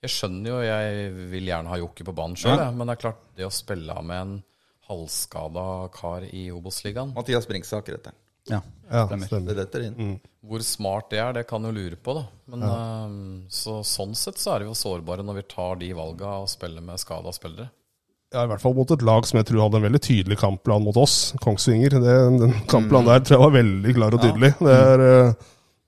[SPEAKER 3] Jeg skjønner jo, jeg vil gjerne ha Jokke på banen sjøl, men det er klart, det å spille med en halvskada kar i Obos-ligaen,
[SPEAKER 4] Mathias Bringsæter heter han.
[SPEAKER 2] Ja.
[SPEAKER 5] Ja, stemmer.
[SPEAKER 4] Det detter inn.
[SPEAKER 3] Hvor smart det er, det kan jo lure på, da. Men ehm, så, sånn sett så er vi jo sårbare når vi tar de valga og spiller med skada spillere.
[SPEAKER 5] Ja, I hvert fall mot et lag som jeg tror hadde en veldig tydelig kampplan mot oss, Kongsvinger. Det, den kampplanen der tror jeg var veldig klar og tydelig. Det er, eh,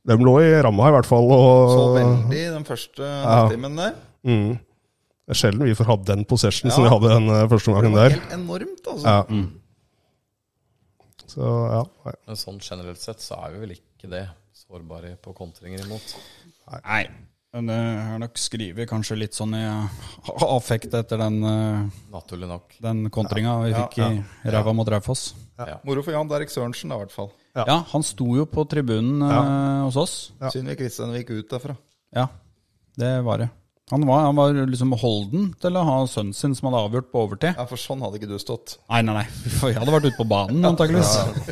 [SPEAKER 5] de lå i ramma i hvert fall. Og,
[SPEAKER 4] Så veldig den første halvtimen der.
[SPEAKER 5] Mm. Det er sjelden vi får hatt den possession som vi hadde den eh, første omgangen der.
[SPEAKER 4] Helt enormt, altså.
[SPEAKER 5] Ja. Så ja, nei.
[SPEAKER 3] Men sånn generelt sett så er vi vel ikke det sårbare på kontringer imot.
[SPEAKER 2] Nei. Men det er nok skrevet kanskje litt sånn i eh, affekt etter den, eh,
[SPEAKER 3] Naturlig nok.
[SPEAKER 2] den kontringa vi fikk i ræva mot Raufoss.
[SPEAKER 4] Moro for Jan Derek Sørensen, da, i hvert fall.
[SPEAKER 2] Ja. han sto jo på tribunen eh, hos oss.
[SPEAKER 4] Synd vi Kristian gikk ut derfra.
[SPEAKER 2] Ja, det var det. Han var, han var liksom holden til å ha sønnen sin som hadde avgjort på overtid.
[SPEAKER 4] Ja, For sånn hadde ikke du stått.
[SPEAKER 2] Nei, nei, nei. For Jeg hadde vært ute på banen, antakeligvis.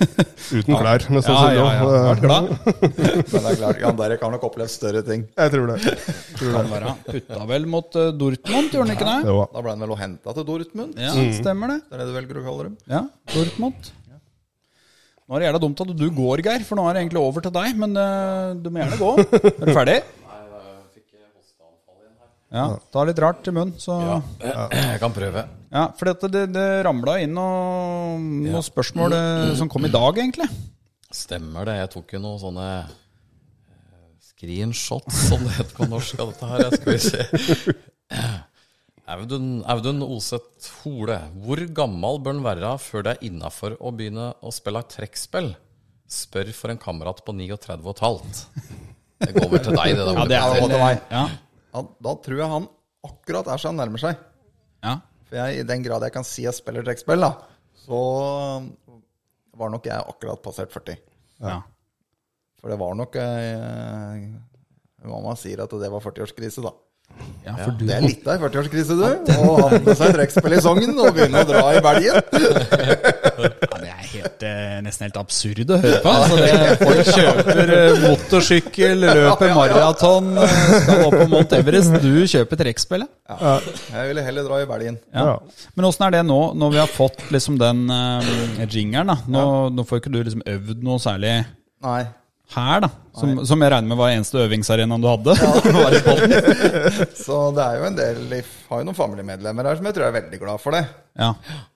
[SPEAKER 5] uten klær. Men
[SPEAKER 2] Ja,
[SPEAKER 5] sånn som
[SPEAKER 2] ja,
[SPEAKER 5] nå,
[SPEAKER 2] ja. Jeg
[SPEAKER 5] eh,
[SPEAKER 2] hadde vært glad.
[SPEAKER 4] Men det er klart, Jan Derek har nok opplevd større ting.
[SPEAKER 5] Jeg tror det.
[SPEAKER 2] Kan være. Putta vel mot eh, Dortmund, gjorde han ikke det?
[SPEAKER 5] det var.
[SPEAKER 4] Da ble han vel og henta til Dortmund?
[SPEAKER 2] Ja, stemmer det.
[SPEAKER 4] Det er det du velger å kalle dem?
[SPEAKER 2] Ja, Dortmund. Nå er det gjerne dumt at du går, Geir, for nå er det egentlig over til deg. Men eh, du må gjerne gå. Er du ferdig? Ja, ta litt rart i munnen, så
[SPEAKER 3] Ja, jeg kan prøve.
[SPEAKER 2] Ja, for dette, det, det ramla inn noe, noen spørsmål eh, som kom i dag, egentlig.
[SPEAKER 3] Stemmer det. Jeg tok jo noen sånne eh, screenshots, som det heter på norsk, av dette her. Jeg skal vi se. Audun, Audun Oseth Hole, hvor gammel bør en være før det er innafor å begynne å spille trekkspill? Spør for en kamerat på 39,5. Det går vel til deg, det. da, Ole.
[SPEAKER 4] vel-
[SPEAKER 2] Ja,
[SPEAKER 4] Ja, da tror jeg han akkurat er så han nærmer seg.
[SPEAKER 2] ja.
[SPEAKER 4] For jeg, i den grad jeg kan si jeg spiller trekkspill, da, så var nok jeg akkurat passert 40.
[SPEAKER 2] ja.
[SPEAKER 4] For det var nok eh, Mamma sier at det var 40-årskrise, da.
[SPEAKER 2] Ja, for du
[SPEAKER 4] Det er litt av ei 40-årskrise, du. Å ha med seg trekkspill i Sogn og begynne å dra i belgen.
[SPEAKER 2] Ja, det er helt, eh, nesten helt absurd å høre på. Altså, det, folk kjøper eh, motorsykkel, løper maraton, eh, skal opp på Mount Everest. Du kjøper trekkspillet.
[SPEAKER 4] Jeg ville heller dra i belgen.
[SPEAKER 2] Ja. Men åssen er det nå, når vi har fått liksom den eh, jingeren? da? Nå, nå får ikke du liksom øvd noe særlig
[SPEAKER 4] Nei.
[SPEAKER 2] her, da. Som, som jeg regner med var eneste øvingsarenaen du hadde. var i Bodden.
[SPEAKER 4] Så det er jo en del i- Har jo noen familiemedlemmer her som jeg tror er veldig glad for det.
[SPEAKER 2] ja.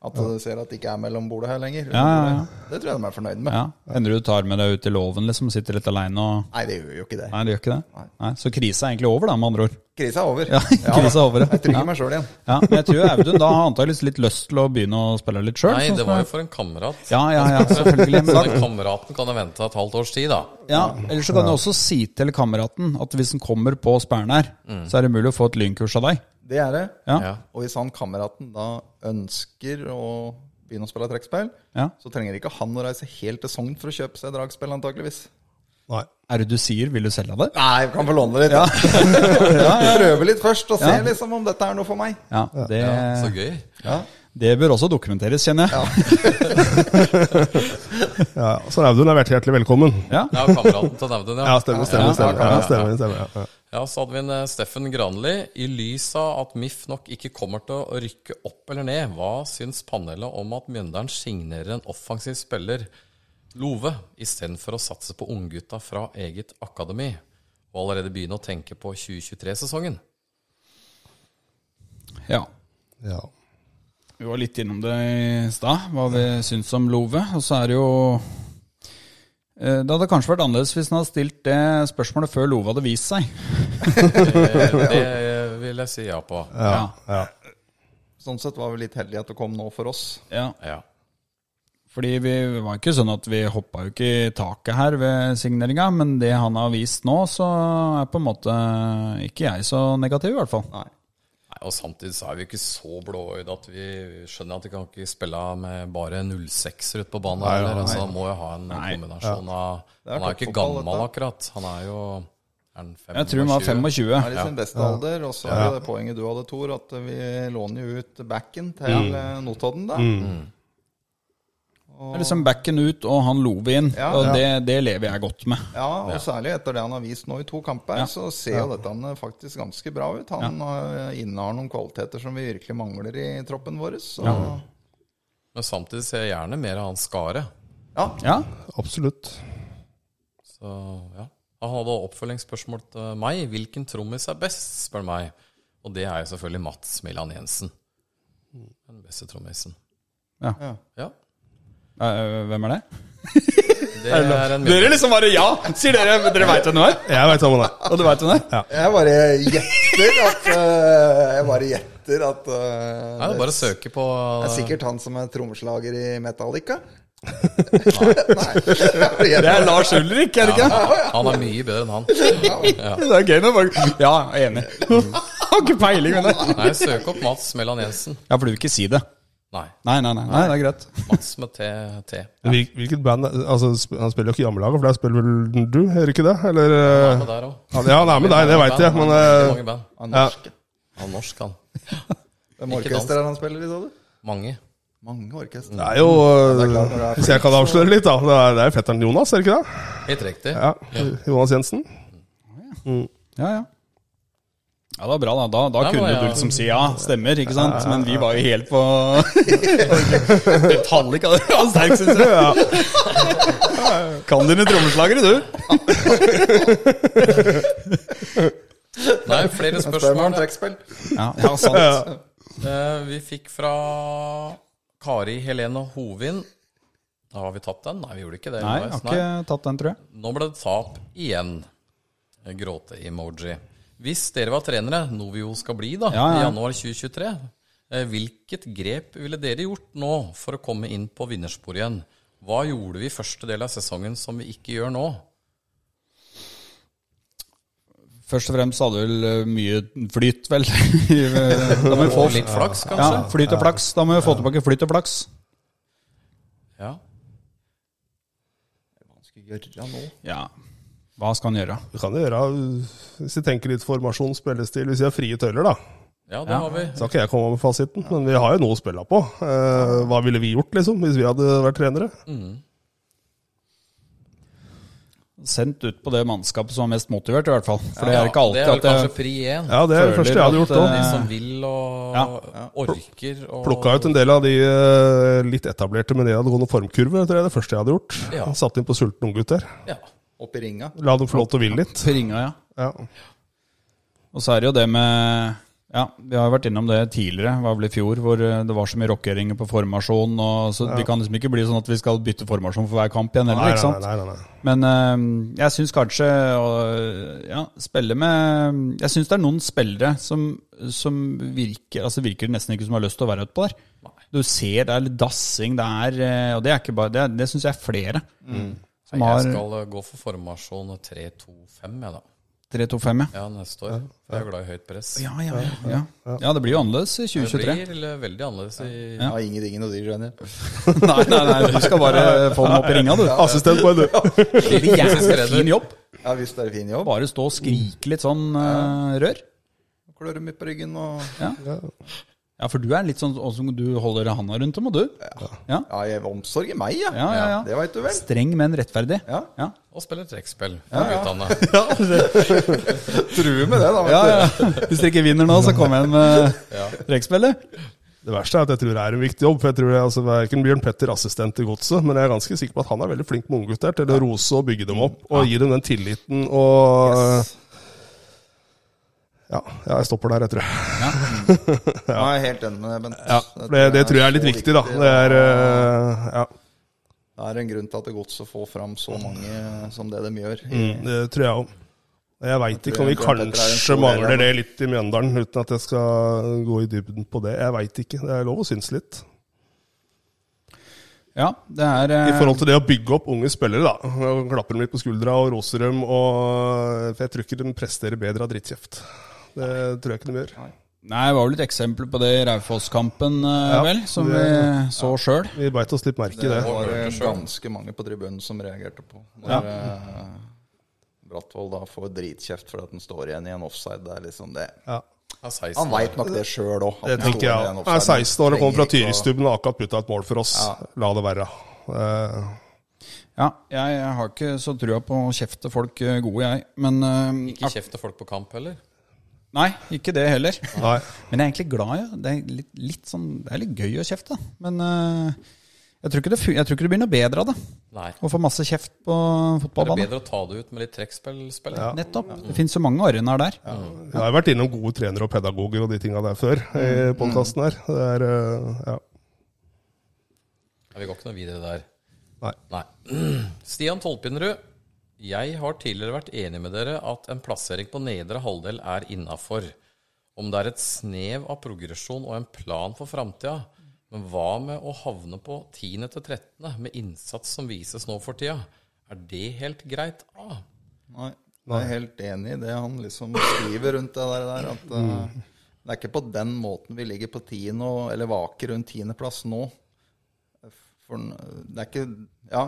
[SPEAKER 4] At du ser at det ikke er mellom bordet her lenger.
[SPEAKER 2] Ja, ja, ja.
[SPEAKER 4] Det tror jeg de er fornøyd med.
[SPEAKER 2] ja. Hender du tar med deg ut i låven, liksom? Sitter litt aleine og
[SPEAKER 4] Nei, det gjør jo ikke det.
[SPEAKER 2] Nei, det gjør ikke det? Nei, Så krisa er egentlig over, da, med andre ord?
[SPEAKER 4] Krisa er over.
[SPEAKER 2] Ja, krisa er over, ja.
[SPEAKER 4] Jeg
[SPEAKER 2] Ja.
[SPEAKER 4] trygger meg sjøl igjen.
[SPEAKER 2] Ja, men jeg tror Audun da har antakeligvis litt lyst til å begynne å spille litt sjøl.
[SPEAKER 3] Nei, det var jo for en kamerat.
[SPEAKER 2] Ja, ja, ja, selvfølgelig.
[SPEAKER 3] Så
[SPEAKER 2] Men
[SPEAKER 3] den kameraten kan jeg vente et halvt års tid, da.
[SPEAKER 2] ja, ellers så kan du også si til kameraten at hvis han kommer på sperren her,
[SPEAKER 3] Mm.
[SPEAKER 2] så er det mulig å få et lynkurs av deg.
[SPEAKER 4] Det er det.
[SPEAKER 2] Ja,
[SPEAKER 3] Ja.
[SPEAKER 4] Og hvis han kameraten da ønsker å begynne å spille trekkspill,
[SPEAKER 2] ja.
[SPEAKER 4] så trenger ikke han å reise helt til Sogn for å kjøpe seg dragspill, antakeligvis.
[SPEAKER 5] Nei.
[SPEAKER 2] Er det du sier, vil du selge det?
[SPEAKER 4] Nei, vi kan få låne det litt. Ja. Prøve litt først, og se liksom om dette er noe for meg.
[SPEAKER 2] Ja, det,
[SPEAKER 3] Så gøy.
[SPEAKER 2] det bør også dokumenteres, kjenner jeg.
[SPEAKER 5] Ja, så Audun er vært hjertelig velkommen.
[SPEAKER 2] Ja.
[SPEAKER 3] Ja, kameraten til Audun, ja.
[SPEAKER 5] Ja, stemmer, stemmer. stemmer, ja, stemmer, stemmer ja, ja.
[SPEAKER 3] Ja, så hadde vi en eh, Steffen Granli. I lys av at MIF nok ikke kommer til å rykke opp eller ned, hva syns panelet om at Mjøndalen signerer en offensiv spiller, Love, istedenfor å satse på unggutta fra eget akademi, og allerede begynne å tenke på 2023-sesongen?
[SPEAKER 2] Ja.
[SPEAKER 5] Ja.
[SPEAKER 2] Vi var litt innom det i stad, hva vi syns om Love. Og så er det jo eh, Det hadde kanskje vært annerledes hvis han hadde stilt det spørsmålet før Love hadde vist seg.
[SPEAKER 3] Eh, Det vil jeg si ja på.
[SPEAKER 2] Ja.
[SPEAKER 4] Sånn sett var vi litt heldige at det kom nå for oss.
[SPEAKER 2] ja.
[SPEAKER 3] Ja.
[SPEAKER 2] Fordi vi var ikke sånn at vi hoppa jo ikke i taket her ved signeringa, men det han har vist nå, så er på en måte ikke jeg så negativ, i hvert fall.
[SPEAKER 4] Nei.
[SPEAKER 3] Nei, og samtidig så er vi ikke så blåøyde at vi skjønner at vi kan ikke spille med bare 06-er ute på banen.
[SPEAKER 5] Nei,
[SPEAKER 3] heller.
[SPEAKER 5] nei.
[SPEAKER 3] altså, han må jo ha en kombinasjon av
[SPEAKER 4] er
[SPEAKER 3] Han er jo ikke
[SPEAKER 4] toppfotball,
[SPEAKER 3] gammel
[SPEAKER 4] dette.
[SPEAKER 3] akkurat. Han er jo er han 25?
[SPEAKER 2] Jeg tror han var 25.
[SPEAKER 4] Han er i sin beste alder, og så er det det poenget du hadde, Tor, at vi låner jo ut backen til
[SPEAKER 3] Mm.
[SPEAKER 4] eh, Notodden, da.
[SPEAKER 2] Det er liksom backen ut og han love inn,
[SPEAKER 4] Ja.
[SPEAKER 2] og
[SPEAKER 4] Ja.
[SPEAKER 2] det, det lever jeg godt med.
[SPEAKER 4] Ja, og særlig etter det han har vist nå i to kamper, så ser jo dette han eh, faktisk ganske bra ut. Han eh, innehar noen kvaliteter som vi virkelig mangler i troppen vår. Så ja,
[SPEAKER 3] Men samtidig ser jeg gjerne mer av han Skare.
[SPEAKER 2] Ja,
[SPEAKER 5] Absolutt.
[SPEAKER 3] Så, ja. Han hadde oppfølgingsspørsmål til meg. Hvilken trommis er best, spør meg. Og det er jo selvfølgelig Mats Milan Jensen. Den beste trommisen.
[SPEAKER 2] Ja.
[SPEAKER 3] ja.
[SPEAKER 2] Eh, Hvem er det?
[SPEAKER 3] Det er en
[SPEAKER 2] Dere liksom bare ja! Sier dere Dere veit hvem det er?
[SPEAKER 5] Jeg veit hva man er.
[SPEAKER 2] Og du veit hvem det er?
[SPEAKER 4] Jeg bare gjetter at eh, Jeg bare gjetter etter at eh,
[SPEAKER 3] Nei, det er bare å søke på
[SPEAKER 4] Det er sikkert han som er trommeslager i Metallica. Nei.
[SPEAKER 2] Det er Lars Ulrik, er det ikke?
[SPEAKER 3] Han er mye bedre enn han.
[SPEAKER 2] Det er gøy når folk Ja, jeg er enig. Har ikke peiling, men det.
[SPEAKER 3] Nei, søk opp Mats Mellan Jensen.
[SPEAKER 2] Ja, for du vil ikke si det?
[SPEAKER 3] Nei,
[SPEAKER 2] Nei, nei, nei, nei det er greit.
[SPEAKER 3] Mats med T. T.
[SPEAKER 5] Hvil- Hvilket band er- altså, sp- Han spiller jo ikke i jammelaget, for der spiller vel du, gjør ikke det?
[SPEAKER 3] Han
[SPEAKER 5] Eller
[SPEAKER 3] er
[SPEAKER 5] eh,
[SPEAKER 3] med der også.
[SPEAKER 5] han- Ja, han er med deg, det veit jeg, men
[SPEAKER 3] Mange
[SPEAKER 5] eh,
[SPEAKER 3] band.
[SPEAKER 4] Han er norsk.
[SPEAKER 3] Han er norsk, han.
[SPEAKER 4] Hvem orkester er han spiller i, sa du?
[SPEAKER 3] Mange.
[SPEAKER 4] Mange orkester.
[SPEAKER 5] det er jo eh, Hvis jeg kan avsløre litt, da. Det er, det er fetteren Jonas, er det ikke det?
[SPEAKER 3] Helt riktig.
[SPEAKER 5] Ja, Jonas Jensen.
[SPEAKER 2] Ja, ja. Ja, det var bra, da. Da, da
[SPEAKER 3] Ja,
[SPEAKER 2] kunne
[SPEAKER 3] men, ja.
[SPEAKER 2] du liksom si ja, stemmer, ikke sant? Men vi var jo helt på Metallica, det var sterk, syns jeg. Kan dine trommeslagere, du.
[SPEAKER 3] Nei, flere
[SPEAKER 4] Spør meg om
[SPEAKER 3] spørsmål.
[SPEAKER 4] trekkspill.
[SPEAKER 2] Ja, ja sant.
[SPEAKER 3] Eh, Vi fikk fra Kari Helene Hovin. Da har vi tatt den? Nei, vi gjorde ikke det.
[SPEAKER 2] Nei, jeg har ikke tatt den, tror jeg.
[SPEAKER 3] Nå ble det tap igjen. Gråte-emoji. Hvis dere var trenere, noe vi jo skal bli da,
[SPEAKER 2] Ja, ja.
[SPEAKER 3] i januar 2023, eh, hvilket grep ville dere gjort nå for å komme inn på vinnersporet igjen? Hva gjorde vi første del av sesongen som vi ikke gjør nå?
[SPEAKER 2] Først og fremst hadde vel eh, mye flyt, vel. da må vi få
[SPEAKER 3] Og litt flaks,
[SPEAKER 2] ja,
[SPEAKER 3] kanskje?
[SPEAKER 2] flyt og flaks. Da må vi få tilbake flyt og flaks.
[SPEAKER 3] Ja.
[SPEAKER 4] Gjøre nå.
[SPEAKER 2] Ja. Hva skal han gjøre?
[SPEAKER 5] Du kan jo gjøre uh, Hvis jeg tenker litt formasjon, spillestil, hvis jeg har frie tøyler, da.
[SPEAKER 3] Ja, det har vi.
[SPEAKER 5] Så kan jeg komme med fasiten, men vi har jo noe å spille på. Eh, Hva ville vi gjort, liksom, hvis vi hadde vært trenere?
[SPEAKER 2] Mm. Sendt ut på det mannskapet som er mest motivert, i hvert fall. For det er ikke
[SPEAKER 3] Ja, det er
[SPEAKER 2] alltid
[SPEAKER 3] vel
[SPEAKER 2] at
[SPEAKER 3] kanskje
[SPEAKER 2] det
[SPEAKER 3] pri én.
[SPEAKER 5] Ja, det er det
[SPEAKER 2] Føler
[SPEAKER 5] første jeg hadde gjort
[SPEAKER 2] at, eh,
[SPEAKER 5] òg.
[SPEAKER 3] De som vil og orker og
[SPEAKER 5] Plukka ut en del av de eh, litt etablerte med nedadgående formkurve. Det er det første jeg hadde gjort.
[SPEAKER 3] Ja.
[SPEAKER 5] Satt inn på sultne unggutter.
[SPEAKER 3] Ja.
[SPEAKER 4] Opp i ringa.
[SPEAKER 5] La dem få lov til å ville litt.
[SPEAKER 2] ringa, ja.
[SPEAKER 5] Ja.
[SPEAKER 2] Og så er det jo det med Ja, vi har jo vært innom det tidligere, det var vel i fjor, hvor eh, det var så mye rokeringer på formasjon. Og så Det kan liksom ikke bli sånn at vi skal bytte formasjon for hver kamp igjen heller,
[SPEAKER 5] Nei,
[SPEAKER 2] ikke
[SPEAKER 5] nei,
[SPEAKER 2] sant?
[SPEAKER 5] nei, nei, nei.
[SPEAKER 2] Men eh, jeg syns kanskje å ja, spille med Jeg syns det er noen spillere som, som virker Altså virker det nesten ikke som har lyst til å være utpå der. Du ser det er litt dassing, det er eh, Og det er ikke bare Det, er- det syns jeg er flere. Som
[SPEAKER 3] Jeg
[SPEAKER 2] har
[SPEAKER 3] skal eh, gå for formasjon 3-2-5, jeg, da.
[SPEAKER 2] 3-2-5, ja.
[SPEAKER 3] Ja, neste år. For jeg er glad i høyt press.
[SPEAKER 2] Ja, ja, ja, ja. ja, det blir jo annerledes i
[SPEAKER 3] Det
[SPEAKER 2] 2023.
[SPEAKER 3] blir eh, veldig annerledes i
[SPEAKER 4] Ja. Ingenting å si, skjønner jeg.
[SPEAKER 2] Nei, nei, nei, du skal bare få dem opp i ringa, du.
[SPEAKER 5] Assistent på en du.
[SPEAKER 2] Blir jævlig fin jobb.
[SPEAKER 4] Ja, hvis det er fin jobb.
[SPEAKER 2] Bare stå og skrike litt sånn eh, rør.
[SPEAKER 4] Klør dem i på ryggen og
[SPEAKER 2] Ja, for du er litt sånn sånn som du holder handa rundt om, og du. Ja,
[SPEAKER 4] Ja, jeg, omsorg i meg, ja.
[SPEAKER 2] ja, ja.
[SPEAKER 4] Det
[SPEAKER 2] ja.
[SPEAKER 4] veit du vel.
[SPEAKER 2] Streng, men rettferdig.
[SPEAKER 4] Ja.
[SPEAKER 2] ja.
[SPEAKER 3] Og spiller trekkspill for guttene.
[SPEAKER 4] Truer med det, da.
[SPEAKER 2] Ja, ja. Hvis dere ikke vinner nå, så kom igjen med trekkspillet.
[SPEAKER 5] Det verste er at jeg tror det er en viktig jobb. for jeg tror jeg, altså, Verken Bjørn Petter assistent i godset, men jeg er ganske sikker på at han er veldig flink med unggutter til å rose og bygge dem opp og gi dem den tilliten og ja, ja, jeg stopper der, jeg tror.
[SPEAKER 4] Ja, jeg er helt enig med deg, Bent.
[SPEAKER 5] For Det, det tror jeg er litt riktig, da. Det er, eh, ja,
[SPEAKER 4] Det er en grunn til at det er godt å få fram så
[SPEAKER 5] Mm.
[SPEAKER 4] mange som det de gjør.
[SPEAKER 5] det tror jeg òg. Jeg veit ikke om vi
[SPEAKER 4] Jeg tror Petter er en
[SPEAKER 5] kanskje
[SPEAKER 4] stor del av
[SPEAKER 5] mangler det litt i Mjøndalen, uten at jeg skal gå i dybden på det. Jeg veit ikke. Det er lov å synes litt.
[SPEAKER 2] Ja, det er eh,
[SPEAKER 5] I forhold til det å bygge opp unge spillere, da. Og Klapper dem litt på skuldra og roser dem. Og for jeg tror ikke de presterer bedre av drittkjeft. Det tror jeg ikke de gjør.
[SPEAKER 2] eh, Nei, det var vel et eksempel på det i Raufoss-kampen, eh,
[SPEAKER 5] Ja,
[SPEAKER 2] vel, som vi
[SPEAKER 5] det-
[SPEAKER 2] så sjøl.
[SPEAKER 5] Vi beit oss litt merke i det.
[SPEAKER 4] Det var det ganske mange på tribunen som reagerte på. Når eh, Brattvold da får dritkjeft fordi at han står igjen i en offside. Det er liksom det.
[SPEAKER 5] Ja.
[SPEAKER 3] Ja, 16
[SPEAKER 4] Han
[SPEAKER 3] år.
[SPEAKER 4] veit nok det sjøl òg.
[SPEAKER 5] Det tenker jeg. Jeg er 16 år og kommer fra Tyristubben og har akkurat putta et mål for oss. La det være. Eh,
[SPEAKER 2] Ja, jeg, jeg har ikke så trua på å kjefte folk eh, gode, jeg. Men eh,
[SPEAKER 3] Ikke kjeft til folk på kamp heller.
[SPEAKER 2] Nei, ikke det heller.
[SPEAKER 5] Nei.
[SPEAKER 2] Men jeg er egentlig glad i ja. det. Er litt, litt sånn, det er litt gøy å kjefte. Men eh, jeg, tror ikke det, fu- jeg tror ikke det blir noe bedre av det.
[SPEAKER 3] Nei.
[SPEAKER 2] Å få masse kjeft på
[SPEAKER 3] Det er
[SPEAKER 2] fotballbanen.
[SPEAKER 3] bedre å ta det ut med litt trekkspill. spiller jeg.
[SPEAKER 2] Nettopp. Det finnes så mange arenaer der.
[SPEAKER 5] Jeg har jo vært innom gode trenere og pedagoger og de tinga der før i podkasten her. Det er eh, ja.
[SPEAKER 3] Nei, Vi går ikke noe videre der.
[SPEAKER 5] Nei.
[SPEAKER 3] Nei. Stian Tolpinrud, jeg har tidligere vært enig med dere at en plassering på nedre halvdel er innafor. om det er et snev av progresjon og en plan for framtida. Men hva med å havne på 10. til 13. med innsats som vises nå for tida? Er det helt greit? Ah.
[SPEAKER 4] Nei, jeg er helt enig i det han liksom skriver rundt det der. der, at eh, Det er ikke på den måten vi ligger på tiende, og- eller vaker rundt tiendeplass nå. For n- det er ikke Ja.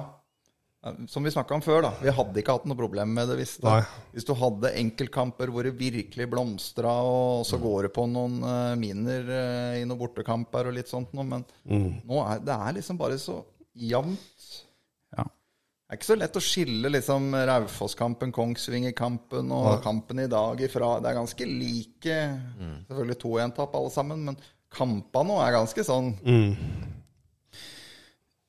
[SPEAKER 4] Eh, Som vi snakka om før, da. Vi hadde ikke hatt noe problem med det hvis,
[SPEAKER 5] Nei.
[SPEAKER 4] det, hvis du hadde enkeltkamper hvor det virkelig blomstra, og så går det på noen eh, miner eh, i noen bortekamper og litt sånt noe. Men nå er det er liksom bare så jevnt.
[SPEAKER 2] Ja.
[SPEAKER 4] Det er ikke så lett å skille liksom, Raufoss-kampen, Kongsvinger-kampen og kampen i dag ifra. Det er ganske like. Selvfølgelig 2-1-tap alle sammen, men kampene nå er ganske sånn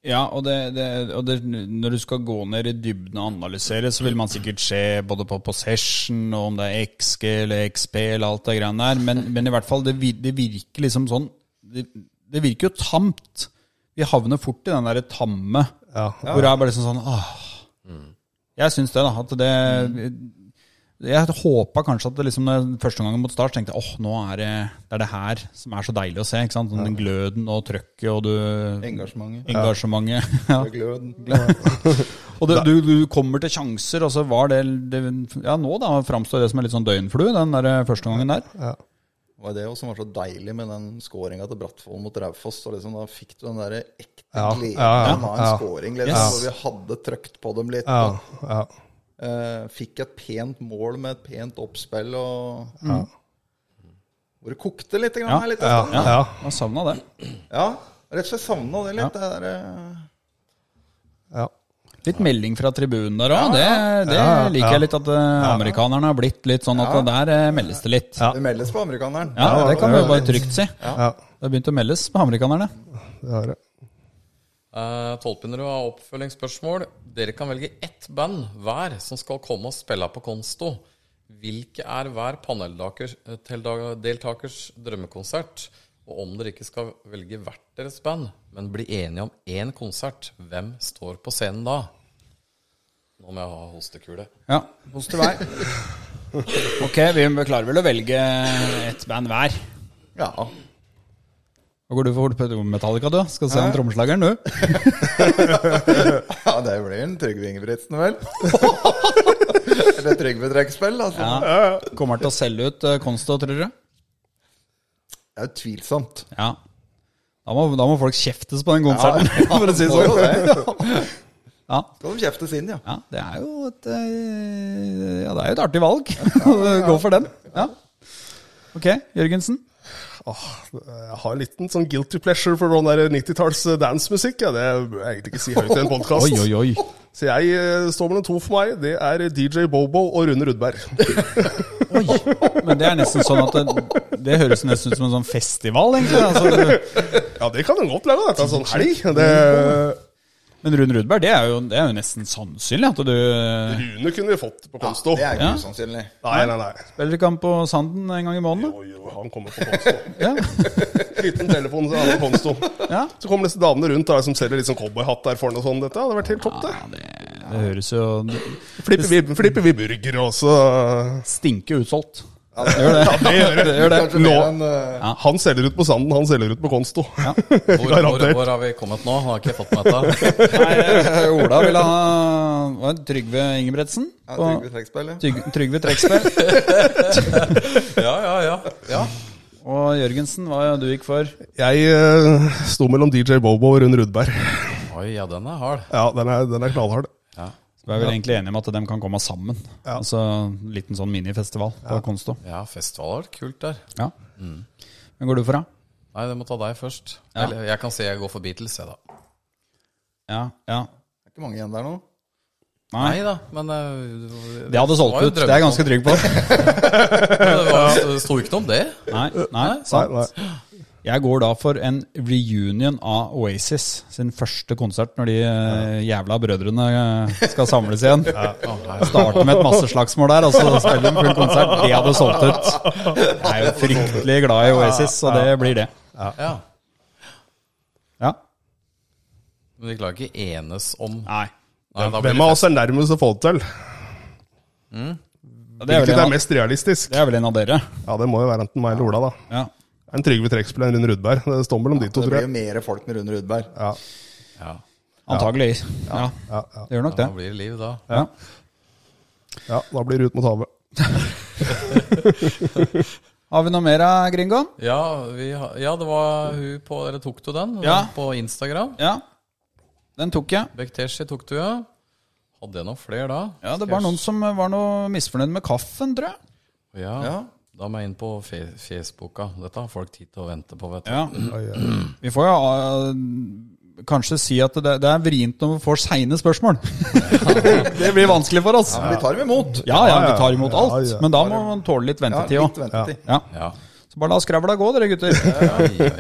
[SPEAKER 2] Ja, og, det, det, og det, når du skal gå ned i dybden og analysere, så vil man sikkert se både på possession og om det er XG eller XP eller alt det greiene der, men, men i hvert fall, det, vir- det virker liksom sånn det, det virker jo tamt. Vi havner fort i den derre tamme,
[SPEAKER 5] Ja.
[SPEAKER 2] hvor det er bare liksom sånn åh.
[SPEAKER 5] Mm.
[SPEAKER 2] Jeg syns det, da. At det Jeg håpa kanskje at det liksom når jeg første gangen mot start tenkte jeg, åh, nå er det, det er det her som er så deilig å se. ikke sant? Sånn, Den gløden og trøkket og du
[SPEAKER 4] engasjementet.
[SPEAKER 2] engasjementet. Ja.
[SPEAKER 4] og gløden.
[SPEAKER 2] Og det, du, du kommer til sjanser, og så var det, det Ja, nå da framstår det som en litt sånn døgnflue, den der første gangen der.
[SPEAKER 4] Det var det også som var så deilig med den skåringa til Brattvoll mot Raufoss. og Liksom, da fikk du den der ekte
[SPEAKER 5] Ja,
[SPEAKER 4] gleden
[SPEAKER 5] ja, ja,
[SPEAKER 4] av en
[SPEAKER 5] ja.
[SPEAKER 4] skåring, liksom,
[SPEAKER 2] Yes.
[SPEAKER 4] hvor vi hadde trøkt på dem litt.
[SPEAKER 5] Ja,
[SPEAKER 4] og,
[SPEAKER 5] ja.
[SPEAKER 4] eh, fikk et pent mål med et pent oppspill, og hvor det kokte litt. Grann,
[SPEAKER 2] Ja.
[SPEAKER 4] her litt
[SPEAKER 5] Ja,
[SPEAKER 4] ja.
[SPEAKER 5] ja.
[SPEAKER 2] Jeg savna det.
[SPEAKER 4] Ja, rett og slett savna det litt. Det der, eh,
[SPEAKER 5] ja.
[SPEAKER 2] Litt melding fra tribunen der òg. Det, det
[SPEAKER 5] Ja, ja.
[SPEAKER 2] liker jeg litt at eh, amerikanerne har blitt litt sånn at det der eh, meldes det litt.
[SPEAKER 5] Ja.
[SPEAKER 4] det meldes på amerikaneren.
[SPEAKER 2] Ja,
[SPEAKER 5] Ja,
[SPEAKER 2] det kan vi
[SPEAKER 5] ja,
[SPEAKER 2] jo bare trygt si. Det
[SPEAKER 5] ja.
[SPEAKER 2] har begynt å meldes på amerikanerne.
[SPEAKER 5] Det har jeg.
[SPEAKER 3] Eh, Tolvpinnerud har oppfølgingsspørsmål. Dere kan velge ett band hver som skal komme og spille på Konsto. Hvilke er hver paneldeltakers drømmekonsert? Og om dere ikke skal velge hvert deres band, men bli enige om én konsert, hvem står på scenen da? Nå må jeg ha hostekule.
[SPEAKER 2] Ja, positiv vei. Ok, vi klarer vel å velge ett band hver.
[SPEAKER 4] Ja.
[SPEAKER 2] Hva går du for Metallica, du? Skal se om trommeslageren, du.
[SPEAKER 4] ja, det blir en Trygve Ingebrigtsen, vel? Eller Trygve Trekkspill, altså.
[SPEAKER 2] Ja. Kommer til å selge ut eh, Konsto, tror du?
[SPEAKER 4] Det er jo tvilsomt.
[SPEAKER 2] Ja. Da må, da må folk kjeftes på den konserten, for å si det
[SPEAKER 4] må jo
[SPEAKER 2] sånn.
[SPEAKER 4] det.
[SPEAKER 2] Ja.
[SPEAKER 4] Skal de kjeftes inn, ja.
[SPEAKER 2] ja, det er jo et eh, Ja, det er jo et artig valg. Gå for den. Ja. Ok, Jørgensen.
[SPEAKER 5] Jeg har en liten sånn guilty pleasure for sånn der 90-talls eh, dancemusikk. Ja, det bør jeg egentlig ikke si høyt i en podkast.
[SPEAKER 2] oi.
[SPEAKER 5] Så jeg eh, står mellom to for meg. Det er DJ Bobo og Rune Rudberg.
[SPEAKER 2] Men det er nesten sånn at det, det høres nesten ut som en sånn festival, egentlig. Altså,
[SPEAKER 5] Ja, det kan en godt leve. Dette er sånn helg. Det,
[SPEAKER 2] men Rune Rudberg, det er, jo, det er jo nesten sannsynlig at du eh,
[SPEAKER 5] Rune kunne vi fått på Konsto.
[SPEAKER 4] Det er ikke
[SPEAKER 2] Ja.
[SPEAKER 4] usannsynlig.
[SPEAKER 5] Nei, nei, nei.
[SPEAKER 2] spiller kamp på Sanden en gang i måneden.
[SPEAKER 5] Oi, oi, han kommer på Konsto.
[SPEAKER 2] da. Ja.
[SPEAKER 5] Liten telefon, så er han på Konsto.
[SPEAKER 2] Ja.
[SPEAKER 5] Så kommer disse damene rundt da, som selger litt sånn cowboyhatt der foran og sånn. Dette hadde vært helt topp, det.
[SPEAKER 2] Ja, det, det høres jo Det
[SPEAKER 5] Flipper vi, flipper vi burger også.
[SPEAKER 2] stinker utsolgt. Det gjør det.
[SPEAKER 5] Det gjør det.
[SPEAKER 2] gjør det.
[SPEAKER 4] Kanskje mer
[SPEAKER 5] Nå-
[SPEAKER 4] enn eh,
[SPEAKER 5] Han selger ut på Sanden, han selger ut på Konsto.
[SPEAKER 3] Hvor, hvor,
[SPEAKER 5] Garantert.
[SPEAKER 3] hvor har vi kommet nå? Har ikke jeg fått med dette.
[SPEAKER 2] Eh, Ola ville ha hva, er det, Trygve Ingebretsen.
[SPEAKER 4] ja,
[SPEAKER 2] og-
[SPEAKER 4] Trygve Trekkspill, ja.
[SPEAKER 2] Tryg- Trygve Treksberg.
[SPEAKER 3] Ja, ja, ja. ja.
[SPEAKER 2] Og Jørgensen, hva du gikk for?
[SPEAKER 5] Jeg eh, sto mellom DJ Bobo og Rune Rudberg.
[SPEAKER 3] Oi, ja, den er hard.
[SPEAKER 5] Ja, den er, den er knallhard.
[SPEAKER 2] Så er vel egentlig enige om at de kan komme sammen.
[SPEAKER 5] Ja.
[SPEAKER 2] Altså en liten sånn minifestival på Konsto.
[SPEAKER 3] Ja, festival har vært kult der.
[SPEAKER 2] Ja. Hvem går du for, da?
[SPEAKER 3] Nei, det må ta deg først.
[SPEAKER 2] Ja.
[SPEAKER 3] Eller, jeg kan si jeg går for Beatles, jeg, da.
[SPEAKER 2] Ja, ja.
[SPEAKER 4] Det er ikke mange igjen der nå.
[SPEAKER 3] Nei da, men eh,
[SPEAKER 2] Det hadde solgt
[SPEAKER 3] var jo
[SPEAKER 2] ut, det er jeg ganske trygg på.
[SPEAKER 3] drømmen. Det var- det sto ikke noe om det.
[SPEAKER 2] Nei, nei,
[SPEAKER 5] Nei,
[SPEAKER 2] sant.
[SPEAKER 5] nei.
[SPEAKER 2] Jeg går da for en reunion av Oasis sin første konsert når de eh, jævla brødrene eh, skal samles igjen. Starte med et masseslagsmål der, og så spille en full konsert. Det hadde solgt ut. Jeg er jo fryktelig glad i Oasis, så det blir det.
[SPEAKER 3] Ja.
[SPEAKER 2] Ja.
[SPEAKER 3] Men vi klarer ikke enes om
[SPEAKER 2] Nei.
[SPEAKER 3] Nei, da blir
[SPEAKER 5] Hvem av oss er nærmest å få det til?
[SPEAKER 2] Ja, det, er vel
[SPEAKER 5] Hvilket er
[SPEAKER 2] en av,
[SPEAKER 5] mest realistisk?
[SPEAKER 2] det er vel en av dere.
[SPEAKER 5] Ja, det må jo være enten meg eller Ola, da.
[SPEAKER 2] Ja.
[SPEAKER 5] En Trygve Treksbøl eller en Rune Rudberg. Det står mellom de to,
[SPEAKER 4] Det
[SPEAKER 5] tror
[SPEAKER 4] blir jo
[SPEAKER 5] jeg.
[SPEAKER 4] mer folk med Rune Rudberg.
[SPEAKER 5] Ja,
[SPEAKER 3] Ja.
[SPEAKER 2] Antageligvis. Ja.
[SPEAKER 5] ja, ja,
[SPEAKER 2] Det gjør nok
[SPEAKER 3] Da
[SPEAKER 2] det.
[SPEAKER 3] blir det liv, da.
[SPEAKER 2] Ja.
[SPEAKER 5] ja. Da blir det ut mot havet.
[SPEAKER 2] Har vi noe mer eh, av Gringoen?
[SPEAKER 3] Ja, vi, ha- ja, det var hun på Eller tok du den?
[SPEAKER 2] Ja.
[SPEAKER 3] På Instagram?
[SPEAKER 2] Ja. Den tok jeg.
[SPEAKER 3] Bekteshi tok du, ja. Hadde jeg noen flere da?
[SPEAKER 2] Ja, Det var noen som eh, var noe misfornøyd med kaffen, tror jeg.
[SPEAKER 3] Ja.
[SPEAKER 4] Ja.
[SPEAKER 3] Da må jeg inn på fe Facebooka. Dette har folk tid til å vente på, vet du.
[SPEAKER 2] Ja.
[SPEAKER 5] Oi, oi.
[SPEAKER 2] Vi får jo eh, kanskje si at det, det er vrient når vi får seine spørsmål. det blir vanskelig for oss.
[SPEAKER 4] Men vi tar dem imot.
[SPEAKER 2] Ja, ja, vi tar imot
[SPEAKER 5] Ja, ja.
[SPEAKER 2] alt. Men da må man tåle litt
[SPEAKER 4] Ja,
[SPEAKER 2] ventetid
[SPEAKER 4] litt
[SPEAKER 2] òg.
[SPEAKER 4] ventetid.
[SPEAKER 2] Ja.
[SPEAKER 3] Ja.
[SPEAKER 2] Så bare la skravla gå, dere gutter.
[SPEAKER 3] Ja, ja,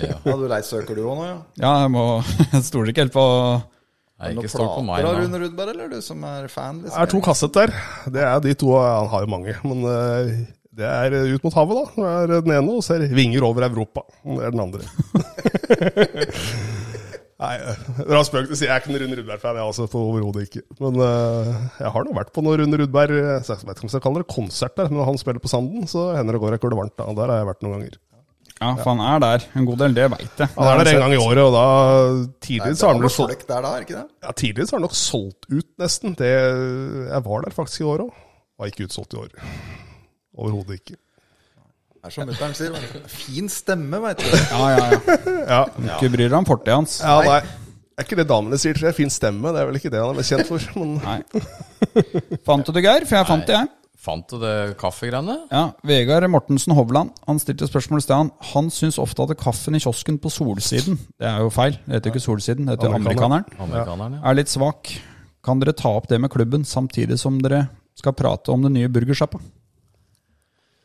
[SPEAKER 3] ja.
[SPEAKER 4] Ja, du leissøker du òg nå, ja?
[SPEAKER 2] Ja, jeg må Jeg stoler ikke helt på
[SPEAKER 3] Nei,
[SPEAKER 4] Noen
[SPEAKER 3] ikke stol på meg
[SPEAKER 4] plater av
[SPEAKER 3] nå.
[SPEAKER 4] Rune Rudberg, eller du som er fan?
[SPEAKER 5] Det er
[SPEAKER 4] Liksom?
[SPEAKER 5] to kassetter. Det er de to. Han har jo mange. Men eh, det er ut mot havet, da. Det er den ene, og så er det vinger over Europa. Det er den andre. Nei, eh, det var spøk til å si. Jeg er ikke noen Rune Rudberg-fan, jeg altså. Overhodet ikke. Men eh, jeg har nå vært på noen Rune Rudberg Jeg vet ikke om jeg skal kalle det konsert, der, men han spiller på Sanden, så hender det går ikke hvor det er varmt. Da. Der har jeg vært noen ganger.
[SPEAKER 2] Ja, for han er der en god del, det veit jeg.
[SPEAKER 5] Han er der en gang i året, og da
[SPEAKER 4] Nei,
[SPEAKER 5] tidligere
[SPEAKER 4] det
[SPEAKER 5] så har
[SPEAKER 4] var
[SPEAKER 5] han vel
[SPEAKER 4] noe
[SPEAKER 5] solgt
[SPEAKER 4] folk der da, er ikke det?
[SPEAKER 5] ja, tidligere så har den nok solgt ut nesten. Det, jeg var der faktisk i år òg. Var ikke utsolgt i år. Overhodet ikke.
[SPEAKER 4] Det er som mutter'n sier. vet du. Fin stemme, veit du.
[SPEAKER 2] Ja, ja, ja. Ikke bryr deg om fortida hans.
[SPEAKER 5] Ja, nei. Er ikke det damene sier, tror jeg. Fin stemme. Det er vel ikke det han er mest kjent for. Men
[SPEAKER 2] Nei. Fant du det, Geir? For jeg fant det, jeg.
[SPEAKER 3] Fant du det kaffegreiene?
[SPEAKER 2] Ja, Vegard Mortensen Hovland Han stilte spørsmål i sted. Han syns ofte at kaffen i kiosken på Solsiden Det er jo feil. Det heter jo ikke Solsiden, det heter
[SPEAKER 5] Amerikaner.
[SPEAKER 2] Amerikaneren.
[SPEAKER 3] Amerikaneren, ja.
[SPEAKER 2] Er litt svak. Kan dere ta opp det med klubben samtidig som dere skal prate om den nye burgersjappa?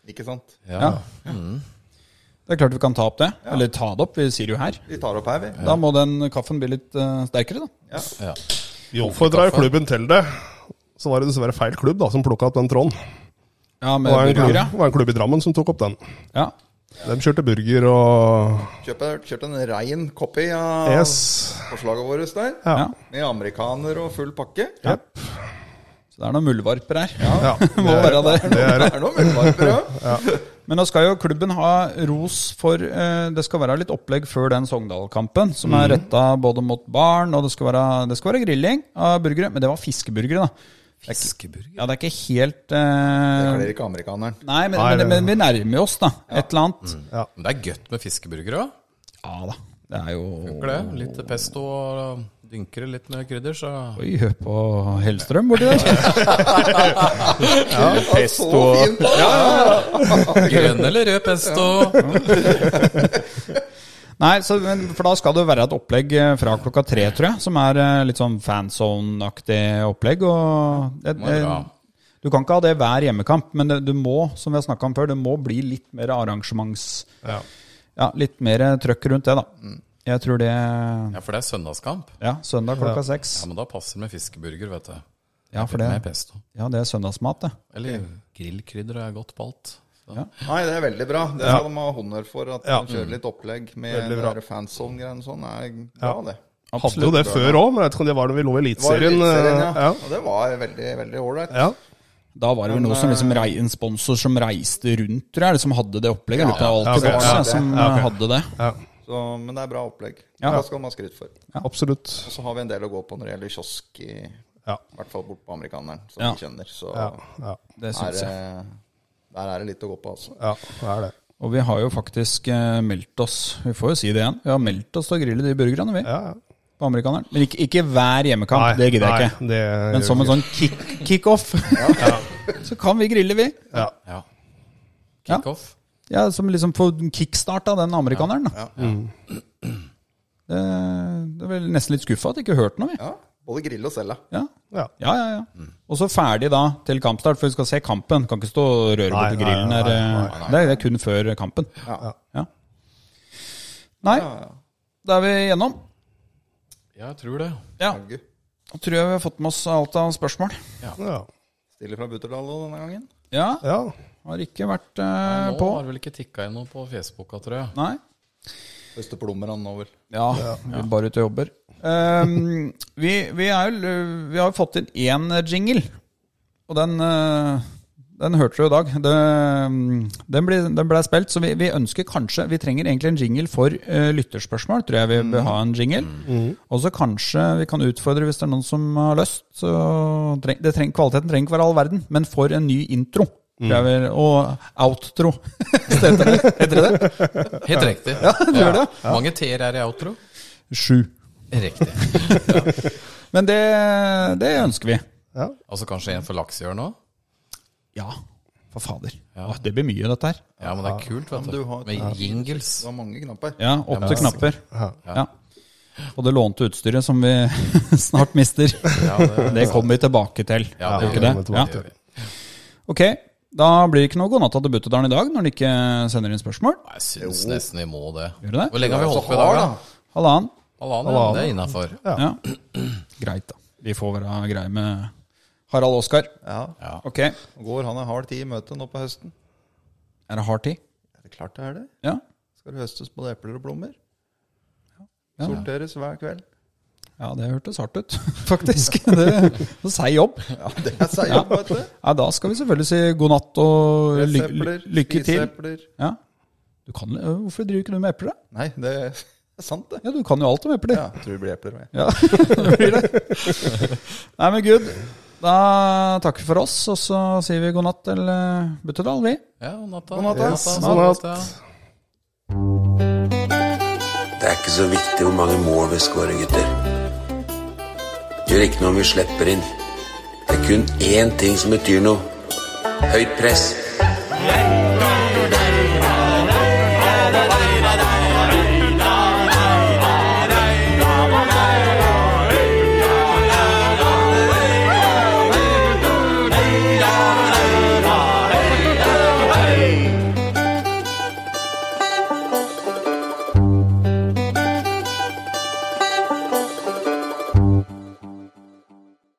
[SPEAKER 4] Ikke sant?
[SPEAKER 3] Ja.
[SPEAKER 2] Det er klart vi kan ta opp det. Eller ta det opp, vi sier jo her.
[SPEAKER 4] Vi tar opp her, vi.
[SPEAKER 2] Da må den kaffen bli litt eh, sterkere, da.
[SPEAKER 3] ja.
[SPEAKER 5] vi oppfordra jo klubben til det. Så var det dessverre feil klubb da, som plukka opp den tråden.
[SPEAKER 2] Ja,
[SPEAKER 5] Det
[SPEAKER 2] med
[SPEAKER 5] var en,
[SPEAKER 2] burger,
[SPEAKER 5] klubb,
[SPEAKER 2] ja.
[SPEAKER 5] det var en klubb i Drammen som tok opp den.
[SPEAKER 2] ja.
[SPEAKER 5] De kjørte burger og
[SPEAKER 4] Kjøp, kjørt en rein copy av
[SPEAKER 5] Yes.
[SPEAKER 4] forslaget vårt der.
[SPEAKER 5] Ja.
[SPEAKER 2] Ja.
[SPEAKER 4] Med amerikaner og full pakke.
[SPEAKER 5] Ja.
[SPEAKER 2] Så det er noen muldvarper her.
[SPEAKER 5] ja.
[SPEAKER 2] Det må være det.
[SPEAKER 5] Det er
[SPEAKER 4] Det er noe muldvarper òg.
[SPEAKER 2] Men nå skal jo klubben ha ros for eh, Det skal være litt opplegg før den Sogndal-kampen, som er retta både mot barn, og det skal, være, det skal være grilling av burgere. Men det var fiskeburgere, da. Fiskeburger? Ja, det er ikke helt eh,
[SPEAKER 4] Kler ikke amerikaneren.
[SPEAKER 2] Nei, men,
[SPEAKER 5] Nei,
[SPEAKER 2] men,
[SPEAKER 5] det-
[SPEAKER 2] men vi nærmer oss, da. Et eller annet.
[SPEAKER 3] Men det er godt med fiskeburgere òg.
[SPEAKER 2] Ja da. Det er jo
[SPEAKER 3] Gled. Litt pesto og dynker det litt med krydder, så
[SPEAKER 2] Oi, hør på Hellstrøm borti der.
[SPEAKER 4] Pesto fint! da.
[SPEAKER 3] Grønn eller rød pesto?
[SPEAKER 2] Nei, så, men, for da skal det jo være et opplegg eh, fra klokka tre, tror jeg, som er eh, litt sånn fanzone-aktig opplegg. Og eh, det,
[SPEAKER 3] må jo
[SPEAKER 2] det,
[SPEAKER 3] ha.
[SPEAKER 2] Du kan ikke ha det hver hjemmekamp, men det- du må som vi har snakket om før, det må bli litt mer arrangements...
[SPEAKER 5] Ja.
[SPEAKER 2] Ja, litt mer trøkk rundt det, da.
[SPEAKER 5] Mm.
[SPEAKER 2] Jeg tror det
[SPEAKER 3] Ja, for det er søndagskamp.
[SPEAKER 2] Ja, søndag klokka seks.
[SPEAKER 3] Ja, men da passer det med fiskeburger, vet du.
[SPEAKER 2] Ja, for
[SPEAKER 3] Med
[SPEAKER 2] det,
[SPEAKER 3] pesto.
[SPEAKER 2] ja, det er søndagsmat, det.
[SPEAKER 3] Eller grillkrydder er godt på alt. Så.
[SPEAKER 4] Nei, det er veldig bra. Det skal de ha honnør for. At
[SPEAKER 5] Ja.
[SPEAKER 4] de kjører litt opplegg med
[SPEAKER 5] Veldig bra.
[SPEAKER 4] der fanzone-greiene og sånn. Det er bra, det.
[SPEAKER 5] Hadde jo det før òg, men jeg vet ikke om det var da vi lå i
[SPEAKER 4] Det var
[SPEAKER 5] Eliteserien. eh,
[SPEAKER 4] Eliteserien, ja.
[SPEAKER 5] Ja.
[SPEAKER 4] Og det var veldig, veldig ålreit.
[SPEAKER 5] Ja.
[SPEAKER 2] Da var det vel noe som liksom
[SPEAKER 5] eh,
[SPEAKER 2] rei, en sponsor som reiste rundt, tror jeg, eller som hadde det opplegget. Ja, ja,
[SPEAKER 5] ja, ok, ja, ok,
[SPEAKER 2] som
[SPEAKER 5] ja, ok.
[SPEAKER 2] hadde det.
[SPEAKER 5] Ja.
[SPEAKER 4] Så, men det er bra opplegg.
[SPEAKER 2] Ja.
[SPEAKER 4] Det skal de ha skryt for.
[SPEAKER 5] Absolutt.
[SPEAKER 4] Og så har vi en del å gå på når det gjelder kiosk, i, i
[SPEAKER 5] Ja.
[SPEAKER 4] hvert fall bort på amerikaneren, som
[SPEAKER 2] Ja.
[SPEAKER 4] vi kjenner. Så
[SPEAKER 5] Ja. ja.
[SPEAKER 2] Det
[SPEAKER 4] er,
[SPEAKER 2] syns jeg.
[SPEAKER 4] det- der er det litt å gå på, altså.
[SPEAKER 5] Ja, det er det.
[SPEAKER 2] Og vi har jo faktisk eh, meldt oss, vi får jo si det igjen, vi har meldt oss til å grille de burgerne, vi.
[SPEAKER 5] Ja, ja.
[SPEAKER 2] På amerikaneren. Men ikke, ikke hver hjemmekamp,
[SPEAKER 5] Nei,
[SPEAKER 2] det gidder
[SPEAKER 5] nei,
[SPEAKER 2] jeg ikke.
[SPEAKER 5] det
[SPEAKER 2] Men
[SPEAKER 5] gjør
[SPEAKER 2] som en
[SPEAKER 5] vi
[SPEAKER 2] sånn kick- kickoff, så kan vi grille, vi.
[SPEAKER 5] ikke. ja.
[SPEAKER 3] Ja. Kickoff.
[SPEAKER 2] Ja, Som liksom får kickstarta den amerikaneren. da. Mm. Det, det er vel nesten litt skuffa at jeg ikke hørte noe, vi.
[SPEAKER 4] Ja, Både grille og selge.
[SPEAKER 2] Ja.
[SPEAKER 5] Ja.
[SPEAKER 2] Ja, ja, ja. Og så ferdig da til kampstart, for vi skal se kampen. Kan ikke stå og røre
[SPEAKER 5] Nei,
[SPEAKER 2] borti
[SPEAKER 5] nei,
[SPEAKER 2] grillen
[SPEAKER 5] nei,
[SPEAKER 2] her.
[SPEAKER 5] nei,
[SPEAKER 2] eh, Det er, det er kun før kampen.
[SPEAKER 4] Ja.
[SPEAKER 2] Ja. Nei, da er vi gjennom.
[SPEAKER 3] Ja, jeg tror det.
[SPEAKER 2] Ja,
[SPEAKER 4] Haggu.
[SPEAKER 2] da tror jeg vi har fått med oss alt av spørsmål.
[SPEAKER 5] Ja.
[SPEAKER 4] Stille fra Butterdal også denne gangen.
[SPEAKER 2] Ja,
[SPEAKER 5] ja.
[SPEAKER 2] har ikke vært eh,
[SPEAKER 3] Nå
[SPEAKER 2] på.
[SPEAKER 3] har vel ikke tikka inn noe på Facebooka, tror jeg.
[SPEAKER 2] Nei.
[SPEAKER 4] Høste plommer han nå, vel.
[SPEAKER 2] Ja, vi er bare ute og jobber. Ehm, vi, vi, er, jo- vi har jo fått inn én jingle, og den eh, Den hørte du i dag. Det, den, ble, den ble spilt, så vi, vi ønsker kanskje Vi trenger egentlig en jingle for eh, lytterspørsmål, tror jeg vi bør ha en jingle. Og så kanskje vi kan utfordre hvis det er noen som har lyst. Så treng, det treng, kvaliteten trenger ikke være all verden, men for en ny intro. tror jeg vi- Og outro. heter det heter det? det?
[SPEAKER 3] Helt riktig. Ja, du gjør det. Mange T-er er i outro.
[SPEAKER 2] Sju.
[SPEAKER 3] Riktig.
[SPEAKER 2] Men det, det ønsker vi.
[SPEAKER 3] Altså kanskje en for laksejørn òg?
[SPEAKER 2] Ja. For fader. Åh, Det blir mye, dette her.
[SPEAKER 3] Ja, men det er kult, vet du.
[SPEAKER 4] du har-
[SPEAKER 3] Med jingles.
[SPEAKER 4] Det var mange knapper.
[SPEAKER 2] Ja, opp til knapper. Ja. Og det lånte utstyret som vi snart mister. Det kommer vi tilbake til.
[SPEAKER 3] Ja,
[SPEAKER 2] Gjør
[SPEAKER 3] det
[SPEAKER 2] ikke
[SPEAKER 5] gjør vi
[SPEAKER 2] det?
[SPEAKER 5] tilbake
[SPEAKER 2] Ja.
[SPEAKER 5] til.
[SPEAKER 2] Ok, da blir det ikke noe godnatta til Buttedalen i dag når de ikke sender inn spørsmål.
[SPEAKER 3] Nei, Jeg syns nesten vi må det.
[SPEAKER 2] Gjør det?
[SPEAKER 3] Hvor lenge har vi holdt på i
[SPEAKER 4] Har,
[SPEAKER 3] dag, da?
[SPEAKER 4] da.
[SPEAKER 2] Halvannen.
[SPEAKER 3] Halvannen, ja. Det er innafor.
[SPEAKER 2] Ja. Greit, da. Vi får være greie med Harald Oskar.
[SPEAKER 4] Ja.
[SPEAKER 2] Ok, er
[SPEAKER 4] Går han en hard tid i møte nå på høsten?
[SPEAKER 2] det hard tid?
[SPEAKER 4] Er det klart det er det?
[SPEAKER 2] Ja.
[SPEAKER 4] Skal det høstes både epler og plommer? Sorteres hver kveld.
[SPEAKER 2] ja, det hørtes hardt ut, faktisk. Det er sånn seig jobb.
[SPEAKER 4] Ja, det er seg jobb, vet du.
[SPEAKER 2] Ja, da skal vi selvfølgelig si god natt og ly ly
[SPEAKER 4] Pressepler,
[SPEAKER 2] lykke til.
[SPEAKER 4] spiseepler.
[SPEAKER 2] Ja. Du kan, hvorfor driver ikke du med epler, da?
[SPEAKER 4] Nei, det er sant, det.
[SPEAKER 2] Ja, du kan jo alt om epler.
[SPEAKER 4] Ja, jeg tror det blir epler med.
[SPEAKER 2] Nei, men good. Da takker vi for oss, og så sier vi god natt til eh, Buttedal, vi.
[SPEAKER 3] Ja, natta.
[SPEAKER 4] God natt, da.
[SPEAKER 5] God natt.
[SPEAKER 3] ja.
[SPEAKER 1] Det er ikke så viktig hvor mange mål vi skårer, gutter. Det gjør ikke noe om vi slipper inn. Det er kun én ting som betyr noe. Høyt press.
[SPEAKER 8] Jeg